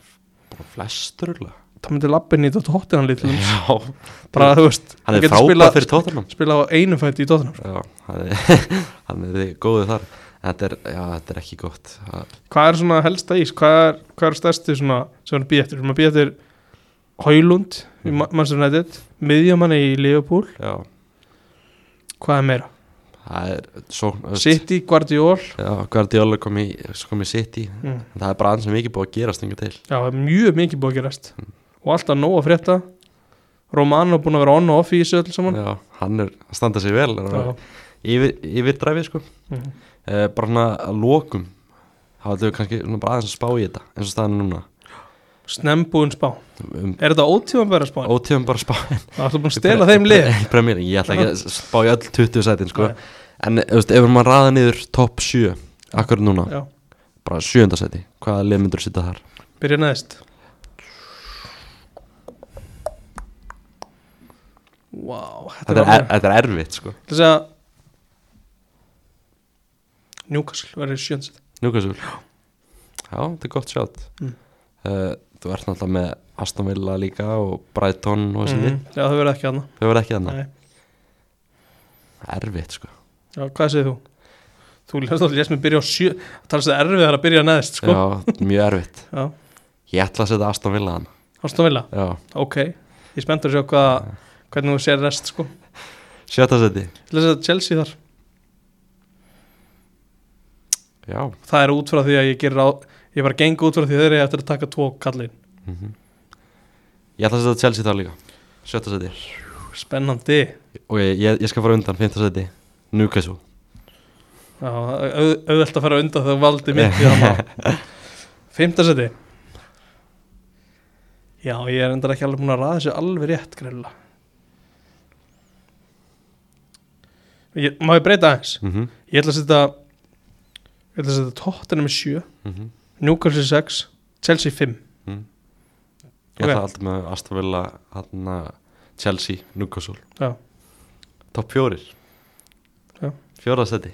A: Bara Flestur örugglega.
B: það myndi lappin í tóttinan litlum
A: Já,
B: bara þú veist
A: hann er
B: getur
A: frábæð
B: spilað-
A: fyrir tóttunum
B: spila á einu fæti í Tottenham sko.
A: Já, hann er, hann er góður þar Þetta er, já, þetta er ekki gott Það-
B: hvað er svona helsta ís, hvað er, hvað er stærsti svona sem hann býð eftir, Við erum að býð eftir Haulund í Ma- Manchester United miðjumann í Liverpool
A: Já,
B: hvað er meira,
A: það er sókn
B: City, Guardiol
A: Já, Guardiola kom í, kom í City
B: mm.
A: en það er bara aðeins sem ekki búið að gerast yngur til
B: já, það er mjög mikið búið að gerast og alltaf nóg að frétta Romano búin að vera on og off í þessu öll saman
A: Já, hann er að standa sig vel er að
B: Mm. já,
A: vera yfir, yfir dræfið sko
B: mm.
A: eh, bara svona að lokum þá ætlum við kannski svona bara aðeins að spá í þetta eins og staðan er núna
B: snembúin spá
A: um,
B: er þetta ótíman vera spá,
A: ótíðum bara spá
B: það ertu búin að stela þeim lið
A: í premjöring, ég ætla ekki að spá í öll 20 sætin sko
B: Nei.
A: en þú veist, ef maður raða niður topp 7 akkur núna,
B: já,
A: bara 7. sæti hvaða lið myndur sitja þar?
B: byrja næst wow,
A: Þetta er, er, þetta er erfitt sko
B: Til þess að Newcastle verður sjöndsett
A: Newcastle Já, þetta er gott sjátt
B: Mm.
A: uh, Þú ert náttúrulega með Aston Villa líka og Brighton og þessi lið
B: Mm. Já, það verður ekki aðna
A: Þau verða ekki þannig,
B: Já,
A: erfitt sko
B: hvað segir þú? Þú lest að lésmi byrja á sjö Það talast það erfið að byrja neðst, sko
A: Já, mjög erfitt
B: Já,
A: Ég ætla að setja Aston Villa hann
B: Aston Villa,
A: Já,
B: ok Ég er spenntur að sjá hvað, hvernig þú sér rest, sko
A: sjötta seti
B: Til þess að Chelsea þar
A: Já,
B: Það er út frá því að ég gerir á Ég bara geng út frá því þeirri eftir að taka tvo kallin
A: Mhm. ég ætla að setja Chelsea þar líka Sjötta seti
B: Spennandi
A: Og ég, ég, ég skal fara undan, fymta seti Newcastle
B: Já, auð- auðvelt að fara undan þegar valdi mitt í þannig Fymtasæti Já, ég er endar ekki alveg búin að ræða þessu alveg rétt greila ég, Má ég breyta aðeins?
A: mm -hmm.
B: Ég ætla að setja Ég ætla að setja tóttina með 7
A: Mhm.
B: Newcastle 6 Chelsea 5
A: Ég ætla
B: Ok.
A: alltaf með Aston Villa hann, Chelsea, Newcastle
B: Já.
A: Topp fjórir
B: Já.
A: Fjóra seti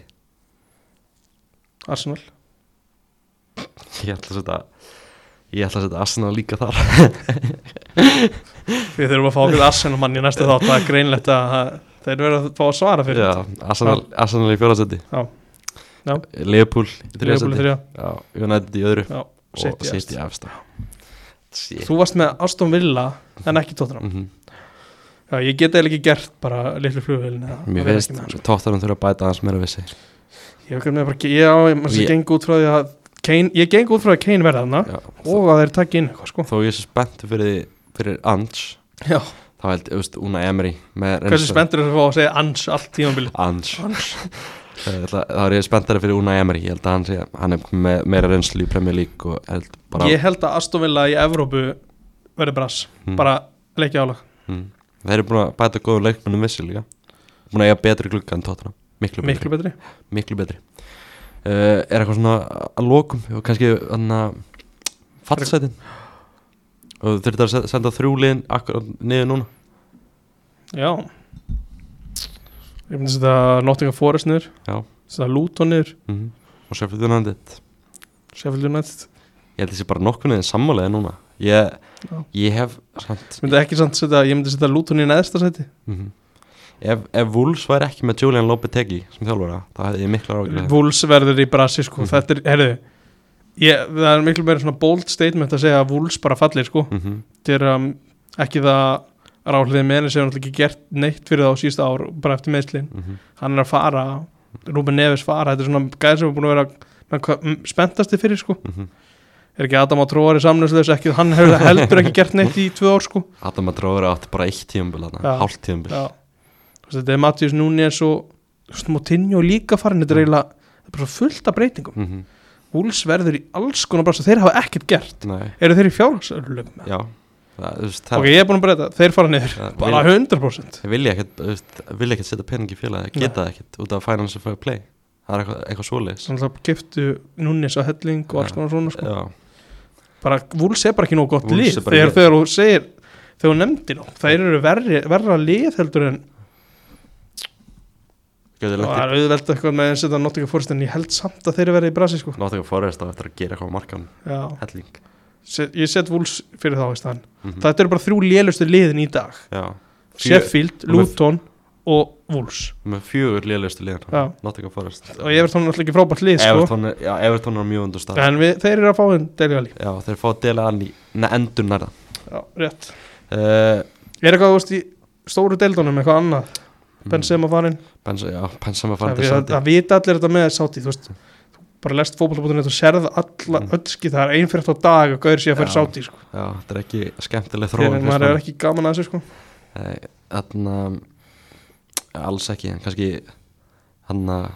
B: Arsenal
A: Ég ætla að setja Ég ætla að setja Arsenal líka þar
B: Við þurfum að fá okkur Arsenal mann í næsta þátt Það er greinlegt að að þeir verða að fá að svara fyrir
A: Já, Arsenal, Arsenal í fjóra seti
B: Já. Já.
A: Leopold í þriða
B: Liverpool í
A: seti
B: þriðja,
A: United í öðru
B: Já,
A: og
B: City,
A: City efsta Shit.
B: Þú varst með Aston Villa en ekki Tottenham
A: Mhm.
B: Já, ég get eða ekki gert bara litlu flugvélina
A: Mér finnst sko. tóttanum þurfa að bæta aðeins meira við sig
B: Ég hef með bara, ég á, ég, ég
A: Ég-
B: geng út frá því að Kane, ég geng út frá því að Kane verða þarna
A: Já, þó,
B: og að þeir takki inn eitthvað sko
A: þó ég sé spenntu fyrir, fyrir Ange
B: Já.
A: þá held, þú veist, Una Emery
B: Hversu spenntur er það að segja ans allt tímanbili
A: Ange Ég ætla- Þá er ég spenntari fyrir Una Emery Ég held að hann, sé, hann er með meira reynslu í Premier League og held bara
B: Ég held að Aston Villa í Evrópu verði brass,
A: Mm.
B: bara leikja álag
A: Mm. Þeir eru búin að bæta góðum leikmennum vissi líka Búin að eiga betri glugga en tóttunum Miklu betri,
B: miklu betri
A: miklu betri. Uh, Er eitthvað svona að lokum og kannski anna, fallsetin og þú þurftir að se- senda þrjúliðin akkurat niður núna
B: Já Ég myndi setja Nottingham Forest niður
A: Já.
B: setja Luton niður,
A: mm. og Sheffield United
B: Sheffield United
A: Ég held þessi bara nokkuð niður sammálega núna Ég,
B: Já.
A: ég hef samt,
B: myndi ekki samt setja, ég myndi setja Luton í neðsta seti
A: mm Ef, ef Wolves væri ekki með Julian Lopetegi sem þjálfara, þá hefði ég mikla rákir
B: Wolves verður í brasi sko
A: Mhm.
B: þetta er, herðu ég, það er miklu meira svona bold statement að segja að Wolves bara fallir sko
A: mm -hmm.
B: þetta er um, ekki það ráhliðið með henni sem náttúrulega ekki gert neitt fyrir það á sísta ár bara eftir meðslin
A: Mm
B: hann er að fara, Ruben Neves fara þetta er svona gæð sem er búin að vera menn hvað, mm, spenntasti fyrir sko
A: mhm,
B: er ekki Adam að tróari samlöfsleis ekki hann hefur heldur ekki gert neitt í tvö ár sko
A: Adam að dróður átti bara eitt tíumbil
B: Já.
A: hálft tíumbil
B: Já. Þú veist, þetta er Matíus Núnes og þú veist, Moutinho líka farin þetta er eiginlega þetta er bara svo fullt af breytingum
A: mm -hmm.
B: Wolves verður í alls konar brasa þeir hafa ekkert gert
A: Nei,
B: eru þeir í fjárhagsörlum
A: já það, þú veist, það,
B: ok, ég er búin að breyta, þeir fara niður
A: það
B: bara 100%
A: þeir vilja ekkert, þú veist, vilja ekkert setja pening í félagi,
B: Nei. Mm.
A: geta það ekkert út af finance fair play, það er eitthvað, eitthvað svoleiðis
B: þannig að keftu núnis að helling og alls
A: Já.
B: konar svona sko.
A: Já,
B: bara, Vúls er bara ekki nóg gott
A: Wolves er
B: lið
A: bara
B: þegar,
A: lið.
B: þegar þú segir, þegar þú nefndir nú þeir eru verri, verra lið heldur en
A: gæti
B: og það
A: lett
B: er auðvelt eitthvað með að setja Nottingham Forest en ég held samt að þeir eru verið í brasi sko.
A: í Nottingham Forest á eftir að gera eitthvað á markan
B: Já.
A: helling
B: Set, ég set Vúls fyrir þá í staðan.
A: mm -hmm.
B: þetta eru bara þrjú lélustu liðin í dag
A: Já, Sjö-
B: Sheffield,
A: og með-
B: Luton og Wolves
A: með fjögur lélustu liðan
B: Já.
A: Nottingham Forest
B: og Everton er alltaf ekki frábært lið sko.
A: Everton er, já, Everton er á mjög undur stað
B: en við, þeir eru að fá þeim Deli Alli
A: Já, þeir fá að dela hann í na, endur nærða
B: Já, rétt
A: uh,
B: Er eitthvað, þú veist, í stóru deildunum eitthvað annað
A: Mm.
B: Benzema farinn
A: Benz, Já, Benzema
B: Það
A: fann til
B: við-
A: sandi
B: það vita allir þetta með sátti, þú veist Þú bara lest fótbollabútunni og serð alla
A: Mm.
B: mm. öllski það er einfyrt á dag og gaur sér að fyrir
A: Já.
B: sátti sko.
A: Já, þetta er ekki skemmtileg
B: þegar
A: þróun
B: maður er ekki gaman að þessu sko.
A: Þannig alls ekki, en kannski hann að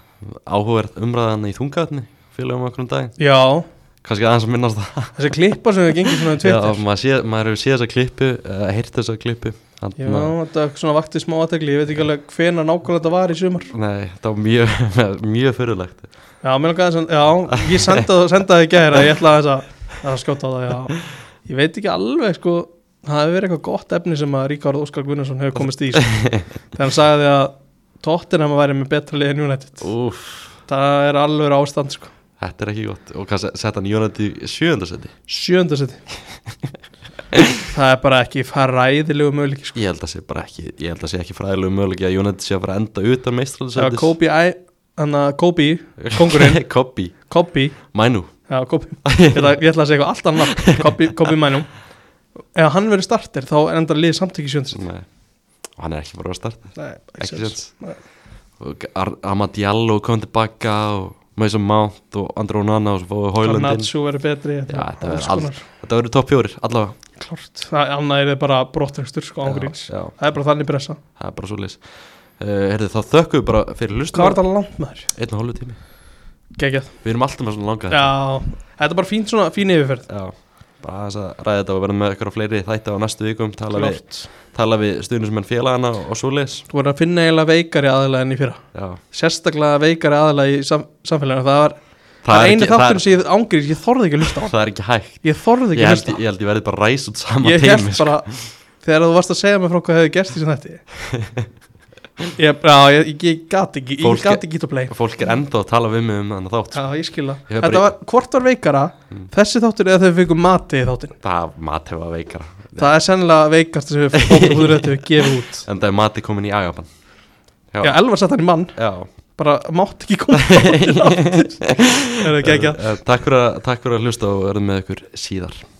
A: áhugaverð umræðan í þungaðni félagum okkur um daginn,
B: já,
A: kannski aðeins að minnast það
B: þessi klippa sem þau gengið svona um
A: Já,
B: Twitter já,
A: maður, sé, maður hefur séð þessa klippu uh, heyrt þessa klippu þarna-
B: þetta svona vakti smá aðtegli ég veit ekki alveg hvena nákvæmlega þetta var í sumar
A: Nei, það var mjög mjög fyrirlegt
B: já, mér langaði sem, já, ég senda, senda það í gæra ég ætla þess að, að skjóta á það já. ég veit ekki alveg sko það hefur verið eitthvað gott efni sem að Ríkard Óskar Gunnarsson hefur komist í sko. þegar hann sagði að Tottenham væri með betra lið en United
A: Úf,
B: það er alveg ástand sko
A: þetta er ekki gott og kannski sett hann Jónati sjöundarsæti
B: sjöndasetti það er bara ekki fræðilegu möguleik sko.
A: Ég held að sé bara ekki, ég held að sé ekki fræðilegu möguleiki að Jónati sé að fara að enda utan
B: það var
A: meistralusætis
B: Kobe I, hana, Kobe, kóngurinn.
A: Kobi,
B: Kobe
A: Mænu
B: já, Kobe, ég ætla, ég ætla að segja eitthvað allt annað Kobe, Kobe mænum ef hann verður starter þá er enda lið samtöki sjöndasetti
A: Nei. og hann er ekki bara að starta
B: Nei,
A: ekki sens
B: Nei.
A: og Ar- Amad Diallo kom tilbaka og Mason Mount og Andró Nana og svo fóðu Hólandin
B: Nacho verður betri
A: Já, þetta verður
B: alls konar.
A: þetta verður topp fjórir allavega
B: klárt það annað er bara brottvegstur sko
A: já,
B: ángríns
A: já,
B: það er bara þannig pressa
A: það er bara svo leis uh, þá þökkum við bara fyrir
B: hvað var
A: hlustum
B: þetta langt maður?
A: einn og hálfu tími
B: geggjað
A: við erum alltaf með svona langa þetta.
B: já þetta er bara fín svona fín yfirferð
A: já, bara aðeins að ræða þetta og verðum með ykkur á fleiri þætti á næstu vikum tala við,
B: klárt
A: tala við stuðnismenn félagana og, og svo leis
B: þú verður að finna eiginlega veikari aðalega enn í fyrra
A: já,
B: sérstaklega veikari aðalega í sam samfélaginu það var
A: það er
B: einu
A: ekki, það
B: þáttur
A: er,
B: sem ég ángriðis, ég þorði ekki að hlusta á hann.
A: það er ekki hægt
B: ég þorði ekki
A: ég
B: að
A: held,
B: hlusta
A: ég held ég verði bara ræs út sama
B: ég held
A: teimi sko.
B: bara þegar þú varst að segja mér frá hvað hefði gerst í sem þetta ég, já, ég, ég, ég gati ekki
A: Fólk-
B: ég gati ekki að play
A: fólk er enda að tala við mig um þannig þátt sko.
B: já, ég skila
A: Ég hef
B: þetta
A: bara-
B: var, hvort var veikara
A: Mm.
B: þessi þáttur eða þau fengum mati í þáttin
A: það mat hefa veikara
B: það er sennilega veikast sem við fókum út þetta við gefum út
A: en það er mati komin í agapan já,
B: já, Elvar sett hann í mann
A: já.
B: bara mátt ekki koma á þáttinn aftur. er það ekki
A: Eh, eh, takk, fyrir að, takk fyrir að hlusta og verðum með ykkur síðar